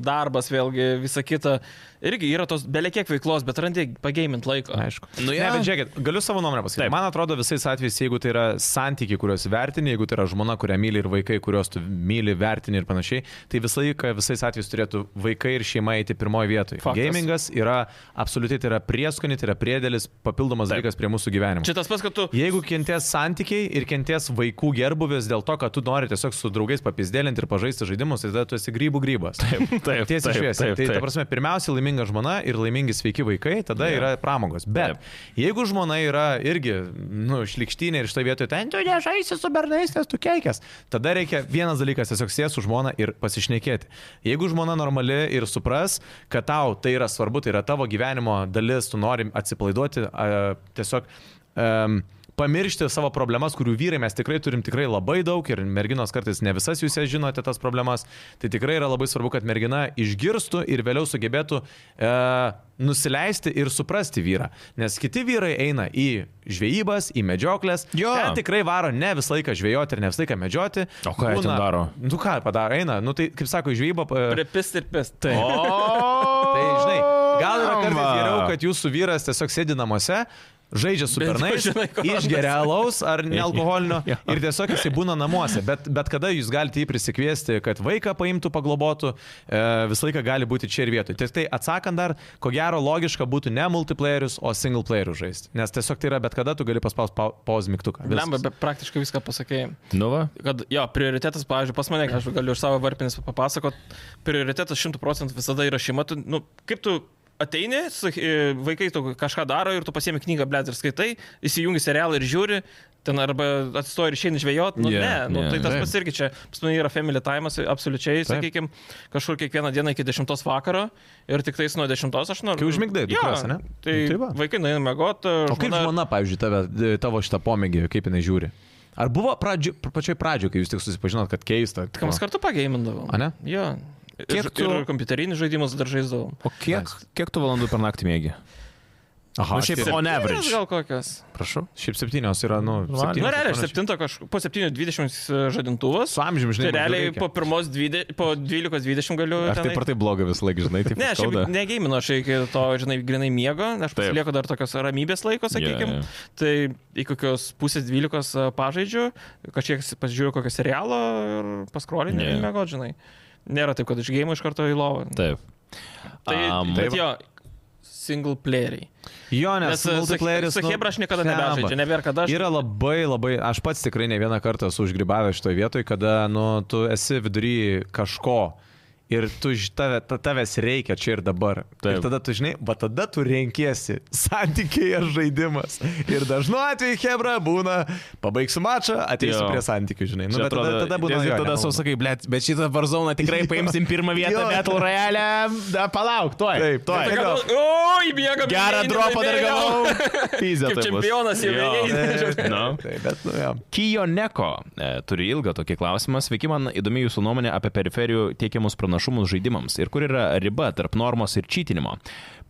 B: darbas, vėlgi visa kita. Irgi yra tos belekiek veiklos, bet randi pagėmint laiko.
C: Aišku.
A: Nu,
C: Ne,
A: jo.
C: bet žiūrėkit, galiu savo nuomonę pasakyti.
A: Taip.
C: Man atrodo, visais atvejais, jeigu tai yra santykiai, kuriuos vertini, jeigu tai yra žmona, kurią myli ir vaikai, kuriuos tu myli, vertini ir panašiai, tai visą laiką visais atvejais turėtų vaikai ir šeima eiti pirmoje vietoje.
B: Faktas.
C: Gamingas yra absoliučiai, tai yra prieskonė, tai yra priedelis, papildomas
A: Taip.
C: dalykas prie mūsų gyvenimo.
B: Čia tas pats, kad tu...
C: Jeigu kenties santykiai ir kenties vaikų gerbuvis dėl to, kad tu nori tiesiog su draugais papizdėlinti ir pažaisti žaidimus, tai tada tu esi grybų grybas. Taip,
A: taip,
C: Tiesiai
A: taip,
C: šviesiai.
A: taip,
C: Tai, ta
A: taip.
C: prasme, pirmiausia, laiminga žmona ir laimingi sveiki vaikai, tada yeah. yra pramogos. Bet
A: Taip.
C: taip. jeigu žmona yra irgi, nu, šlikštinė ir šitoje vietoje, ten tu nežaisi su bernais, nes tu keikės, tada reikia vienas dalykas tiesiog sės su žmona ir pasišnekėti. Jeigu žmona normali ir supras, kad tau tai yra svarbu, tai yra tavo gyvenimo dalis, tu nori atsipalaiduoti, a, tiesiog um, pamiršti savo problemas, kurių vyrai mes tikrai turim tikrai labai daug ir merginos kartais ne visas jūs jas žinote tas problemas, tai tikrai yra labai svarbu, kad mergina išgirstų ir vėliau sugebėtų e, nusileisti ir suprasti vyrą. Nes kiti vyrai eina į žvejybas, į medžioklės,
A: Jo.
C: ten tikrai varo ne visą laiką žvejoti ir ne visą laiką medžioti.
A: O ką jie ten
C: Būna-
A: daro?
C: Nu ką padaro, eina, nu tai kaip sako, į žvejybą... e,
B: Pripist ir pist.
A: O,
C: Tai žinai, gal yra kartais
A: Mama.
C: geriau, kad jūsų vyras tiesiog sėdi namuose, žaidžia su
B: Bent jau
C: bernais,
B: žinai, ko
C: išgeria alaus ar nealkoholinio
A: Jo.
C: ir tiesiog jisai būna namuose. Bet, bet kada jūs galite jį prisikviesti, kad vaiką paimtų, paglobotų, e, visą laiką gali būti čia ir vietoje. Tik tai atsakant dar, ko gero logiška būtų ne multiplayerius, o single playerius žaisti. Nes tiesiog tai yra bet kada tu gali paspausti pau- pause mygtuką. Viskas.
B: Lemba, bet praktiškai viską pasakėjai.
A: Nu va.
B: kad jo, prioritetas, pavyzdžiui, pas mane, aš galiu iš savo varpinės papasakot, prioritetas 100 procentų visada yra šeima. Tu, nu, kaip tu ateini, su- i, vaikai tu kažką daro ir tu pasiemi knygą, blėt, ir skaitai, įsijungi serialą ir žiūri, ten arba atsistoji ir išeini žvejot, nu
A: Yeah,
B: yeah, ne, nu,
A: yeah,
B: tai tas
A: taip.
B: pats irgi čia, pas mane yra family time, absoliučiai, sakykime, kažkur kiekvieną dieną iki 10 vakaro ir tik tais nuo 10 aš noriu.
C: Kai užmigdai
B: Jo,
C: dukras, ane?
B: Tai,
C: Nu, tai
B: tai
C: va.
B: vaikai nuėjo mėgoti.
C: O kaip žmona, pavyzdžiui, tave, e, tavo šitą pomėgį, kaip jinai žiūri? Ar buvo pradžio, pačioj pradžioje, kai jūs tik susipažinot, kad keista?
B: Kam mes kartu pageimindavom.
C: A, ne?
B: Jo. Ir-
A: Kiek tu-
B: Ir kompiuterinį žaidimą dar žaisdavom.
A: O kiek, kiek tu valandų per naktį mėgi?
C: Aha,
A: Nu, šiaip- On average.
B: Septynios Gal kokias.
A: Prašau.
C: Šiaip septynios yra, nu,
A: Va,
C: septynios.
B: Nu, realiai, aš
C: aštuonios.
B: septinto kažkur, po 7.20 žadintuvas.
C: Su amžiumi, žinai,
B: Tai realiai
C: mažiau
B: po,
C: reikia.
B: pirmos dvide, po 12.20 galiu.
A: Aš
C: tai
B: tenai-
A: taip ar tai taip blogai visą laiką, žinai, taip.
B: Ne, aš šiaip negėminu, aš iki to, žinai, grinai miego, aš
A: Taip.
B: pasilieku dar tokios ramybės laiko, sakykime.
A: jo.
B: Yeah, yeah. Tai į kokios pusės dvylikos a, pažaidžiu, kažkiek si- pasižiūriu kokio serialo ir paskrolinu yeah.
A: Jo.
B: ir miego, žinai. Nėra taip, kad iš gėjimo iš karto į lovą.
A: Taip.
B: Tai,
A: Am,
B: um, bet jo, single playeriai.
C: Jo, nes,
B: Nes
C: nes
B: e, su,
C: multiplayeris.
B: su
C: nu,
B: Hebra aš niekada
C: blemba.
B: nebežaidžiu, nebėra kada aš.
C: Yra labai, labai, aš pats tikrai ne vieną kartą esu užgribavęs šitoje vietoje, kada, nu, tu esi vidury kažko ir tu, ž- tave, ta- tavęs reikia čia ir dabar. Taip.
A: Taip.
C: Ir tada tu žinai, bet tada tu renkėsi santykiai ar žaidimas. Ir dažnu atveju Hebra būna, pabaigsiu mačą, ateisiu
A: Jo.
C: prie santykių, žinai. Nu, bet tada, tada būna.
A: nes
C: jo,
A: ir tada
C: nemalonu.
A: sau sakai, blėt, bet šitą Varzoną tikrai
C: Jo.
A: paimsim pirmą vietą
C: Jo.
A: Battle Royale. Da, palauk, tuoj.
C: Taip,
A: tuoj.
C: taip.
B: O, įbėga.
A: Gerą dropą dar gavau. Pizė.
B: Kaip
A: tai bus.
B: čempionas jau
A: Jo.
B: įeini.
A: Nu.
C: Taip, bet, nu, jo.
A: Kijoneko e, turi ilgą tokį klausimą. Sveiki, man įdomi jūsų nuomonė apie periferijų teikiamus pranašumus žaidimams ir kur yra riba tarp normos ir čytinimo.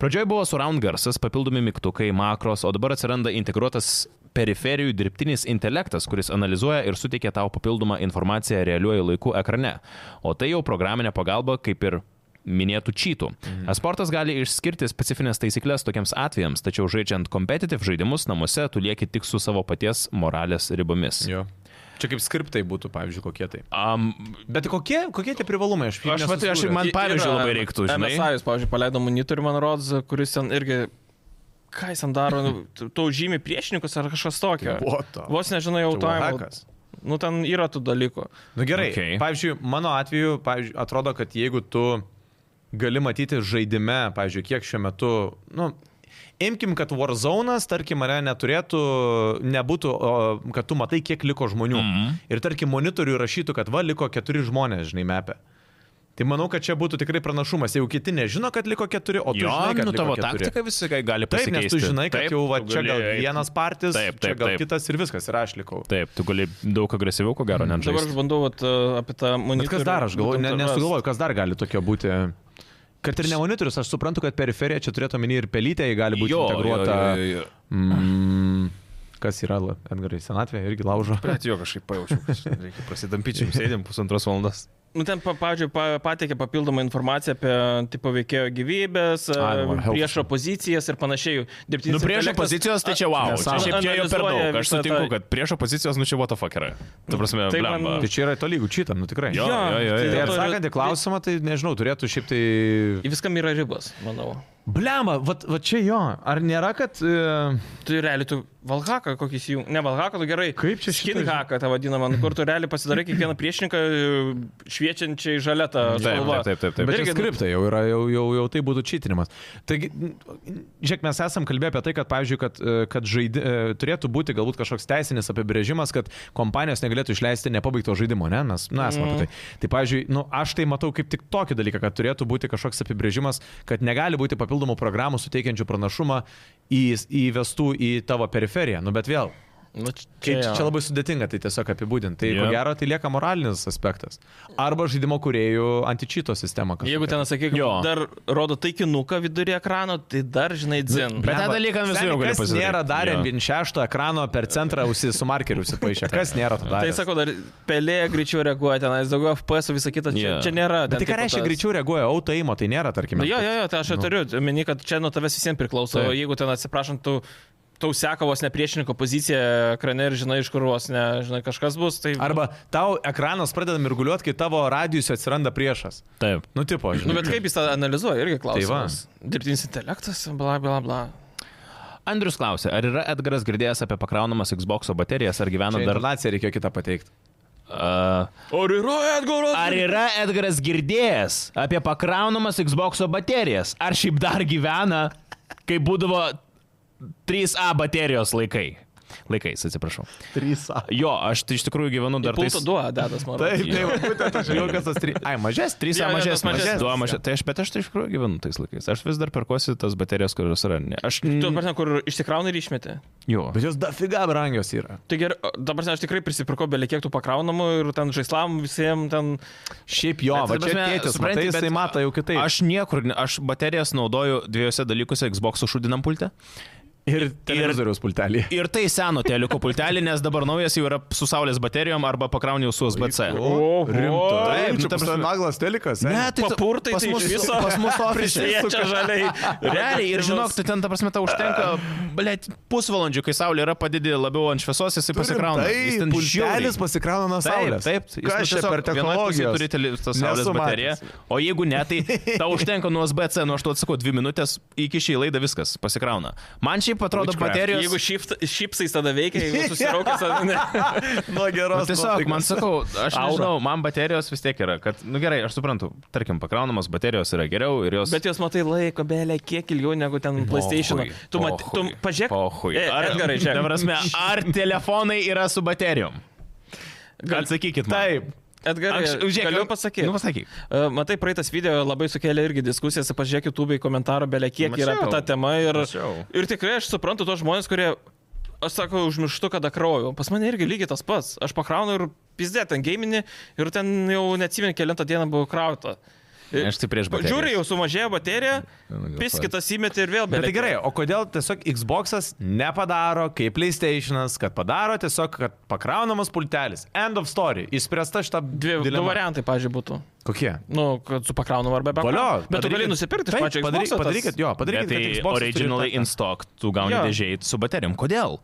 A: Pradžioje buvo surround garsas, papildomi mygtukai, makros, o dabar atsiranda integruotas periferijų dirbtinis intelektas, kuris analizuoja ir suteikia tau papildomą informaciją realiuoju laiku ekrane. O tai jau programinė pagalba kaip ir minėtų čytų. Mhm. Esportas gali išskirti specifines taisyklės tokiems atvejams, tačiau žaidžiant competitive žaidimus namuose tu lieki tik su savo paties moralės ribomis.
C: Jo. Čia kaip skriptai būtų, pavyzdžiui, kokie tai.
A: Um,
C: Bet kokie, kokie tie privalumai? Aš,
A: Aš vat- aš ir
C: nesusidūriau.
A: man- pavyzdžių labai reiktų, žinai.
B: Mesajus, pavyzdžiui, paleido monitorių, man rodos, kuris ten irgi... Ką jis ten daro? nu, tu- Tu žymi priešininkus ar kažkas tokio.
C: What the-
B: Vos nežinau, jau
C: Tai
B: to.
C: buvo hakas.
B: Nu, ten yra tų dalykų.
C: Nu gerai,
A: Okei.
C: okay. pavyzdžiui, mano atveju, pavyzdžiui, atrodo, kad jeigu tu gali matyti žaidime, pavyzdžiui, kiek šiuo metu, nu, imkim, kad Warzone'as, tarkim, mane neturėtų, nebūtų, o, kad tu
A: Mhm.
C: matai, kiek liko žmonių. Mm -hmm. Ir tarkim, monitoriui rašytų, kad va, liko keturi žmonės, žinai, mepė. Tai manau, kad čia būtų tikrai pranašumas, jeigu kiti nežino, kad liko keturi, o tu
A: Jo,
C: žinai, kad
A: nu
C: liko
A: tavo
C: keturi.
A: taktika visiškai gali
C: Taip,
A: pasikeisti.
C: nes tu žinai, kad
A: Taip,
C: jau va,
A: tu
C: čia gal
A: gali eit.
C: vienas partis,
A: Taip,
C: čia
A: taip,
C: gal
A: taip.
C: kitas ir viskas, ir aš likau.
A: Taip, tu gali daug agresyviau, ko
C: Mhm.
A: gero, net
B: Dabar aš
A: žaisti.
B: bandau vat, e, apie tą
C: Bet
B: monitorių.
C: kas dar, aš galvoju, ne,
B: būtent tavęs.
C: nesugalvoju, kas dar gali tokio būti. Kad ir ne monitorius, aš suprantu, kad periferija čia turėtų omeny ir pelytė, ji gali būti
A: Jo, jo,
C: integruota.
A: jo, jo.
C: Mm, kas yra, la- Edgarai, senatvė irgi laužo.
A: Bet jo kažkaip pajaučiau, kad reikia prasidampyčiam, sėdėm pusantros valandos.
B: Nu, ten, pa- pavyzdžiui, pa- pateikė papildomą informaciją apie tipo veikėjo gyvybės, e,
C: Ai, dabar, help.
B: priešo pozicijas ir panašiai.
A: Nu, priešo pozicijos, tai čia wow. Čia
C: Nesąmonė.
A: šiaip čia jau per daug. Aš
B: Analizuoja visą
A: sutinku,
B: tą-
A: kad priešo pozicijos, nu čia what the fuck yra. Tu prasme,
B: Tai man-
A: blemba.
C: Tai čia yra tolygų čitą, nu tikrai.
A: Jo, jo, jo, jo.
C: Tai
B: dėl to yra-
C: atsakant į klausimą, tai nežinau, turėtų šiaip tai...
B: Į viskam yra ribos, manau.
C: Blema, va, va čia jo, ar nėra, kad... E,
B: Tu realiai, tu Valhaką kokį įsijungi, ne Valhaką, tu gerai.
C: Kaip čia šitą-
B: Skinhaką tą vadinamą, nu, kur tu realiai pasidarai kiekvieną priešininką e, šviečiančiai
A: Taip,
B: žalėtą.
A: taip, taip, taip.
C: bet
A: taip.
C: irgi
B: irgi- nu,
C: skriptai jau yra, jau, jau, jau tai būtų čitinimas. Taigi, n- žiūrėk, mes esam kalbėję apie tai, kad, pavyzdžiui, kad, e, kad žaidi, e, turėtų būti galbūt kažkoks teisinis apibrėžimas, kad kompanijos negalėtų išleisti nepabaigto žaidimo, ne? Mes, na, esame apie tai. Tai, pavyzdžiui, nu, aš tai matau kaip tik tokį dalyką, kad turėtų būti kažkoks apibrėžimas, kad negali būti papildomų programų suteikiančių pranašumą į, įvestų į tavo periferiją. Nu, bet vėl,
B: Nu, čia,
C: Čia,
B: jo.
C: čia labai sudėtinga tai tiesiog apibūdinti. Tai yeah.
A: Jo.
C: ko gero tai lieka moralinis aspektas. Arba žaidimo kuriejų antičito sistema. kažkokia.
B: Jeigu ten, sakyk,
A: Jo.
B: dar rodo taikinuką vidurį ekrano, tai dar, žinai, dzin.
A: Bet tą dalyką
C: Seni,
A: visur jau gali
C: Kas
A: pasidaryt.
C: nėra darę
A: Jo.
C: vien šešto ekrano per centrą ausi su markeriu užsipaišę? Kas nėra to
B: Tai
C: darę?
B: sako, dar pelė greičiau reaguoja tenais, daugiau FPS, o visa kita čia,
A: Jo.
B: yeah. čia nėra.
C: Bet tai ką reiškia greičiau reaguoja autoimo, tai nėra,
A: Nu
B: Na,
C: tarkime.
B: jo, jo, jo, tai aš ir turiu, meni, kad čia nuo tavęs visiems priklauso.
C: Nu. Taip.
B: Taip. Jeigu ten atsiprašant, tu tau seka vos ne priešininko poziciją ekrane ir žinai, iš kur vos ne, žinai, kažkas bus, tai...
C: Arba tau ekranas pradeda mirguliuoti, kai tavo radijus atsiranda priešas.
A: Taip.
C: Nu, tipo,
B: Nu,
C: žinai.
B: bet kaip jis tą analizuoja, irgi klausimas.
C: Tai
B: Tai Dirbtinis intelektas, bla, bla, bla.
A: Andrius klausė, ar yra Edgaras girdėjęs apie pakraunamas Xbox baterijas, ar gyvena
C: Čia
A: dar...
C: Internaciją reikėjo kitą pateikti.
A: Uh,
B: Ar yra Edgaras?
A: ar yra Edgaras girdėjęs apie pakraunamas Xbox baterijas, ar šiaip dar gyvena, kai būdavo 3A baterijos laikai? Laikais, atsiprašau.
C: 3A.
A: Jo, aš tai iš tikrųjų gyvenu dar
B: Pulto
A: tais...
B: 2 datas, man
C: Nu, Taip,
B: atrodo.
C: tai va, būtent aš žinau, kas tas 3. Ai, mažesnis,
B: Jo,
C: 3.
A: Trys
B: jo,
A: A
B: tas
A: mažesnis,
B: mažesnis.
A: du A mažesnis. Tai aš, bet aš tai iš tikrųjų gyvenu tais laikais. Aš vis dar perkuosi tas baterijas, kurios yra. Ne. Aš...
B: Tu, prasme, kur išsikrauna ir išmeti.
A: Jo.
C: Bet jos dafiga brangios yra.
B: Tai gerai, o, dabar žinai, aš tikrai prisipirkau belie kiek tų pakraunamų ir ten žaislam visiems ten...
C: Šiaip jo,
A: Bet,
C: va
A: ta
C: čia
A: prasme,
C: tėtis,
A: supranti,
C: matai,
A: bet
C: jisai mato jau kitaip.
A: Aš niekur, ne- aš baterijas naudoju dviejose dalykuose Xbox šudinam pulte.
C: ir televizoriaus pultelį.
A: Ir tai seno teliko pultelį, nes dabar naujas jau yra su saulės baterijom arba pakrauniau su USB-C.
B: O, o,
A: Taip, nu,
C: Čia
A: ta
C: tas
A: prasme-
C: naglas telikas.
A: Ne, tai
B: Papurtai
A: pas
B: tai
A: mus,
B: iš viso.
A: pas mus ofisė.
B: Čia žaliai.
A: Realiai, ir žinok, tai ten, ta prasme, tau užtenka, blėt, pusvalandžių, kai saulė yra padidė labiau ant šviesos, jisai pasikrauna. Jis
C: Tai
A: ten
C: pultelis
A: žiauriai.
C: pasikrauna nuo
A: Taip,
C: saulės.
A: taip, jis
C: Kas
A: nu
C: čia
A: tiesiog
C: per
A: vienoj pusėj
C: technologiją?
A: Turi tele, tą saulės
C: Nesu matęs.
A: bateriją, o jeigu ne, tai tau užtenka nuo USB-C, nu aš tu atsakau, dvi minutės iki šį laidą viskas pasikrauna. Man šiaip atrodo
C: Witchcraft.
A: baterijos...
B: Jeigu šift- šipsais tada veikia, jeigu susiraukęs, ar ne?
A: Nu,
C: Nuo geros.
A: tiesiog, man sakau, aš
B: Aura.
A: nežinau, man baterijos vis tiek yra, kad, nu gerai, aš suprantu, tarkim, pakraunamos baterijos yra geriau ir jos...
B: Bet jos matai laiko, belė, kiek ilgiau negu ten PlayStation. Tu, mat, tu pažiūrėk.
A: Pohui.
B: E,
A: Ar,
B: Edgarai, žiūrėk.
A: ta prasme, ar telefonai yra su baterijom?
B: Gal-
A: Atsakykit. Man.
C: Taip.
B: Edgarai,
A: Anks- žiūrėk,
B: galiu
A: gal-
B: pasakyti.
A: Nu, pasakyk.
B: E, Matai, praeitas video labai sukėlė irgi diskusijas, pažiūrėk YouTube į komentarą, belė kiek yra
A: Mačiau.
B: apie tą temą. Ir,
A: Mačiau.
B: ir tikrai aš suprantu tos žmonės, kurie, aš sakau, užmirštu, kada krauju. Pas mane irgi lygiai tas pats. Aš pakraunu ir pizdė ten gaiminį ir ten jau neatsimenu, kelintą dieną buvo krauta.
A: Aš tai prieš nu, bateriją.
B: Žiūri, jau sumažėjo baterija, pis kitas įmetė ir vėl
C: Bet
B: belė.
C: tai gerai, o kodėl tiesiog Xbox'as nepadaro kaip PlayStation'as, kad padaro tiesiog, kad pakraunamas pultelis. End of story. Išspręsta šitą
B: Dvi, du
C: dilemą.
B: variantai, pažiūrėjau, būtų.
C: Kokie?
B: Nu, kad su pakraunama arba be
C: Valio,
B: pakraunama. Bet tu gali
C: padarykit-
B: nusipirkti iš
C: Taip,
B: pačio
C: padary-
B: Xbox'o tas-
C: Padarykit, jo, padarykit,
A: Bet
C: kad
A: tai
C: Xbox'as turi
A: originalai
C: tą-
A: in stock, tu gauni
B: Jo.
A: dėžiai su baterijom. Kodėl?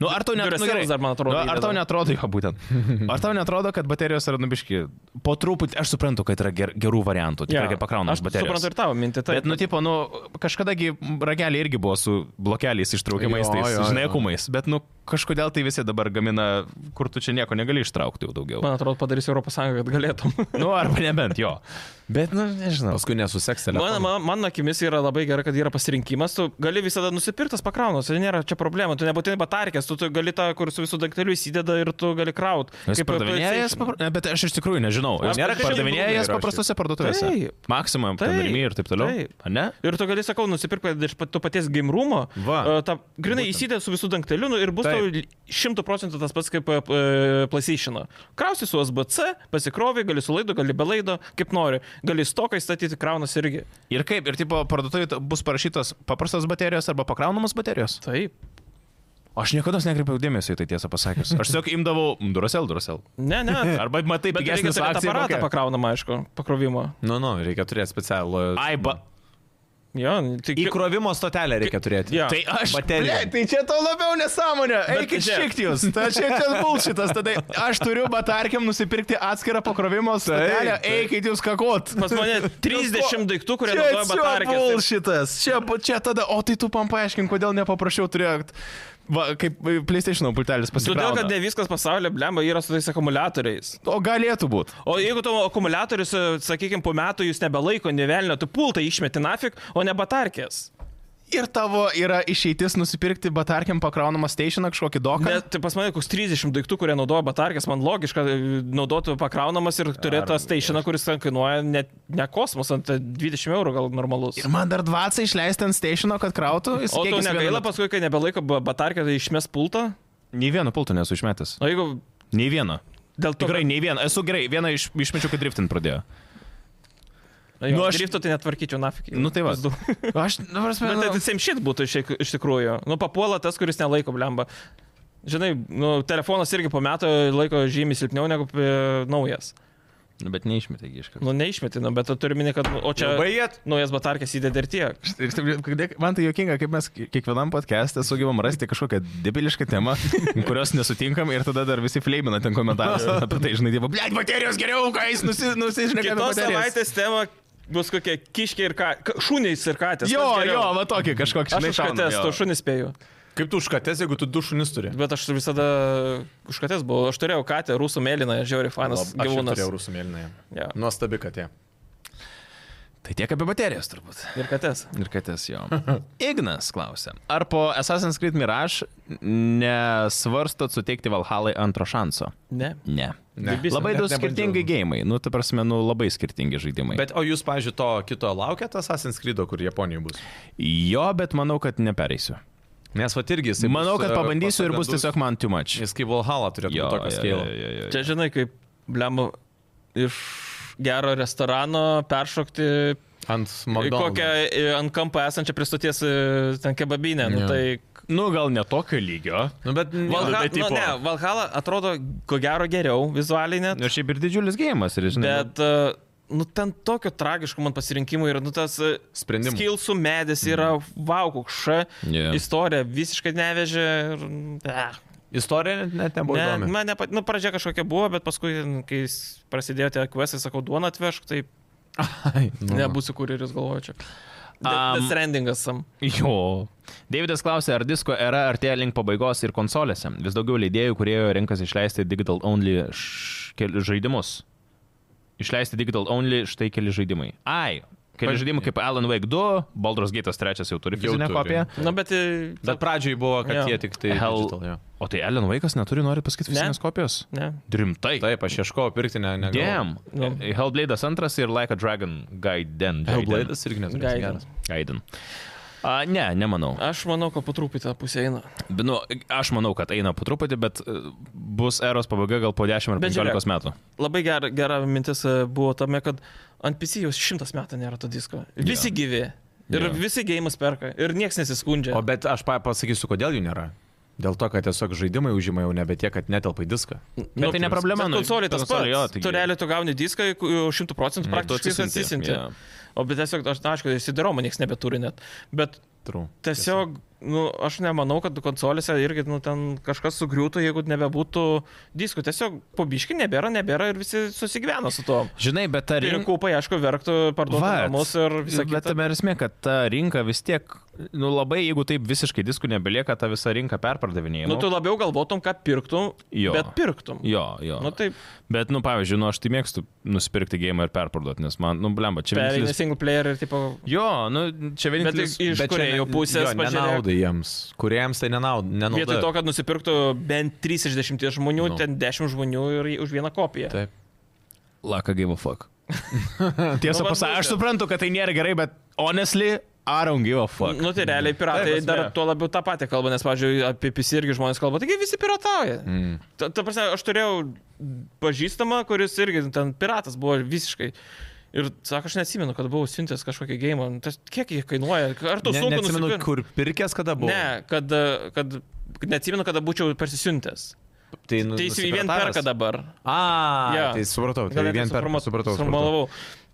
A: Nu, ar tau net- nu,
B: Duracell's
A: gerai.
B: dar, man atrodo,
A: Nu, Ar tau
B: įdeda.
A: netrodo, jo, būtent. Ar tau netrodo, kad baterijos yra nubiški? Po truputį, aš suprantu, kad yra ger, gerų variantų,
B: Jo.
A: tikrai ja. pakraunamas
B: Aš
A: baterijos.
B: suprantu ir tai- tavo mintį.
A: Bet,
B: Taip,
A: nu, tipo, nu, kažkadagi rageliai irgi buvo su blokeliais ištraukiamais,
C: Jo,
A: tais,
C: jo,
A: žinai,
C: jo.
A: kumais. Bet, nu, kažkodėl tai visi dabar gamina, kur tu čia nieko negali ištraukti jau daugiau.
B: Man atrodo, padarys Europos Sąjungą, kad galėtum.
A: Nu, arba nebent jo. Bet, nu, nežinau.
C: Paskui nesuseks
B: Man,
C: telefoną.
B: man, man akimis yra labai gerai, kad yra pasirinkimas, tu gali visada nusipirktas pakraunas, tai nėra čia problema, tu nebūtinai batarkės, tu, tu gali tą, kur su visų daikteliu įsideda ir tu gali kraut.
A: Kaip pardavinėjas,
B: PlayStation.
A: bet aš iš tikrųjų nežinau.
C: Aš
A: Nėra
C: kažkaip būna
A: pardavinėjas
C: yra
A: paprastose parduotuvėse.
B: Taip.
A: Maksimum, ten
B: Taip.
A: rimi ir taip toliau.
B: Taip.
A: Ar ne?
B: Ir tu gali, sakau, nusipirkti iš pat- to paties gimrumo.
A: Va.
B: Ta, grinai įsidė su visų dangteliu nu, ir bus tau
C: Taip.
B: šimtų procentų tas pats kaip e, PlayStation. Krausi su USB-C, pasikrovė, gali su laidu, gali be laido, kaip nori. Gali stokai statyti, kraunas irgi.
A: Ir kaip, ir tipo parduotuvėje bus parašytos paprastos baterijos arba pakraunamos baterijos?
B: Taip.
A: Aš niekada nekreipiau dėmesio į tai tiesą pasakius. Aš tiesiog imdavau mm, Duracell, Duracell.
B: Ne, ne.
A: Arba matai,
B: Bet tai reikia
A: pigesnis
B: turėti
A: akcija.
B: aparatą
A: kokia.
B: pakraunamą, aišku, pakrovimo.
C: Nu, nu, reikia turėti specialų.
A: Ai, ba.
B: Jo, tai
C: Įkrovimo stotelę reikia turėti.
B: Jo.
A: Tai aš.
C: Baterija.
A: Blet, tai čia to labiau nesąmonė.
B: Bet
A: Eikit
B: čia-
A: šikt jūs. Tai čia ten bulšitas. Tada aš turiu, bet tarkim, nusipirkti atskirą pakrovimo stotelę.
C: taip.
A: Eikit jūs kakot.
B: Pas mane 30 daiktų, kurie naudoja batarkės.
A: Bulšitas. Čia, bu- čia tada. O tai tu man paaiškink, kodėl nepaprašiau turėt. Va, kaip e, PlayStation pultelis
B: Todėl, kad
A: pasirodė.
B: ne viskas pasaulyje blemba yra su tais akumuliatoriais.
A: O galėtų būti.
B: O jeigu tavo akumuliatorius, sakykime, po metų jūs nebelaiko nevelnio, tu pultą išmeti nafik, o ne batarkės.
A: Ir tavo yra išeitis nusipirkti, bet tarkim, pakraunamą stationą kažkokį doką.
B: Net tai pas mane koks 30 daiktų, kurie naudoja batarkės, man logiška e, naudotų pakraunamas ir turėtų stationą, kuris ten kainuoja net ne kosmos, ant 20 eurų gal normalus.
A: Ir man dar dvaca išleisti ant stationo, kad krautų. Jis
B: O
A: kiek
B: tau
A: jis
B: negaila
A: vienu-
B: paskui, kai nebelaiko ba- batarkė, tai išmes pultą?
A: Nei vieno pultų nesu išmetęs.
B: O jeigu
A: Nei vieno.
B: dėl to...
A: Tikrai, nei vieno. Esu gerai, vieną iš, išmečiau, kai driftin pradėjo.
B: Nu,
A: Nu,
B: aš
A: aš-
B: drifto tai netvarkyčiau nafik.
A: Nu tai va.
B: Pas du.
A: Aš, nu, prasme,
B: Bet tai
A: nu,
B: same shit būtų iš, iš tikrųjų. Nu, papuola tas, kuris nelaiko blemba. Žinai, nu, telefonas irgi po metų laiko žymiai silpniau negu e, naujas.
A: Nu, bet neišmetė iš karto.
B: Nu, neišmetinu, bet tu turi minėti, kad... nu, O čia...
C: Baigėt?
B: Naujas batarkės įdėdė ir tiek.
A: Ir taip, kodėl- Man tai jokinga, kaip mes kiekvienam podcast'e sugebam rasti kažkokią debilišką temą, kurios nesutinkam ir tada dar visi fleimina ten komentarus apie tai, žinai, tipo, blėt, baterijos geriau, kai jis nusi, nusišneka apie
B: Kitos
A: baterijas.
B: savaitės tema bus kokie kiškiai ir ką. Šūniais ir katės.
A: Jo,
B: Kas geriau?
A: jo, va tokį kažkokį,
B: Aš
A: žinai,
B: už katės,
A: šauna, jo.
B: to šunis spėjau.
C: Kaip tu užkatės, jeigu tu du šunis turi?
B: Bet aš visada už katės buvau. Aš turėjau katę, rusų mėlyną, žiauri fanas
C: Lab- aš ir
B: gyvūnas.
C: Turėjau rusų mėlynąją.
B: Jo.
C: Nuostabi katė.
A: Tai tiek apie baterijas turbūt.
B: Ir katės.
A: Ir katės jo. Ignas klausia, ar po Assassin's Creed Mirage nesvarstot suteikti Valhalai antro šanso?
B: Ne.
A: Ne.
C: Ne.
B: Debisų.
A: Labai
C: net
A: du
C: nebandžiau.
A: skirtingi gėjimai, nu, tai prasme, nu, labai skirtingi žaidimai.
C: Bet o jūs, pažiūrėjau, to kito laukėt Assassin's Creed, kur Japonijoje bus?
A: Jo, bet manau, kad nepereisiu.
C: Nes va irgi jis.
A: Tai manau, kad pabandysiu ir bus tiesiog man too much.
C: Jis kaip Valhalla turėtų būti tokio skėlo.
B: Čia žinai, kaip blemu iš gero restorano peršokti
C: Ant
B: į kokią
C: McDonald's.
B: e, ant kampo esančią pristoties ten kebabinę.
C: Jo.
B: Nu, tai
A: Nu, gal netokio lygio.
C: Nu, bet
A: Valha-
B: Valha,
A: tai
B: nu,
A: tipo-
B: ne, Valhalla atrodo ko gero geriau vizualiai net,
A: Nu, Ir šiaip ir didžiulis gėjimas, ir žinai.
B: bet e, nu, ten tokio tragiško man pasirinkimų ir nu, tas e,
C: Sprendimų. Mhm.
B: skilsų medis yra vaukukša,
A: Jo.
B: istorija visiškai nevežė ir... Eh.
C: Istorija net, net nebuvo
B: Ne,
C: įdomi.
B: man nepa, nu, pradžia kažkokia buvo, bet paskui, n, kai s- prasidėjo tie kvesai, sakau, duona atvežk, tai
C: Ai, nu,
B: nebūsiu kurjeris, galvoju čia.
A: Am.
B: Tas rendingas sam.
A: Jo. Davidas klausė, ar disko era artėja link pabaigos ir konsolėse. Vis daugiau leidėjų, kurie rinkas išleisti digital only š... keli žaidimus. Išleisti digital only štai keli žaidimai. Ai, keli
C: Pa-
A: žaidimai kaip Alan Wake 2, Baldur's Gate 3 jau turi
C: Jau
A: fizinę
C: turi.
A: kopiją.
B: Na, bet... e,
C: Bet pradžioj buvo, kad
B: Jo.
C: jie tik tai...
A: Hell-
C: digital, jo.
A: O tai Alan Wake'as neturi, nori pasakyti,
B: Ne.
A: fizinės kopijos?
B: Ne.
A: Rimtai.
C: Taip, aš ieškojau pirkti, ne... negavau.
A: Damn.
B: Nu.
A: Hellblade'as 2 E, ir Like a Dragon Gaiden.
C: Hellblade'as irgi neturi.
B: Gaiden.
C: geras.
A: Gaiden. A, ne, nemanau.
B: Aš manau, kad po truputį tą pusę eina.
A: Bet, Nu, aš manau, kad eina po truputį, bet e, bus eros pabaiga gal po 10 ar
B: Bet
A: 15 metų.
B: Labai gera, gera mintis e, buvo tame, kad ant PC jau šimtas metų nėra to disko. Visi
A: Jo.
B: gyvi. Ir
A: Jo.
B: visi gėjimus perka. Ir niekas nesiskundžia.
C: O bet aš pa- pasakysiu, kodėl jų nėra. Dėl to, kad tiesiog žaidimai užima jau nebe tiek, kad netelpa į diską.
A: Bet tai ne problema. nu,
B: Konsolė tas pats.
A: konsolė, jo, taigi.
B: Tu realiai tu gauni diską, ku- jau 100 procentų
A: Ir tu
B: praktiškai jis
A: atsisiunti,
B: atsisinti.
A: jo.
B: O bet tiesiog, aš, na, aišku, įsidaroma, niekas nebeturi net. Bet
C: True.
B: Tiesiog, nu, aš nemanau, kad konsolėse irgi nu, ten kažkas sugriūtų, jeigu nebebūtų diskų. Tiesiog pobiški nebėra, nebėra ir visi susigyvena su tuo.
A: Žinai, bet ta
B: Ir
A: rinka.
B: kaupai, aišku, verktų parduoti namus ir visą
A: bet
B: kitą.
A: tame ir esmė, kad ta rinka vis tiek nu, labai, jeigu taip visiškai diskų nebelieka, ta visa rinka perpardavinėjama.
B: Nu, tu labiau galvotum, ką pirktum,
A: Jo.
B: bet pirktum.
A: Jo, jo.
B: Nu, taip,
A: Bet, nu, pavyzdžiui, nu, aš tai mėgstu nusipirkti gėjimą ir perparduoti, nes man, nu, blemba, čia
B: pereini
A: vienintelis...
B: single player ir tipo...
A: Jo, nu, čia vienintelis...
B: iš
C: Bet čia
B: kūrėjų
C: ne-
B: pusės
C: jo,
B: pažiūrėk.
C: Nenaudai jiems. Kuriems tai nenaud-
A: Nu,
C: nenauda.
B: Vietoj to, kad nusipirktų bent 3 iš 10 žmonių,
C: Nu.
B: ten 10 žmonių ir už vieną kopiją.
C: Taip.
A: Laka give a fuck. Tiesą
B: Nu, vat
A: pasakius, aš
B: būtent.
A: suprantu, kad tai nėra gerai, bet honestly, I don't give a fuck.
B: Nu tai realiai piratai
C: Taip,
B: dar
C: esmė.
B: tuo labiau tą patį kalba, nes, pavyzdžiui, apie PC irgi žmonės kalba, taigi visi piratauja. Mm. Ta, ta prasme, aš turėjau pažįstamą, kuris irgi ten piratas buvo visiškai. Ir sako, aš neatsimenu, kad buvau siuntęs kažkokį gėjimą. Kiek jie kainuoja? Ar tu
C: Ne,
B: sunku
C: neatsimenu,
B: nusipirkti?
C: kur pirkęs kada buvo.
B: Ne, kad, kad neatsimenu, kada būčiau persisiuntęs.
C: tai nu,
B: Teisėjai vien
C: nusipirkavęs.
B: perka dabar.
C: A,
B: Jo.
C: yeah. tai supratau,
B: Gal
C: tai
B: net
C: vien per...
B: suforma-
C: Supratau, supratau.
B: suformulavau.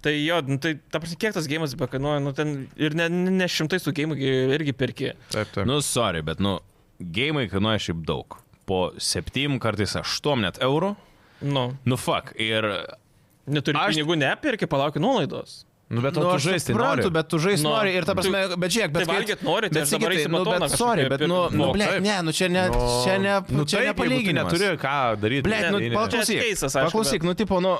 B: Tai jo, nu, tai ta prasme, kiek tas gėjimas be kainuoja, nu ten ir ne, ne šimtai su gėjimu irgi pirki.
C: Taip, taip.
A: Nu, sorry, bet, nu, gėjimai kainuoja šiaip daug. Po 7, kartais 8 net eurų.
B: Nu,
A: Nu, fuck. Ir
B: neturi
A: Aš-
B: aš... pinigų, nepirki, palauki nuolaidos.
C: Nu, bet
A: Nu,
C: to tu
A: aš
C: žaisti
A: suprantu,
C: nori.
A: bet tu žaisti
B: Nu.
A: nori ir ta prasme, bet žiūrėk, bet
B: tai valgyt nori, tai aš dabar
A: Sigitai,
B: eisiu
A: nu,
B: matoną
A: bet
B: kažkokią
A: sorry, bet nu,
B: pirkti.
A: nu
B: Nu,
A: ble,
C: taip.
A: ne, nu čia ne, čia ne,
C: nu,
A: nu, čia
C: taip,
A: ne
C: jeigu tu
A: palyginimas.
C: Neturi ką tai daryti.
A: Ble, nu,
B: Ne,
A: paklausyk,
B: čia keistas, aišku,
A: paklausyk, nu, tipo, nu,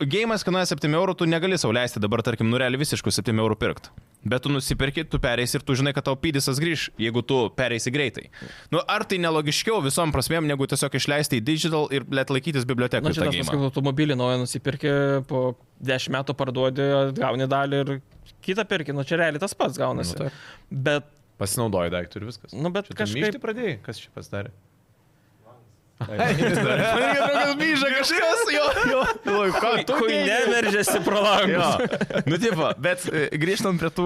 A: gėjimas kainuoja 7 eurų, tu negali sauliaisti dabar, tarkim, nureli visiškų 7 eurų pirkti. Bet tu nusipirki, tu pereisi ir tu žinai, kad tau pydisas grįž, jeigu tu pereisi greitai. Nu, ar tai nelogiškiau visom prasmėm, negu tiesiog išleisti į digital ir let laikytis
B: Na,
A: bibliotekoje?
B: Nu, čia tas pats, kaip automobilį naują nusipirki, po 10 metų parduodi, gauni dalį ir kitą pirki. Nu, čia realiai tas pats gaunasi.
C: Nu, taip.
B: Nu, bet,
C: Pasinaudoji daiktų ir viskas.
B: nu, bet
C: Čia tu
B: kažkaip...
C: myšti pradėjai, kas čia pasidarė?
A: Kažkas myža kažkas, jo, jo. Oi, ką tu
B: Kui neveržėsi pro langus.
A: Jo, nu tipo, bet e, grįžtant prie tų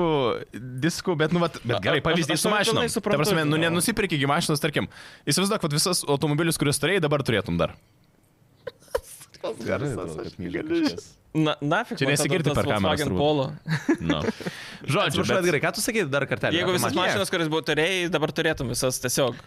A: diskų, bet, nu, vat, bet gerai,
B: aš-
A: pavyzdį
B: aš
A: su
B: tave
A: mašinom.
B: pilnai
A: Ta
B: suprantu,
A: prasme, nu
B: jo.
A: nenusipirki gi mašinos, tarkim, įsivaizduok, kad visas automobilius, kuriuos turėjai, dabar turėtum dar.
B: Na, na, fik,
A: Čia nesigirdi per kameras, turbūt.
B: Polo.
A: Nu. Žodžiu,
C: Atsiprašau,
A: bet,
C: Edgarai, ką tu sakai dar kartelį?
B: Jeigu
C: Apie
B: visas
C: mašiną?
B: mašinas, kuris buvo turėjai, dabar turėtum visas tiesiog.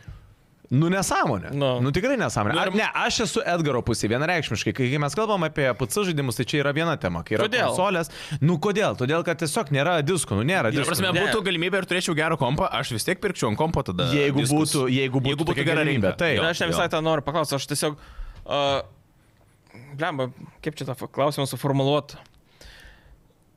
C: Nu nesąmonė.
B: Nu.
C: Nu tikrai nesąmonė.
B: Nu, ir-
C: Ar, ne, aš esu Edgaro pusė vienareikšmiškai. Kai kai mes kalbam apie PC žaidimus, tai čia yra viena tema. Kai yra
B: Kodėl?
C: konsolės. Nu kodėl? Todėl, kad tiesiog nėra diskų. Nu nėra
A: ta
C: diskų.
A: prasme,
B: Ne.
A: būtų galimybė ir turėčiau gerą kompą, aš vis tiek pirkčiau ant kompo tada.
C: Jeigu
A: diskus.
C: būtų- jeigu būtų
A: jeigu būtų
C: tokia
A: gera
C: galimybė,
A: rinka.
C: taip.
A: Jo,
B: Ir aš ne
A: jo.
B: visai tą noriu paklausti, aš tiesiog... Uh, Blemba, kaip čia tą fa- klausimą suformuoluot?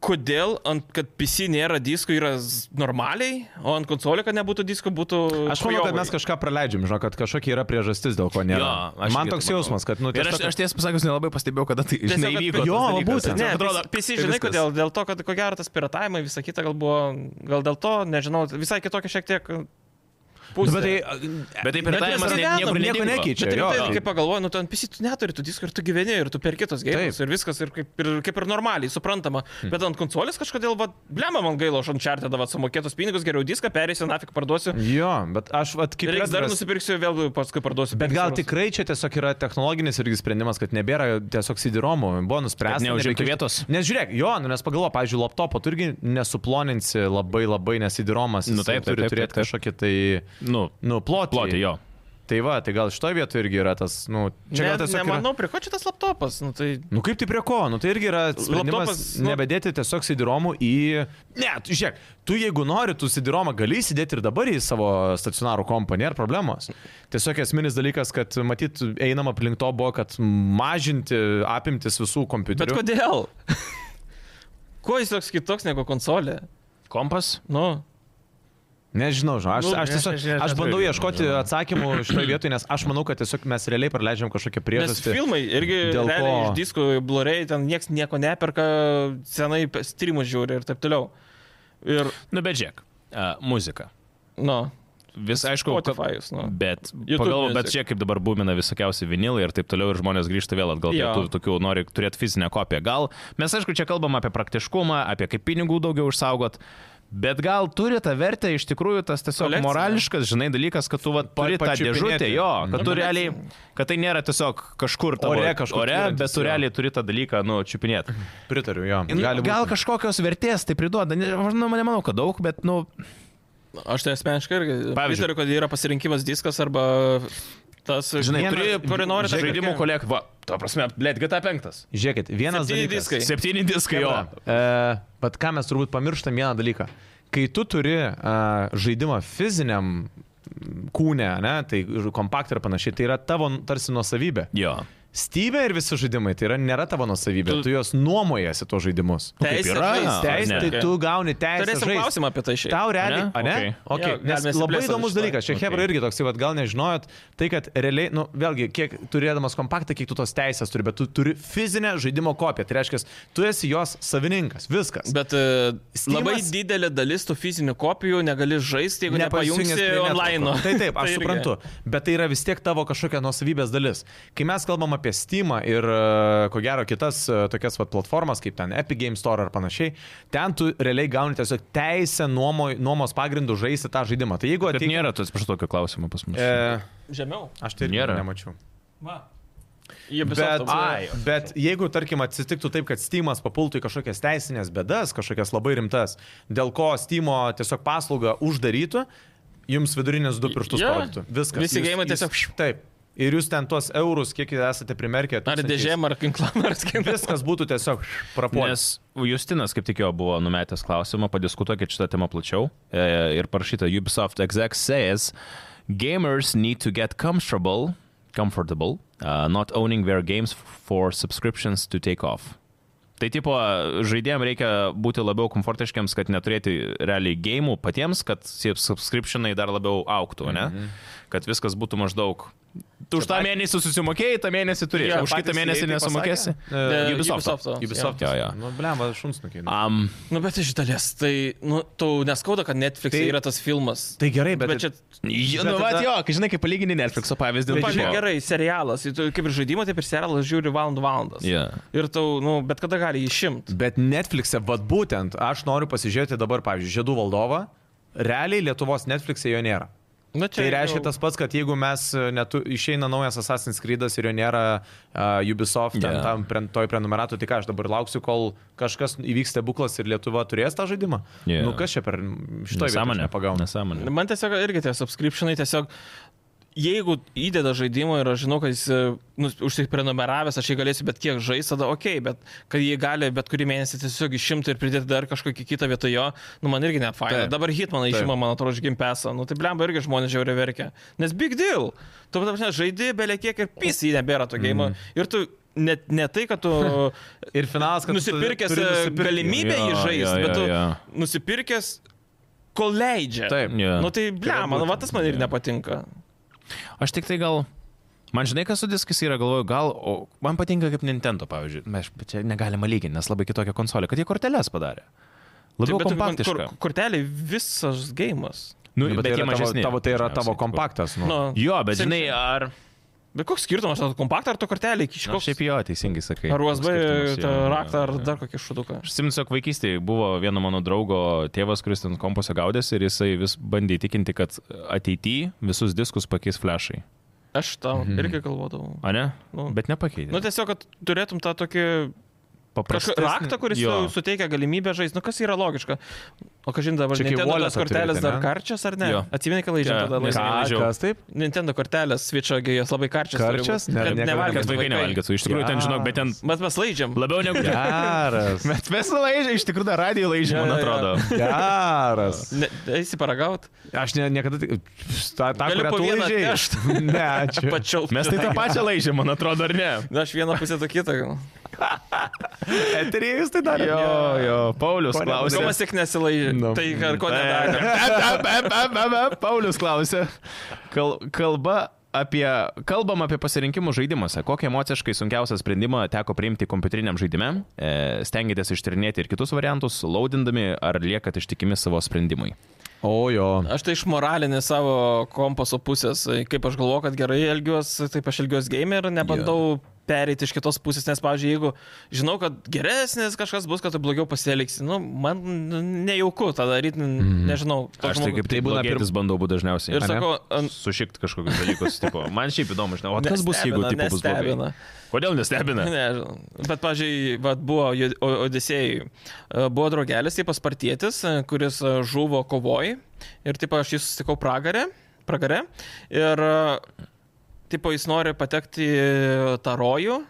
B: Kodėl ant, kad PC nėra diskų yra z- normaliai, o ant konsolio, kad nebūtų diskų, būtų...
C: Aš manau, kad
B: chujovai?
C: mes kažką praleidžiam, žinau, kad kažkokia yra priežastis, dėl ko nėra.
A: Jo, aš
C: Man
A: irgi
C: toks
A: taip manau.
C: jausmas, kad, nu,
A: Ir aš, aš tiesą pasakius nelabai pastebėjau, kada tai
B: Tiesiog,
A: žinai,
B: kad-
A: įvyko.
C: Jo,
A: tas dalykas.
C: būtent.
B: Ne,
A: Man
B: atrodo,
A: atrodo, tai
B: PC, žinai,
A: viskas.
B: kodėl? Dėl to, kad ko gero tas piratavimai, visa kita gal buvo, gal dėl to, nežinau, visai kitokia šiek tiek pusė.
C: Bet tai...
A: Bet tai
C: Net mes
A: piratavimas ne-
C: gyvenam,
A: niekur
C: nieko
A: nedingo.
C: nekeičia.
B: Bet
C: jo,
B: rimtai,
C: jo.
B: kaip pagalvoju, nu ten PC tu neturi tų diskų ir tu gyveni ir tu perki tos gėjimus
C: Taip.
B: ir viskas ir kaip ir, kaip ir normaliai, suprantama. Hmm. Bet ant konsolės kažkodėl, va, blemą man gaila, aš ant čartę davą sumokėtus pinigus, geriau diską perėsiu, nafik parduosiu.
C: Jo, bet aš
B: Ir
C: atkipiu.
A: Tai
B: reiks dar nusipirksiu, vėl paskui parduosiu.
C: Bet
B: 5
C: gal
B: eurus.
C: tikrai čia tiesiog yra technologinis irgi sprendimas, kad nebėra tiesiog sidiromų, buvo nuspręsta.
A: Kad neužimtų
C: nebekišti.
A: vietos.
C: Nes žiūrėk, jo, nu, nes pagalvo, pavyzdžiui, laptopo tu irgi nesuploninsi labai labai, nes sidiromas
A: Nu, taip, taip,
C: turi
A: taip,
C: turėti
A: taip,
C: kažkokį tai,
A: Nu,
C: nu, plotį.
A: plotį, jo.
C: Tai va, tai gal šitoje vietoje irgi yra tas, nu, čia gal
B: Ne,
C: tiesiog... Yra...
B: nemanau, prie ko čia tas laptopas. Nu, tai...
C: Nu kaip tai prie ko? Nu tai irgi yra sprendimas
B: Laptopas, nu-
C: nebedėti tiesiog sidiromų į... Ne, tu- žiūrėk, tu jeigu nori, tu sidiromą gali įsidėti ir dabar į savo stacionarų kompą, nėra problemos. Tiesiog esminis dalykas, kad matyt, einama aplink to buvo, kad mažinti apimtis visų
B: Bet
C: kompiuterių.
B: kodėl? Kuo jis toks kitoks negu konsolė?
A: Kompas?
B: Nu,
C: Nežinau, žinau, aš,
B: Nu,
C: aš
B: ne,
C: tiesiog...
B: aš ne-
C: Aš bandau
A: nežinau,
C: ieškoti atsakymų šitoje vietoje, nes aš manau, kad tiesiog mes realiai praleidžiam kažkokią
B: nes
C: priežastį.
B: filmai irgi
C: dėl
B: realiai
C: ko-
B: iš diskų, blu-ray, ten niekas nieko neperka, senai streamus žiūri ir taip toliau. Ir,
A: Nu, bet žiūrėk, uh, muzika.
B: nu,
A: Vis aišku, kad-
B: Spotify'us, nu.
A: bet
B: YouTube
A: pagalvoju, bet
B: Music.
A: čia kaip dabar būmina visokiausi vinilai ir taip toliau, ir žmonės grįžta vėl atgal prie
B: Jo.
A: tų tokių, nori turėti fizinę kopiją. Gal mes aišku čia kalbam apie praktiškumą, apie kaip pinigų daugiau užsaugot. Bet gal turi tą vertę iš tikrųjų tas tiesiog Kolekcija.
B: Kolekcija.
A: morališkas, žinai, dalykas, kad tu vat,
C: Pa-
A: turi tą
C: pačiupinėti.
A: dėžutę, jo, kad tu
B: Mhm.
A: realiai, kad tai nėra tiesiog kažkur tavo,
C: Ore kažkur
A: ore,
C: tvyrantis,
A: bet tu
C: jo.
A: realiai turi tą dalyką, nu, čiupinėti.
C: Pritariu, jo.
B: Nu,
A: Gal,
C: Gali
A: gal
C: būti.
A: kažkokios vertės tai priduoda, Ne- nu, nemanau, kad daug, bet, nu,
B: Aš tai asmeniškai irgi
A: Pavyzdžiui.
B: pritariu, kad yra pasirinkimas diskas arba tas,
A: Žinai,
C: Vieną-
A: turi,
B: kurį nori tą
A: žaidimų
B: pirkėją.
A: kolekciją. Va, tuo prasme, blėt, GTA 5.
C: Žiūrėkit, vienas
B: Septyni
C: dalykas.
B: diskai.
A: Septyni diskai jo.
C: E, bet ką mes turbūt pamirštam vieną dalyką, kai tu turi a, žaidimą fiziniam kūne, ne, tai kompaktą ir panašiai, tai yra tavo tarsi nuosavybė.
A: Jo.
C: Steam ir visi žaidimai, tai yra, nėra tavo nuosavybė,
A: Tu-
C: tu juos nuomojasi tuos žaidimus.
A: Nu, kaip
B: Teisė
A: yra?
B: žaist.
C: Teisė,
A: Ne.
C: tai tu gauni teisę.
B: Turėsim
C: žaist.
B: klausimą apie tai šiaip.
C: Tau realiai,
A: Ane?
C: o ne?
B: Okay.
C: Okay.
B: Jo,
C: Okay. Nes
B: galime
C: labai
B: išsiplėst
C: įdomus
B: šitą.
C: dalykas, čia
A: Okay.
C: Hebra irgi toks, vat, gal nežinojot, tai kad realiai, nu, vėlgi, kiek turėdamas kompaktą, kiek tu tos teisės turi, bet tu turi fizinę žaidimo kopiją, tai reiškia, tu esi jos savininkas, viskas.
B: Bet e,
C: Steamas-
B: labai didelė dalis tų fizinių kopijų negali žaisti, jeigu
C: Nepajungęs
B: nepajungsi
C: prie
B: online.
C: networko. Tai taip, aš
B: irgi.
C: suprantu, bet tai yra vis tiek tavo kažkokia nuosavybės dalis. Kai mes kalbam apie Steam ir e, ko gero kitas e, tokias vat, platformas, kaip ten Epic Game Store ar panašiai, ten tu realiai gauni tiesiog teisę nuomo, nuomos pagrindų žaisti tą žaidimą. Tai jeigu
A: Bet
C: atėjo...
A: nėra, tu atsiprašau, tokio klausimo pas mus.
C: E,
B: Žemiau.
C: aš tai irgi
A: Nėra.
C: nemačiau.
B: Va. Jie
C: Bet, ai,
B: visai.
C: bet jeigu, tarkim, atsitiktų taip, kad Steamas papultų į kažkokias teisinės bėdas, kažkokias labai rimtas, dėl ko Steamo tiesiog paslaugą uždarytų, jums vidurinis du pirštus
B: Jo.
C: yeah. parodytų. Viskas.
B: Visi
C: Jūs-
B: geimai
C: jūs-
B: tiesiog-
C: Taip. Ir jūs ten tuos eurus, kiek esate
B: Ar
C: primerkę, tūkstančiais,
B: dėžėm, ar kinklam, ar skinam.
C: Viskas būtų tiesiog prapuolęs.
A: Nes Justinas, kaip tik jo buvo numetęs klausimą, padiskutuokit šitą temą plačiau. E, ir parašyta Ubisoft exec says, gamers need to get comfortable, comfortable, uh, not owning their games for subscriptions to take off. Tai tipo, žaidėjams reikia būti labiau komfortiškiams, kad neturėti realiai gėjimų patiems, kad tie subscriptionai dar labiau auktų, ne?
C: Mhm.
A: Kad viskas būtų maždaug. Tu už tą mėnesį susimokėjai, tą mėnesį turi,
B: Jo,
A: už kitą
C: patys
A: mėnesį
C: EA tai
A: nesumokėsi.
C: pasakė?
B: E,
A: Ubisoft.
B: Ubisofto.
C: Ubisoft.
A: Jo, jo.
C: Nu, blem, šuns nukėlė.
A: Um,
B: Nu, bet iš dalies, tai, nu, tau neskauda, kad Netflix
C: Tai-
B: tai, yra tas filmas.
C: Tai gerai, bet,
B: bet, bet čia,
A: Jo,
C: Bet
A: nu, va,
C: tada-
A: jo, kai žinai, kaip palygini Netflix'o pavyzdį,
C: Bet
A: nu,
B: pavyzdžiui,
A: tipo-
B: gerai, serialas, ir tu kaip ir žaidimą, taip ir serialas žiūri valandų valandas.
A: Jo.
B: Ir tau, nu, bet kada gali jį išimti.
C: Bet Netflix'e, vad būtent, aš noriu pasižiūrėti dabar, pavyzdžiui, Žiedų valdovą, realiai Lietuvos Netflix'e jo nėra.
B: Nu, čia
C: Tai reiškia
B: jau-
C: tas pats, kad jeigu mes e, netu, išeina naujas Assassin's Creed'as ir jo nėra uh, Ubisoft, yeah.
A: Jo.
C: tam pre, toj prenumeratu, tai ką aš dabar lauksiu, kol kažkas įvyks stebuklas ir Lietuva turės tą žaidimą?
A: Jo.
C: Yeah. Nu kas čia per šitą
A: Nesąmonė.
C: pagauna?
A: Nesąmonė.
B: Man tiesiog irgi tie subscriptionai tiesiog... Jeigu įdeda žaidimą ir aš žinau, kad jis e, nu, užsiprenumeravęs, aš jį galėsiu bet kiek žaisti, tada ok, bet kad jį gali bet kurį mėnesį tiesiog išimti ir pridėti dar kažkokį kitą vietoj jo, nu man irgi ne faina.
C: Taip.
B: Dabar Hitmaną
C: Taip.
B: išima, man atrodo, iš gimpesą, nu tai blemba irgi žmonės žiauriai verkia. Nes big deal, tu pat apšne žaidži, belė kiek ir pys jį nebėra to gėjimo. Mm. Ir tu net ne tai, kad tu
C: Ir finalas, kad tu
B: nusipirkęs
C: turi
B: e,
C: nusipirkti.
B: galimybę
A: Jo,
B: jį žaisti,
A: jo,
B: bet tu
A: jo, jo.
B: nusipirkęs, kol leidžia.
C: Taip.
A: Jo.
B: Nu tai, ble,
C: Turėtų
B: man,
C: būti.
B: va, tas man ir nepatinka.
A: Aš tik tai gal... Man žinai, kas su diskais yra, galvoju, gal... O man patinka kaip Nintendo, pavyzdžiui. Mes bet čia negalima lyginti, nes labai kitokia konsolė, kad jie korteles padarė. Labiau tai,
B: Taip, bet tu-
A: kompaktiška.
B: kur- Kortelė visas gėjimas.
A: Nu,
C: Nu,
A: jie
C: bet, bet tai, yra tavo,
A: mažesni,
C: tavo, tai yra
A: dažniausiai,
C: tavo
A: tipo.
C: kompaktas. Nu. Nu,
B: Nu,
A: Jo, bet
B: Sim-
A: žinai, ar...
B: Bet koks skirtumas, ar tu kompaktą, ar tu kortelę iki
A: Na,
B: šios?
A: šiaip jo, teisingai sakai.
B: Ar USB
A: Skirtumas,
B: tą
A: jo, jo,
B: raktą, ar
A: jo.
B: dar kokį šuduką.
A: Aš atsimenu, tiesiog vaikystėje buvo vieno mano draugo tėvas, kuris ten kompose gaudėsi ir jisai vis bandė įtikinti, kad ateityje visus diskus pakeis flashai.
B: Aš tau
A: Mhm.
B: irgi galvodavau.
A: A ne?
B: Nu.
A: Bet nepakeitė.
B: Nu tiesiog, kad turėtum tą tokį
A: Paprastesnį-
B: kažkokį raktą, kuris
A: jo.
B: jo. suteikia galimybę žaisti. Nu kas yra logiška. O kažin dabar
C: Čia kaip
B: Nintendo tos
C: walletą
B: kortelės
C: turite,
B: dar
C: ne?
B: karčias ar ne?
A: Jo.
B: Atsimeni, kad laižė
A: Jo,
B: tada
A: nes-
B: laižė.
A: nežinau.
C: kas taip?
B: Nintendo kortelės, svičiogi jos labai karčias. turi
C: Karčias?
B: būt.
C: Ne,
B: Kad
C: niekada
B: nevalgytų
A: Kad vaikai nevalgytų. Iš tikrųjų, ten žinok, bet ten
B: Bet mes laidžiam.
A: labiau negu...
C: Geras.
A: Bet mes laižė, iš tikrųjų, dar radijo laižė,
B: Jo,
A: man
B: jo,
A: atrodo.
C: Geras.
B: Ne, Eisi paragaut.
C: Aš ne, niekada... tik- Ta, ta
B: Galiu
C: kurią
B: po
C: tu
B: vieną
C: laižei.
B: atnešt.
C: Ne, ačiū.
B: Pačiau.
A: Mes tai tą pačią laižė, man atrodo, ar ne?
B: Na, aš vieną pusę, tu kitą.
C: Eterį jūs tai darėte.
A: Jo, jo, Paulius
C: Ko
A: klausė.
B: Tomas tik nesilaižė.
C: Nu.
B: Tai ką-
A: Mm. E.
B: ko nedarė.
A: Eh. nedarė. Paulius klausė. Kal, kalba apie, kalbam apie pasirinkimus žaidimuose. Kokį emociškai sunkiausią sprendimą teko priimti kompiuteriniam žaidimėm? E, stengiatės ištyrinėti ir kitus variantus, laudindami ar liekat ištikimi savo sprendimui?
C: O jo.
B: Aš tai iš moralinės savo kompaso pusės, e, kaip aš galvoju, kad gerai elgiuosi, taip aš elgiuosi game ir nebandau yeah. pereiti iš kitos pusės, nes, pavyzdžiui, jeigu žinau, kad geresnis kažkas bus, kad tu blogiau pasielgsi, nu, man nu, nejauku tą daryti, mm. nežinau. toks
A: Aš tai
B: žmogus-
A: kaip tai
C: tai būna
A: būna pirmas bandau būti dažniausiai.
B: Ir
A: ane?
B: sakau, an-
A: sušikti kažkokius dalykus. tipo, man šiaip įdomu, žinau, o kas bus, jeigu
B: Nestebina,
A: taip bus blogai.
B: nestebina.
A: Kodėl nestebina?
B: Nežinau. Bet, pažiūrėjau, vat, buvo Ju- O- Odisėjai, e, buvo draugelis, taip paspartietis, e, kuris e, žuvo kovoj ir, taip, aš jį susitikau pragarė, pragarė e, ir, taip, jis nori patekti į tą rojų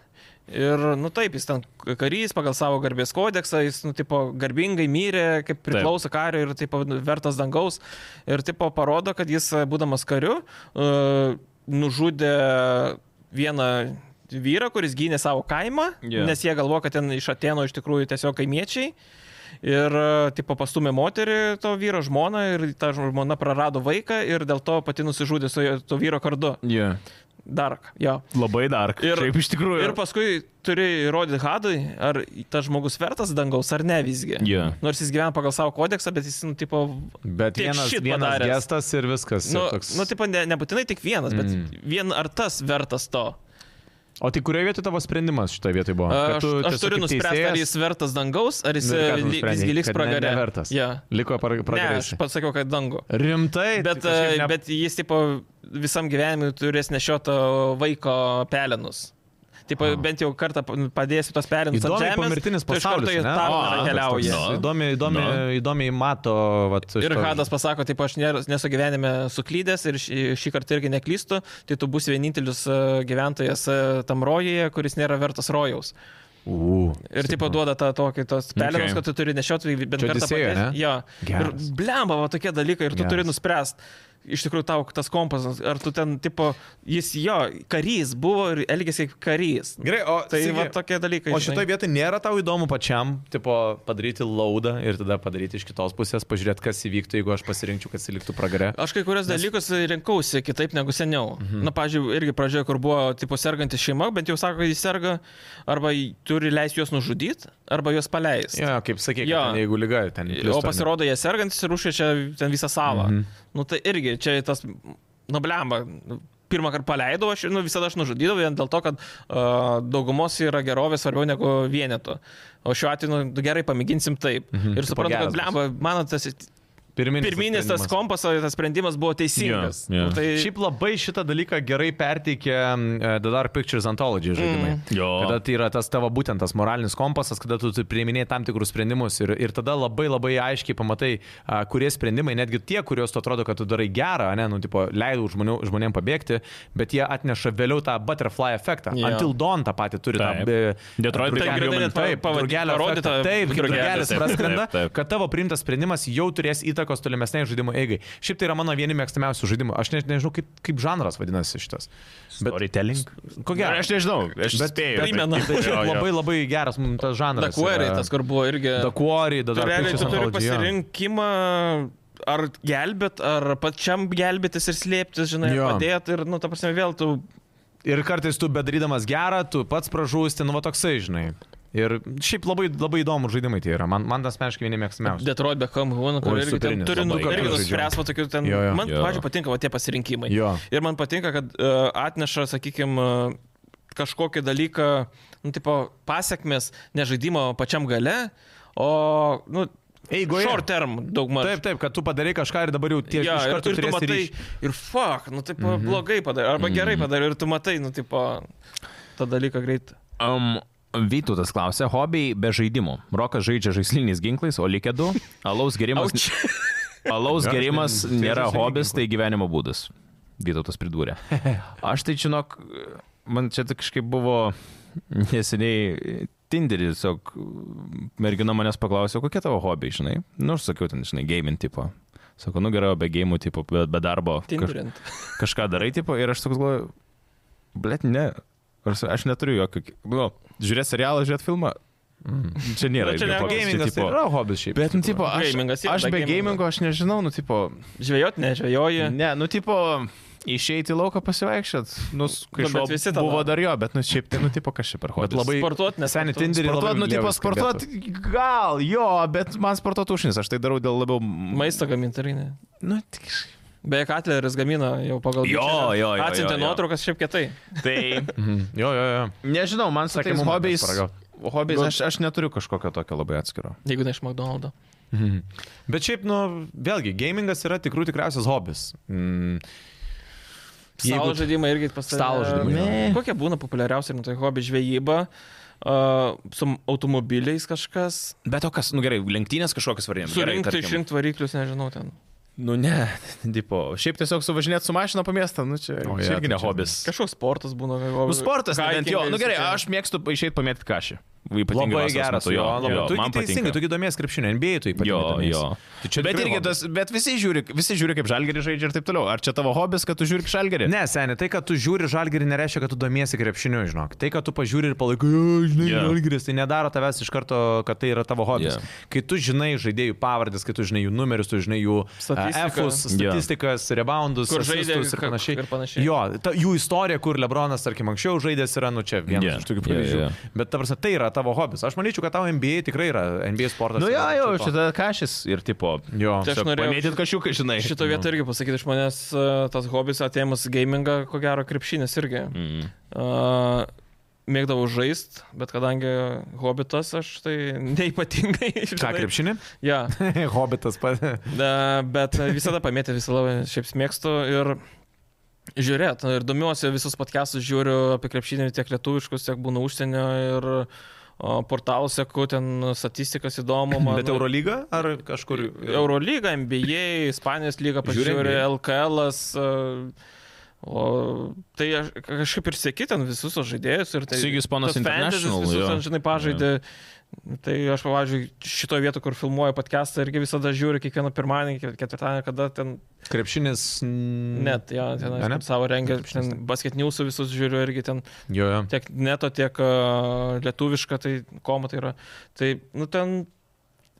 B: Ir, nu taip, jis ten karys pagal savo garbės kodeksą, jis, nu, tipo, garbingai myrė, kaip priklauso kariui ir, tipo, vertas dangaus. Ir, tipo, parodo, kad jis, būdamas kariu, e, nužudė vieną vyrą, kuris gynė savo kaimą,
A: Jo.
B: yeah. nes jie galvo, kad ten iš Atėno iš tikrųjų tiesiog kaimiečiai. Ir, e, tipo, pastumė moterį, to vyro žmoną, ir ta žmona prarado vaiką ir dėl to pati nusižudė su jo- to vyro kardu.
A: Yeah.
B: Dark, jo.
A: Labai dar.
B: Ir-
A: Taip, iš tikrųjų.
B: Ir paskui turi įrodyti Hadui, ar tas žmogus vertas dangaus, ar ne visgi.
A: Jo.
B: Nors jis gyvena pagal savo kodeksą, bet jis, nu, tipo,
C: Bet
B: Tiek
C: vienas,
B: shit
C: vienas
B: padaręs.
C: gestas ir viskas.
B: nu,
C: ir
B: toks... nu tipo, ne, nebūtinai tik vienas, bet mm. vien ar tas vertas to.
C: O tai kurioje vietoje tavo sprendimas šitoje vietoje buvo?
B: Aš,
C: Kad tu
B: aš
C: tiesiog
B: turiu
C: kaip
B: nuspręsti,
C: teisėjas-
B: ar jis vertas dangaus, ar jis
C: Nu ir ką tu
B: li,
C: nusprendei,
B: visgi liks
C: kad ne-
B: pragarė.
C: nevertas?
B: Yeah.
C: Liko
B: Ne,
C: pragarė.
B: aš pasakiau, kad dangų.
C: Rimtai?
B: Bet,
C: Tai kažkaip
B: ne... bet jis, tipo, visam gyvenimui turės nešiotą vaiko pelenus. Taip,
C: Ah.
B: bent jau kartą padėsiu tos pelinus ant
C: Įdomiai
B: žemės.
C: pomirtinis
B: tu iš karto
C: pasaulis,
B: į
C: ne?
B: tarną
A: O,
B: keliauji.
A: tas toks, nu.
C: Įdomiai, įdomiai,
A: Nu.
C: įdomiai mato. Vat,
B: Ir
C: šito-
B: Hadas pasako, taip aš nėra- nesu gyvenime suklydęs ir šį, šį kartą irgi neklystu, tai tu būsi vienintelis e, gyventojas e, tam rojuje, kuris nėra vertas rojaus.
C: U,
B: Ir taip duoda tą tokį tos pelenus,
A: Okay.
B: okay. kad tu turi nešioti bent
C: Čia
B: kartą
C: Odisėjo,
B: padės-
C: ne?
B: Jo. Ir
C: Geras.
B: blemba, va tokie dalykai, ir tu
C: Geras.
B: turi nuspręsti. Iš tikrųjų, tau tas kompasas, ar tu ten, tipo, jis jo, karys buvo ir elgėsi kaip karys.
C: Gerai, o,
B: Tai
C: Sigi,
B: va tokie dalykai.
C: o
B: žinai.
C: šitoje vietoje nėra tau įdomu pačiam, tipo, padaryti laudą ir tada padaryti iš kitos pusės, pažiūrėti, kas įvyktų, jeigu aš pasirinkčiau, kad jis liktų pragarė.
B: Aš kai kurios Nes... dalykus rinkausi kitaip negu seniau. Mhm. Na, pažiūrėjau, irgi pradžioje, kur buvo, tipo, serganti šeima, bent jau sako, kad jis serga, arba jį turi leisti juos nužudyti, arba juos paleisti.
C: Ja, kaip sakė,
B: Jo.
C: ja. jeigu lyga ten.
B: o pasirodo, jie sergantis ir užkečia ten visą salą.
C: Mhm.
B: Mhm. Nu, tai irgi čia tas, nu, blemba. Pirmą kartą paleidau, aš nu, visada aš nužudydavau vien dėl to, kad uh, daugumos yra gerovė svarbiau negu vieneto. O šiuo atveju, nu, gerai, pamėginsim taip. Mhm,
C: tipo,
B: ir suprantu,
C: geras
B: kad,
C: bus.
B: blemba, mano tas
C: pirminis,
B: pirminis tas
C: sprendimas.
B: kompasas, tas sprendimas buvo teisingas.
A: Jo, jo.
B: Nu, tai...
C: Šiaip labai šitą dalyką gerai perteikė e, The Dark Pictures Anthology žaidimai. Mm.
A: Jo.
C: Kada tai yra tas tavo būtent tas moralinis kompasas, kada tu priiminėjai tam tikrus sprendimus ir, ir tada labai labai aiškiai pamatai, a, kurie sprendimai, netgi tie, kuriuos tu atrodo, kad tu darai gerą, ne, nu, tipo, leidau žmonių, žmonėm pabėgti, bet jie atneša vėliau tą butterfly efektą.
B: Jo.
C: Yeah. Until Dawn tą patį turi.
A: Taip.
C: Tą, e,
A: Detroit
C: drugelio-
A: Become Human.
C: taip,
B: Taip, pavadin-
C: drugelio
B: parodyta
C: efektą. Taip,
B: drugelis,
C: drugelis
A: taip,
C: praskrenda,
A: taip, taip.
C: kad tavo priimtas sprendimas jau turės įtakos tolimesnei žaidimo eigai. Šiaip tai yra mano vieni mėgstamiausių žaidimų. Aš net nežinau, kaip, kaip žanras vadinasi šitas. Bet
A: Storytelling.
C: ko gero.
A: Aš nežinau, aš
C: Bet-
A: spėju.
C: bet-
B: Primena.
A: Taip, taip,
C: Šiaip
A: jo, jo.
C: labai labai geras mums tas žanras.
B: Dakueriai, tas, kur buvo irgi.
C: Dakuori,
B: Tu
C: dabar
B: realiai tu turi pasirinkimą. Ar gelbėt, ar pačiam gelbėtis ir slėptis, žinai,
C: Jo.
B: padėti ir, nu, ta prasme, vėl tu...
C: Ir kartais tu bedarydamas gerą, tu pats pražūsti, nu va toksai, žinai. Ir šiaip labai, labai įdomu žaidimai tai yra. Man, man tas meškai vieni mėgstamiausi.
B: Detroit Beckham Human, kur
C: Oi,
B: irgi ten
C: superinis,
B: turi nu,
A: labai
B: irgi
A: geras
B: nuspręs, va tokių ten...
C: Jo, jo.
B: Man,
A: Jo.
B: pažiūrėjau, patinka va tie pasirinkimai.
C: Jo.
B: Ir man patinka, kad uh, atneša, sakykime, uh, kažkokį dalyką, nu, tipo, pasiekmes ne žaidimo pačiam gale, o, nu,
C: Eigoje.
B: short term daugmaž.
C: Taip, taip, kad tu padarai kažką ir dabar jau tie
B: Jo,
C: ja, iš
B: ir,
C: karto
B: ir tu
C: turėsi
B: matai,
C: ryšį.
B: ir fuck, nu taip mm -hmm. blogai padarai, arba gerai padarai, ir tu matai, nu taip, tą dalyką greit.
A: Um, Vytautas klausė, hobiai be žaidimų. Rokas žaidžia žaisliniais ginklais, o likę du. Alaus gerimas,
B: Auč.
A: alaus
C: Geras
A: gerimas
C: sprendimas. Tai
A: nėra
C: žaisliniai
A: hobis, tai gyvenimo būdas. Vytautas pridūrė. Aš tai žinok, man čia tik kažkaip buvo neseniai Tinderį, tiesiog mergina manęs paklausė, kokie tavo hobiai, žinai. Nu, aš sakiau, ten, žinai, gaming tipo. Sako, nu gerai, o be gėjimų tipo, be, be darbo. kaž-
B: Tinderint.
A: kažką darai, tipo, ir aš toks galvoju, blėt, ne, aš, aš neturiu jokio, nu, žiūrėt serialą, žiūrėt filmą, mm. čia nėra.
B: Nu, čia
A: ilgio
B: ne
A: hobis, čia,
C: Gamingas tai
A: tipo-
C: yra hobis šiaip.
A: Bet, nu, tipo, aš,
B: Gamingas yra,
A: aš
B: be
A: be
B: gamingo.
A: gamingo aš nežinau, nu, tipo,
B: Žvejot, nežvejoji.
A: ne, nu, tipo, išeiti į lauką pasivaikščiat, nu, s- kai
B: Nu, bet
A: šuo
B: visi tą
A: buvo
B: daro.
A: dar jo, bet, nu, šiaip tai, nu, tipo, kas čia per hobis.
C: labai-
B: Sportuot, nes
C: Seniai
B: tu-
C: Tinderį labai
A: Sportuot, nu, tipo,
C: liaudiškai
A: sportuot, gal, jo, bet man sportuot užnis, aš tai darau dėl labiau...
B: Maisto gamintarinė.
A: Nu, tik...
B: Beje, Katleris gamina jau pagal...
A: Jo, jo,
B: biudžetą.
A: jo, jo,
B: Atsiuntė
A: jo.
B: nuotraukas šiaip kietai.
A: Tai...
C: Mhm. Jo, jo, jo.
A: Nežinau, man su
C: Sakė,
A: tais
C: mum
A: hobiais.
C: paragaut.
A: Hobiais aš, aš neturiu kažkokio tokio labai atskiro.
B: Jeigu ne iš McDonald'o.
C: Mhm. Bet šiaip, nu, vėlgi, gamingas yra tikrų tikriausias hobis. Mm.
B: Stalo žaidimai irgi pas tave-
C: Stalo žaidimai, jo.
A: Ne.
B: Kokie būna populiariausi, nu tai hobi žvejyba, uh, su automobiliais kažkas,
A: Bet o kas, nu gerai, lenktynės kažkokias variantas.
B: surinkti, išrinkti variklius, nežinau ten.
A: Nu ne, tipo, šiaip tiesiog suvažinėti su mašina po miestą, nu čia,
C: O,
A: o, čia
C: je,
A: irgi
C: tai
A: ne
C: čia-
A: hobis.
B: Kažkoks sportas būna.
A: Nu, sportas, ne bent jo. Nu gerai, aš mėgstu išeiti pamėtyti kažį. Ypatingai
C: Labai
A: vasaros
C: geras,
A: metu,
C: jo, labai. Tu
A: man
C: gi teisingai, tu gi domiesi krepšinio, NBA tu ypatingai.
A: Jo,
C: domiesi.
A: jo.
C: Tai čia
A: bet
C: tikrai
A: irgi
C: hobis.
A: tas, bet visi žiūri, visi žiūri kaip žalgerį žaidžia ir taip toliau. Ar čia tavo hobis, kad tu žiūri žalgerį?
C: Ne, seniai, tai, kad tu žiūri žalgerį, nereiškia, kad tu domiesi krepšiniu, žinok. Tai, kad tu pažiūri ir palaikai, "Jo, žinai,
A: Jo.
C: yeah. žalgeris, tai nedaro tavęs iš karto, kad tai yra tavo hobis.
A: Jo.
C: Yeah. Kai tu žinai žaidėjų pavardės, kai tu žinai jų numerius, tu žinai jų e,
B: Statistiką.
C: F-us,
A: Jo.
C: statistikas, yeah. reboundus,
B: Kur žaidė,
C: assistus ir
B: ka-
C: panašiai.
B: ir panašiai.
C: Jo, ta, jų istorija, kur Lebronas, tarkim, anksčiau žaidęs yra, nu čia vienas
A: Jo.
C: yeah. iš tokių
A: Jo,
C: pavyzdžių.
A: jo.
C: Yeah, yeah. Bet, ta prasme, tai yra tavo hobis. Aš manyčiau, kad tavo NBA tikrai yra NBA sportas.
A: Nu jo,
C: yra
A: jo,
C: arčiau to.
A: šitą kažis ir tipo.
C: Jo.
B: Čia- Tai Aš norėjau-
A: Pamėtyti kažkokią, žinai.
B: Šitą vietą irgi pasakyti iš manęs, e, tas hobis atėmus gamingą, ko gero krepšinis irgi.
C: Mhm.
A: Mm.
B: Uh, mėgdavau žaisti, bet kadangi hobitas aš tai neipatingai.
C: Ką
B: žinai.
C: krepšinį?
B: Jo,
C: Hobitas pat.
B: Da, bet visada pamėtė, visada šiaip mėgstu ir žiūrėt. Ir domiuosi visus podcastus, žiūriu apie krepšinį tiek lietuviškus, tiek būna užsienio ir o, portalus, seku ten statistikas įdomu. Man,
C: Bet Eurolyga ar kažkur?
B: Eurolyga, NBA, Ispanijos lyga,
C: Žiūri
B: pažiūriu,
C: NBA.
B: LKL. O tai aš kažkaip ir sėki ten visus tuos žaidėjus ir tai...
A: Sigis Ponas
B: tas fantasies
A: International,
B: Visus,
A: jo.
B: ten, žinai, pažaidė. Tai aš, pavyzdžiui, šitoje vietoje, kur filmuoju podcastą, irgi visada žiūriu kiekvieną pirmadienį, ketvirtadienį, kada ten
C: Krepšinis. mm,
B: net, jo, ten
C: Ane?
B: aš savo rengia, šiandien basketiniusų visus žiūriu irgi ten
C: Jo, jo.
B: tiek neto, tiek a, lietuviška, tai koma tai yra. Tai, nu, ten,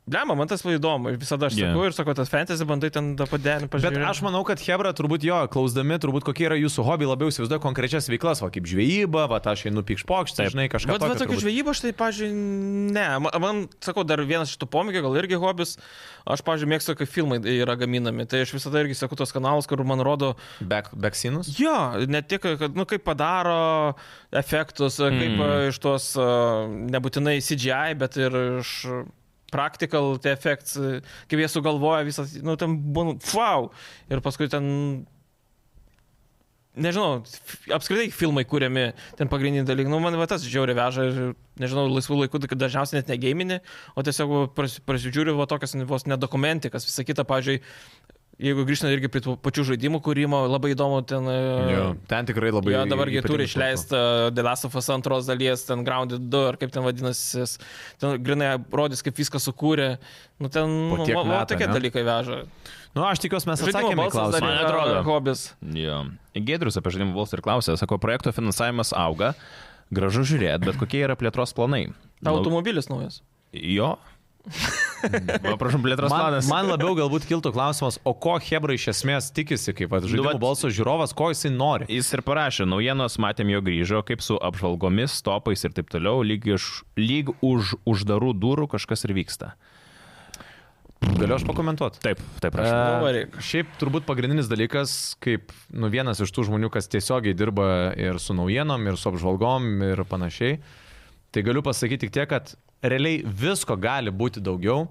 B: blema, man tas labai įdomu, ir visada aš
A: Jo.
B: yeah. sakau ir sakau, tas fantasy bandai ten tą padėlį
C: Bet
B: pažiūrėti.
C: aš manau, kad Hebra turbūt jo, klausdami, turbūt kokie yra jūsų hobiai, labiau įsivaizduoja konkrečias veiklas, va kaip žvejyba, va aš einu pikšpokštą,
A: Taip.
C: žinai, kažką.
B: Bet, bet tokių žvejybų aš tai, pažiūrėjau, ne. Ma- Man, sakau, dar vienas šitų pomėgių, gal irgi hobis. Aš, pažiūrėjau, mėgstu, kai filmai yra gaminami. Tai aš visada irgi sakau tos kanalus, kur man rodo,
C: Beksinus?
B: Jo, ne tik, kad, nu, kaip padaro efektus, kaip
A: Mm.
B: mm. iš tos a, nebūtinai CGI, bet ir iš practical tie efekts, e, kaip jie sugalvoja visą, nu, ten būna, wow. Ir paskui ten, nežinau, f- apskritai filmai kūriami, ten pagrindiniai dalykai, nu, man va tas žiauri veža ir, nežinau, laisvų laikų, tai kad dažniausiai net negeiminį, o tiesiog va pras- prasižiūriu va tokias nu, vos nedokumentikas, visą kitą, pažiūrėjau, Jeigu grįžtume irgi prie tų pačių žaidimų kūrimo, labai įdomu ten... e,
C: Ten tikrai labai.
B: Jo, dabargi turi
C: ypatingas
B: išleisti The Last of Us antros dalies, ten Grounded 2, ar kaip ten vadinasi, jis ten grinai rodys, kaip viską sukūrė. Nu, ten,
C: Po tiek
B: va, va,
C: metų,
B: tokie
C: ne?
B: dalykai veža.
C: platformas. Nu, aš tikiuosi, mes
B: Žaidimo
C: atsakėme į
B: balsas dar
C: klausimą.
A: Man
B: yra
A: atrodo.
B: hobis.
A: Jo. Gedrius apie žaidimų valstą ir klausė, sako, projekto finansavimas auga, gražu žiūrėti, bet kokie yra plėtros planai?
B: Tau
A: Lau-
B: automobilis naujas.
A: Jo. Va, prašom, plėtros
C: Man,
A: planas.
C: man labiau galbūt kiltų klausimas, o ko Hebra iš esmės tikisi, kaip
B: Nu,
C: va, žaidimų
A: vat-
C: balso žiūrovas, ko jisai nori.
A: Jis ir parašė, naujienos matėm jo grįžo, kaip su apžvalgomis, topais ir taip toliau, lyg, iš, lyg už uždarų durų kažkas ir vyksta.
C: Galiu aš pakomentuoti?
A: Taip, taip, prašau.
B: Nu,
C: E,
B: varyk.
C: šiaip turbūt pagrindinis dalykas, kaip nu, vienas iš tų žmonių, kas tiesiogiai dirba ir su naujienom, ir su apžvalgom, ir panašiai, tai galiu pasakyti tik tiek, kad realiai visko gali būti daugiau,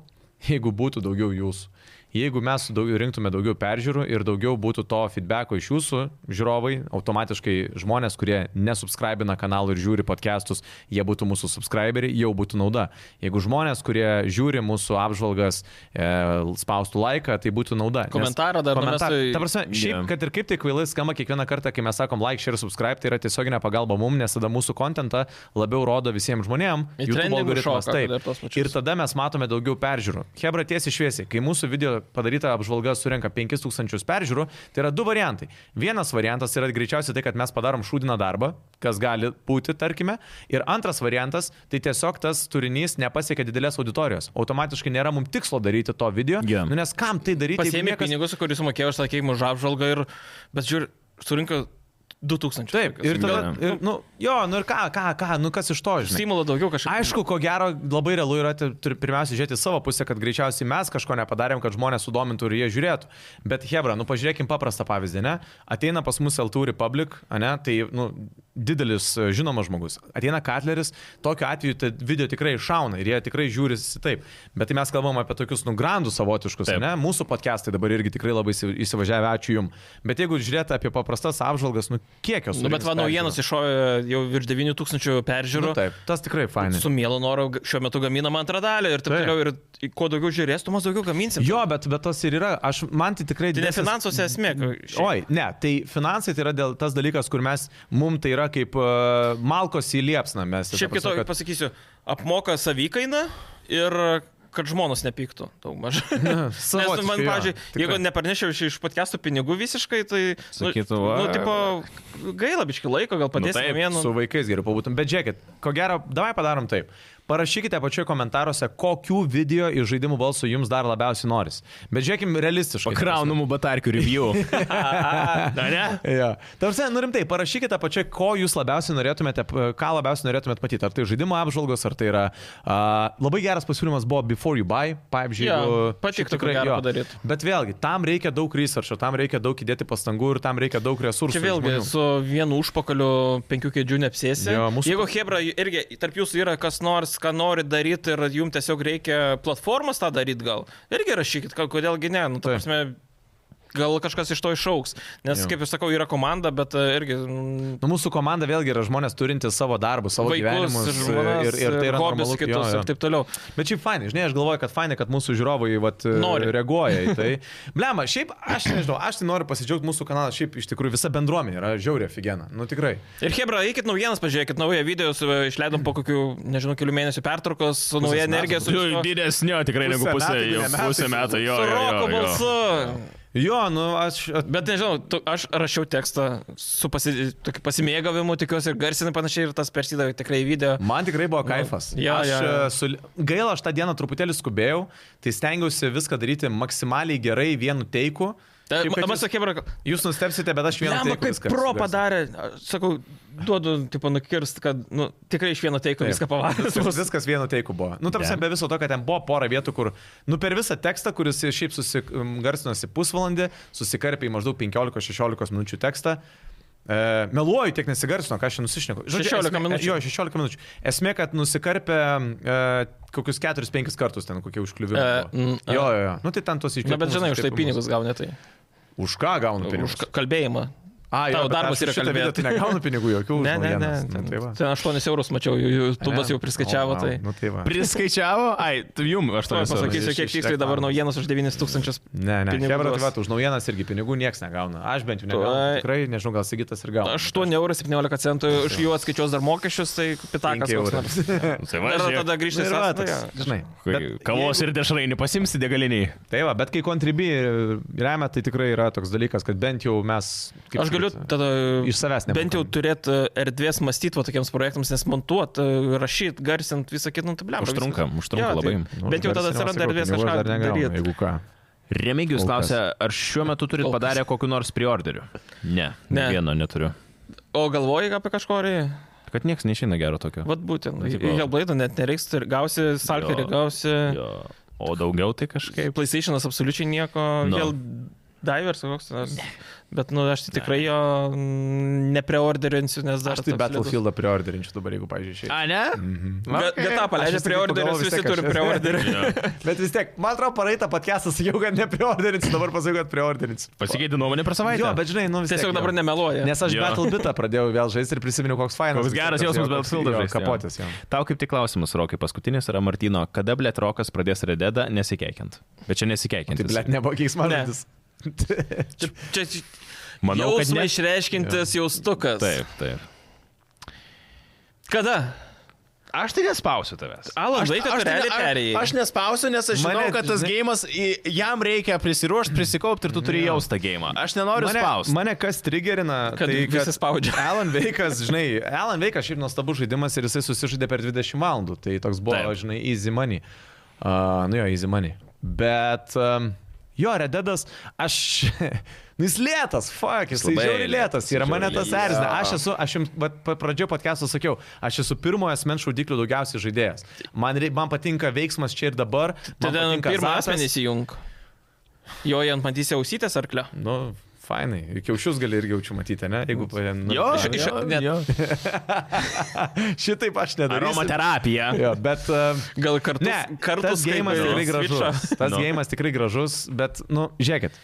C: jeigu būtų daugiau jūsų. Jeigu mes su daugiau, rinktume daugiau peržiūrų ir daugiau būtų to feedbacko iš jūsų žiūrovai, automatiškai žmonės, kurie nesubscribina kanalų ir žiūri podcastus, jie būtų mūsų subscriberiai, jau būtų nauda. Jeigu žmonės, kurie žiūri mūsų apžvalgas, e, spaustų laiką, tai būtų nauda. Nes-
B: Komentarą dar
C: Komentar...
B: numestų į-
C: Ta prasme, šiaip,
A: Jo.
C: yeah. kad ir kaip tai kvailai skamba kiekvieną kartą, kai mes sakom like, share, subscribe, tai yra tiesioginė pagalba mum, nes tada mūsų kontentą labiau rodo visiems žmonėms.
B: Į trendingus šoka, kad ir tuos pačius.
C: Ir tada mes matome daugiau peržiūrų. Hebra tiesiai šviesiai, kai mūsų video padaryta apžvalga surinka 5000 peržiūrų, tai yra du variantai. Vienas variantas yra greičiausiai tai, kad mes padarom šūdiną darbą, kas gali būti, tarkime. Ir antras variantas, tai tiesiog tas turinys nepasiekia didelės auditorijos. Automatiškai nėra mums tikslo daryti to video,
A: Jo.
C: yeah. nu, nes kam tai daryti? jeigu
B: Pasėmė
C: niekas-
B: pinigus, kuriuos sumokėjau, aš sakėjau, už apžvalgą ir, bet žiūrėk, surinko 2000.
C: Taip, ir tada,
A: Jo.
C: ir, nu, jo, nu ir ką, ką, ką, nu kas iš to, žinai.
B: Stimulo daugiau kažkaip.
C: Aišku, ko gero, labai realu yra ti- turi pirmiausia žiūrėti į savo pusę, kad greičiausiai mes kažko nepadarėm, kad žmonės sudomintų ir jie žiūrėtų. Bet Hebra, nu pažiūrėkim paprastą pavyzdį, ne? Ateina pas mus L2 Republic, ne? Tai, nu, didelis e, žinomas žmogus. Ateina Katleris, tokiu atveju tai video tikrai šauna ir jie tikrai žiūrisi taip. Bet tai mes kalbam apie tokius nugrandus savotiškus,
A: Taip.
C: ne? Mūsų podcastai dabar irgi tikrai labai įsi- įsivažiavę, ačiū jums. Bet jeigu žiūrėt apie paprastas apžvalgas, nu kiek jos.
B: Nu, bet va,
C: surinks
B: naujienos
C: peržiūrų?
B: iššovė jau virš 9000 peržiūrų.
C: Nu, taip, tas tikrai fainai.
B: Su mielu noru g- šiuo metu gaminama antrą dalį ir taip
C: Taip.
B: toliau. Ir kuo daugiau žiūrės, tuo mes daugiau gaminsim.
C: Jo, bet, bet tas ir yra. Aš, man tai tikrai
B: Tai ne
C: didesnis-
B: finansuose esmė. šiaip.
C: Oi, ne, tai finansai tai yra dėl, tas dalykas, kur mes, mum tai yra kaip uh, malkos į liepsną. Mes, ta
B: Šiaip
C: prasme,
B: kitokiu pasakysiu, apmoka savikainą ir kad žmonos nepyktų daug maž. Nes man,
C: savotiškai, jo,
B: pavyzdžiui,
C: tikrai.
B: jeigu neparnešiau iš, iš podcastų pinigų visiškai, tai... nu-
A: Sakytų, va.
B: nu, tipo, gaila biški laiko, gal padėsime
A: taip,
B: nu, vienu.
C: Su vaikais geriau pabūtum. Bet žiūrėkit, ko gero, davai padarom taip. Parašykite pačioje komentaruose, kokių video iš žaidimų balsų jums dar labiausiai noris. Bet žiūrėkim realistiškai.
A: Kraunamų batarkių review. Na, ne?
C: Ja. Tarsi, nu rimtai, parašykite pačią, ko jūs labiausiai norėtumėte, p- ką labiausiai norėtumėte matyti. Ar tai žaidimo apžvalgos, ar tai yra... Uh, labai geras pasiūlymas buvo Before You Buy, pavyzdžiui.
B: Jo,
C: jeigu-
B: patiktų,
C: šiaip tikrai,
B: ko gero,
C: jo.
B: padaryt.
C: Bet vėlgi, tam reikia daug researcho, tam reikia daug įdėti pastangų ir tam reikia daug resursų.
B: Čia
C: iš
B: vėlgi
C: žmonių.
B: su vienu užpakaliu penkių kėdžių neapsėsi.
C: Jo, mūsų-
B: Jeigu Hebra irgi tarp jūsų yra kas nors, ką nori daryti ir jums tiesiog reikia platformos tą daryti gal, irgi rašykit, ka- kodėlgi ne, nu, ta
C: Taip.
B: prasme, gal kažkas iš to išauks. Nes,
C: Jo.
B: jo. kaip ir sakau, yra komanda, bet e, irgi... mm,
C: Nu, mūsų komanda vėlgi yra žmonės turintys savo darbus, savo gyvenimus e,
B: žmonas,
C: ir, ir tai yra
B: hobius
C: normalu,
B: kitus
C: jo, jo.
B: ir taip toliau.
C: Bet šiaip fainai, žinai, aš galvoju, kad fainai, kad mūsų žiūrovai vat, e,
B: Nori.
C: reaguoja į tai. Blema, šiaip aš nežinau, aš tai noriu pasidžiaugti mūsų kanalą, šiaip iš tikrųjų visa bendruomenė yra žiauriai figena, nu tikrai.
B: Ir Hebra, eikit naujienas, pažiūrėkit naują video, su- e, išleidom po kokių, nežinau, kelių mėnesių pertraukos, su nauja
C: metų.
B: energija, su...
A: Jau Didesnio tikrai negu pusė,
C: Pusę metų,
A: jau
C: ne metai,
A: pusę metų, jo. jo,
B: Su
A: jo,
B: roko
A: jo.
B: balsu.
C: Jo, nu aš...
B: Bet nežinau, tu, aš rašiau tekstą su pasi, tokiu pasimėgavimu, tikiuosi ir garsinai panašiai ir tas persidavė tikrai į video.
C: Man tikrai buvo kaifas.
B: Nu, jo,
C: aš,
B: jo,
C: e,
B: jo.
C: Su... Gaila, aš tą dieną truputėlį skubėjau, tai stengiausi viską daryti maksimaliai gerai vienu teiku.
B: Ta,
C: Kaip kad
B: ma, sakė, bro,
C: Jūs nustepsite, bet aš vienu
B: Lemba,
C: teiku.
B: kaip
C: viską
B: pro
C: sugarsinau.
B: padarė, Aš sakau, duodu, tipo, nukirst, kad, nu, tikrai iš vieno teiko
C: Taip.
B: viską pavarė.
C: Viskas, viskas vienu teiku buvo. Nu, tarsi
A: Ne.
C: be viso to, kad ten buvo pora vietų, kur, nu, per visą tekstą, kuris šiaip susigarsinosi pusvalandį, susikarpė į maždaug 15-16 minučių tekstą. E, meluoju, tiek nesigarsino, ką aš čia nusišneku.
B: 16
C: esmė-
B: minučių.
C: Jo, 16 minučių. Esmė, kad nusikarpė e, kokius 4-5 kartus ten kokie užkliuvimai.
B: E,
C: buvo.
B: mm, e.
C: jo, jo, jo. Nu, tai ten tos
B: Na,
C: iškliuvimai.
B: bet žinai, už tai pinigus gauni tai.
C: Už ką gaunu pinigus?
B: Už ka- kalbėjimą.
C: A,
B: tavo
C: bet
B: darbas
C: aš už
B: yra
C: šitą video
B: kalbėt.
C: Tai negaunu pinigų jokių. už
B: Ne, ne, ne.
C: naujienas. Nu,
B: Ten,
C: tai va.
B: ten 8 eurus mačiau, YouTube'as jau
C: Ne.
B: priskaičiavo
C: O,
B: tai.
C: vau, Nu, tai va.
A: Priskaičiavo? Ai, tu jum, aš to
B: Tuoj pasakysiu,
C: iš-
B: kiek
C: iš
B: tiksliai dabar
C: reklamos.
B: naujienas už 9000.
C: Ne, ne,
B: pinigų
C: Hebra,
B: duos.
C: tai va, už naujienas irgi pinigų niekas negauna. Aš bent jau negaunu.
B: Tuoj.
C: Tikrai, nežinau, gal Sigitas ir gauna.
B: 8 eurų 17 centų, iš jų atskaičiuos dar mokesčius, tai pitakas
C: Penki
B: koks
C: eurai.
B: nors.
A: Tai
B: Ir
A: važiuoju.
B: tada grįžti į sąskaitą.
C: Žinai. bet
A: Kavos ir dešrainį pasimsi degaliniai.
C: Tai va, bet kai kontribi remia, tai tikrai yra toks dalykas, kad bent jau mes... kaip
B: Aš galiu
C: sakyt,
B: tada
C: Iš savęs
B: bent jau
C: nemokam.
B: turėti erdvės mąstyti tokiems projektams, nes montuoti, rašyti, garsinti, visą kitą, nu, tabliam.
A: Užtrunka, užtrunka labai.
C: Nu,
B: Bent jau tada
C: garsinimo,
B: atsiranda
C: sakau,
B: erdvės
C: pinigų aš
B: kažką
C: dar negaunu,
B: daryti.
C: Jeigu ką.
A: Remigijus
C: Kol kas.
A: klausia, ar šiuo metu turit
B: Kol kas.
A: padarę kokiu nors preorderiu? Ne, ne,
B: Ne.
A: vieno neturiu.
B: O galvoji apie kažko, ar...
A: Kad niekas neišeina gero tokio.
B: Vat būtent,
A: Nu, tipo-
B: Helblade net nereiks, tu ir gausi Salkerį,
A: Jo.
B: gausi
A: Jo. O daugiau tai kažkaip.
B: PlayStation'as absoliučiai nieko,
C: Nu.
A: No.
B: vėl Divers ar koks nors. Bet, nu, aš tai tikrai jo mm, nepreorderinsiu, nes dar...
C: Aš tai
B: toks slidus.
C: Battlefieldą priorderinčiau dabar, jeigu, pažiūrėjau, šiaip.
A: A, ne?
B: Ga- GTA
C: Aš
B: paleidžia
C: vis tik pagalvojau,
B: preorderius,
C: vis
B: visi
C: tiek
B: turi
C: aš-
B: preorderį.
C: Bet vis tiek, man atrodo, paraitą podcastą sakiau, kad nepriorderinsiu, dabar pasakiau, kad priorderinsiu.
A: Pasikeitė nuomonė per savaitę.
C: Jo, bet žinai, nu vis tiek.
B: Tiesiog
C: jo.
B: dabar nemeluoja.
C: Nes aš
A: Jo.
C: Battlebitą pradėjau vėl žaisti ir prisiminiau, koks fainas.
A: Koks geras
C: viskas,
A: jausmas
C: jo, koks-
A: Battlefieldą
C: jo, Tai
A: žaist, jo.
C: Kapotis jau.
A: Tau kaip tik klausimas, Rokai, paskutinis yra Martino, kada blėt Rokas pradės rededą nesikeikiant? Bet čia nesikeikiant.
C: Tai blėt nebuvo keiksmažodis.
B: Čia, čia, čia
A: Manau, kad
B: jausmą
A: ne.
B: išreiškintis jaustukas.
A: Taip, taip.
B: Kada?
A: Aš tai nespausiu tavęs.
B: Alan, žinai, kad tu realiai perėjai.
A: aš nespausiu, nes aš žinau,
C: Mane,
A: kad tas
C: žinai-
A: gėjimas, jam reikia prisiruošti, prisikaupti ir tu turi jausti tą gėjimą. Aš nenoriu
C: Mane,
A: spausti.
C: mane kas trigerina,
B: Kad
C: tai
B: visi spaudžia.
C: Alan Veikas, žinai, Alan Veikas šiaip nuostabus žaidimas ir jisai susižaidė per 20 valandų. Tai toks buvo,
A: Taip.
C: žinai, easy money. Uh, nu jo, easy money. Bet um, jo, Rededas, aš... Nu, jis lėtas, fuck, jis
A: Labai
C: žiauriai lėtas
A: lėtas,
C: ir mane
A: žiauriai
C: tas
A: lėtas.
C: erzina. Aš esu, aš jums vat, pa- pradžioje podcast'o sakiau, aš esu pirmojo asmens šaudiklių daugiausiai žaidėjas. Man, rei- man patinka veiksmas čia ir dabar. man
B: Tada
C: patinka
B: pirmą
C: azartas.
B: asmenį įsijung. Jo, jie ant matys ausytės arklio.
C: Nu, Fainai, ir kiaušius gali ir kiaučių matyti, ne? Jeigu nu, paėmė.
A: Jo,
B: ši-
A: jo,
B: ši-
A: jo.
C: Šitaip aš nedarysiu.
A: Aromaterapija.
C: Jo, bet... Uh,
B: Gal kartu,
C: ne,
B: kartu
C: tas gėjimas tikrai gražus. Tas
A: Nu.
C: gėjimas tikrai gražus, bet, nu, žiūrėkit.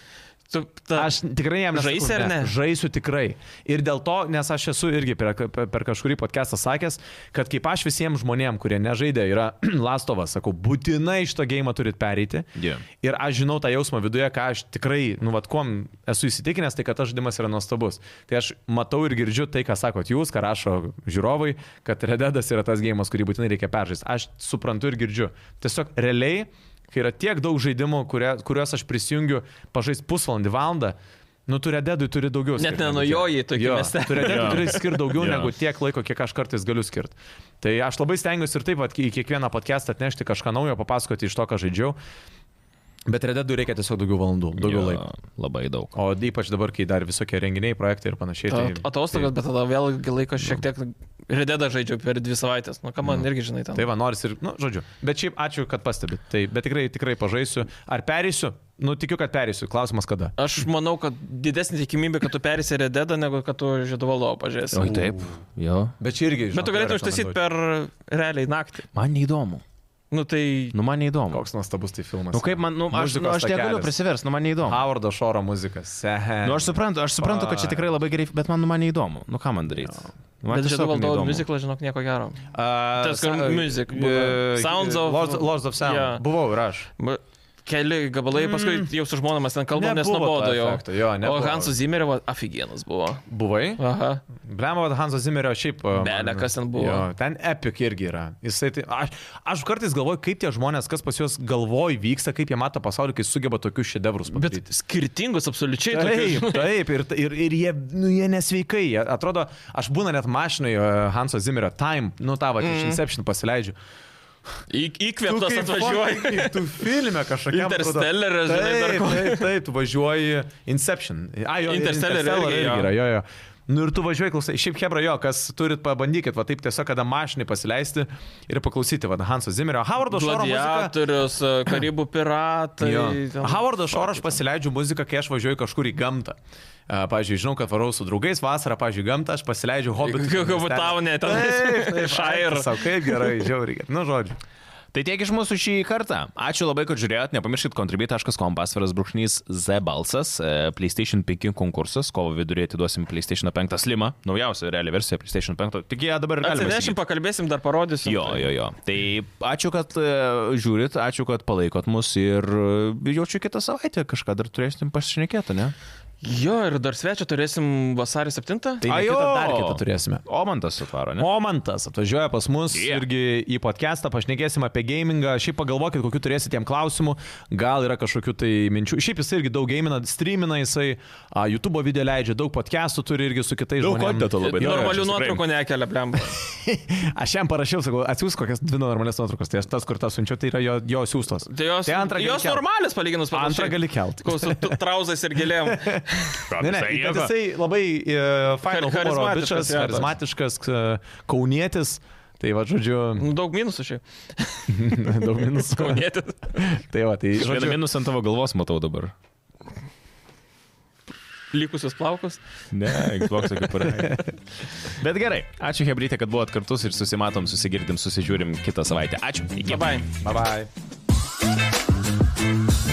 B: Tu, ta,
C: Aš tikrai jam nesakau,
B: Žaisi ar ne?
C: Žaisiu tikrai. Ir dėl to, nes aš esu irgi per, per kažkurį podcastą sakęs, kad kaip aš visiems žmonėms, kurie nežaidė, yra lastovas, sakau, būtinai iš to gėjimo turit pereiti.
A: Jo.
C: Ir aš žinau tą jausmą viduje, ką aš tikrai, nu, vad, kuom esu įsitikinęs, tai kad tas žaidimas yra nuostabus. Tai aš matau ir girdžiu tai, ką sakot jūs, ką rašo žiūrovai, kad Rededas yra tas gėjimas, kurį būtinai reikia peržaisti. Aš suprantu ir girdžiu. Tiesiog realiai, kai yra tiek daug žaidimų, kurie, kuriuos aš prisijungiu pažaisti pusvalandį, valendą, nu, tu Rededui turi daugiau.
B: Net
C: skirt negu
B: nenujoji
C: tiek.
B: tokį
C: Jo,
B: miestelį.
C: Tu Rededui
A: Jo.
C: turi skirti daugiau
A: Jo.
C: negu tiek laiko, kiek aš kartais galiu skirti. Tai aš labai stengiuosi ir taip, vat, į kiekvieną podcastą atnešti kažką naujo, papasakoti iš to, ką žaidžiau. Bet rededui reikia tiesiog daugiau valandų, daugiau
A: Jo,
C: jo. laiko.
A: Labai daug.
C: O ypač dabar, kai dar visokie renginiai, projektai ir panašiai.
B: ta,
C: Tai,
B: atostogas, bet tada vėl laiko
C: Nu.
B: šiek tiek redėdą žaidžiu per dvi savaitės. Nu, ką man irgi žinai ten.
C: Tai va, nors ir, na, nu, žodžiu. Bet šiaip ačiū, kad pastebit. Tai, bet tikrai, tikrai pažaisiu. Ar perėsiu? Nu, tikiu, kad perėsiu. Klausimas kada.
B: Aš manau, kad didesnė tikimybė, kad tu perėsi redėdą, negu kad tu žiedovalovą pažiūrėsi.
A: Oi, taip. Jo.
C: Bet čia irgi.
B: Bet tu galėtum užtaisyti per realiai naktį.
A: Man neįdomu.
B: Nu tai...
A: Nu, man neįdomu.
C: Koks nuostabus tai filmas.
A: Nu, kaip man, nu, aš, nu,
C: Muzikos
A: aš negaliu
C: takelis.
A: prisiversti, nu, man neįdomu.
C: Howardo Šoro muzikas. Sehe.
A: Nu, aš suprantu, aš suprantu, kad čia tikrai labai gerai, bet man, nu, man neįdomu. Nu, ką man daryti? Man
B: Bet
A: tiesiog
B: žiedo valdovo
A: neįdomu.
B: muziklą, žinok, nieko gero.
C: Uh,
B: Tas, kur music buvo. Sounds of-
C: e, Lords, Lords of Sound.
B: Jo.
C: Yeah. Buvau ir aš.
B: Bu- Keli gabalai, paskui jau su žmonomis ten kalbam, nes
C: Nebuvo to
B: nuobodo jau.
C: efekto, jo,
B: o
C: nebuvo.
B: Hansų Zimerio aфиgenas buvo.
C: Buvai?
B: Aha.
C: Blemo Hanso Zimmerio šiaip. uh,
B: Bele,
C: man-
B: kas ten buvo.
C: Jo, ten epic irgi yra. Jisai, tai, aš, aš kartais galvoju, kaip tie žmonės, kas pas juos galvoj vyksta, kaip jie mato pasaulį, kai sugeba tokius šedevrus
B: Bet
C: padaryti.
B: skirtingus absoliučiai. tokius-
C: Taip, taip, ir, ir, ir jie, nu, jie nesveikai, jie atrodo, aš būna net mašinai uh, Hanso Zimmerio Time, nu tavo
B: Mm.
C: iš Inception pasileidžiu.
B: Į- Įkvėptas
C: kaip
B: atvažiuoji.
C: fucking- Tu filme kažkokiam. atrodo-
B: Interstellar'as, žinai, dar
C: taip,
B: ko.
C: taip, taip, tu važiuoji Inception. A, jo, ir
B: Interstellar irgi, jo.
C: irgi yra, jo, jo. Nu ir tu važiuoji, klausai, šiaip Hebra, jo, kas turit, pabandykit, va taip tiesiog, kada mašinai pasileisti ir paklausyti, va, Hanso Zimmerio, Howardo Šoro muziką.
B: Gladiatorius, e, Karibų piratai. ten-
C: Howardo Šoro aš pasileidžiu muziką, kai aš važiuoju kažkur į gamtą. Uh, pavyzdžiui, žinau, kad varau su draugais vasarą, pavyzdžiui, į gamtą, aš pasileidžiu hobbit.
B: Hobitaune, ten- Shire.
C: Savo kaip gerai, žiauriai. Nu, žodžiu.
A: Tai tiek iš mūsų šį kartą. Ačiū labai, kad žiūrėjot. Nepamirškit contribui.com pasviras brūkšnys Z balsas. e, PlayStation 5 konkursas. Kovo vidurį atiduosim PlayStation 5 slimą. Naujausia reali versija PlayStation 5. Tik jie dabar ir galima.
B: Atsinešim,
A: įsigyt.
B: pakalbėsim, dar parodysim.
A: Jo, jo, jo. Tai ačiū, kad e, žiūrit, ačiū, kad palaikot mus ir e, jaučiu kitą savaitę kažką dar turėsim pasišnekėti, ne?
B: Jo, ir dar svečią turėsim vasario 7.
C: Tai ne
A: Ajo!
C: kitą, dar kitą turėsime.
A: O man tas atvaro, ne?
C: Momentas atvažiuoja pas mus
A: Yeah.
C: yeah. irgi į podcastą, pašnekėsim apie gamingą, šiaip pagalvokit, kokiu turėsit tiem klausimų, gal yra kažkokių tai minčių. Šiaip jis irgi daug gamina, streamina, jisai a, YouTube video leidžia, daug podcastų turi irgi su kitais
A: Daug
C: žmonėmis.
A: kontento labai daug.
B: Normalių
A: Aš tikrai-
B: nuotraukų nekelia, blem.
C: Aš jam parašiau, sakau, atsiųsk kokias dvi normalias nuotraukas, tai aš tas, kur tą siunčiu, tai yra jo, jo siūstos.
B: Tai jos,
C: Tai antrą gali
B: jos
C: kelt.
B: normalios palyginus panašiai.
C: Antrą gali kelt.
B: Ko su tu- trauzais ir gėlėm.
A: Visai
C: Ne, ne, bet
A: nieko.
C: jisai labai uh, final humoro
B: charizmatiškas,
C: bičias,
B: jo, toks.
C: charizmatiškas, e, kaunietis, tai va, žodžiu,
B: Nu, Daug minusų šiaip.
C: daug minusų.
B: Kaunėtis.
C: tai va, tai
A: Iš vieną
C: žodžiu,
A: minusą ant tavo galvos matau dabar.
B: Likusius plaukus.
A: Ne, Xbox'ą kaip ir. Bet gerai, ačiū Hebrytė, kad buvot kartu ir susimatom, susigirdim, susižiūrim kitą savaitę. Ačiū. Iki.
B: Labai.
C: bye bye.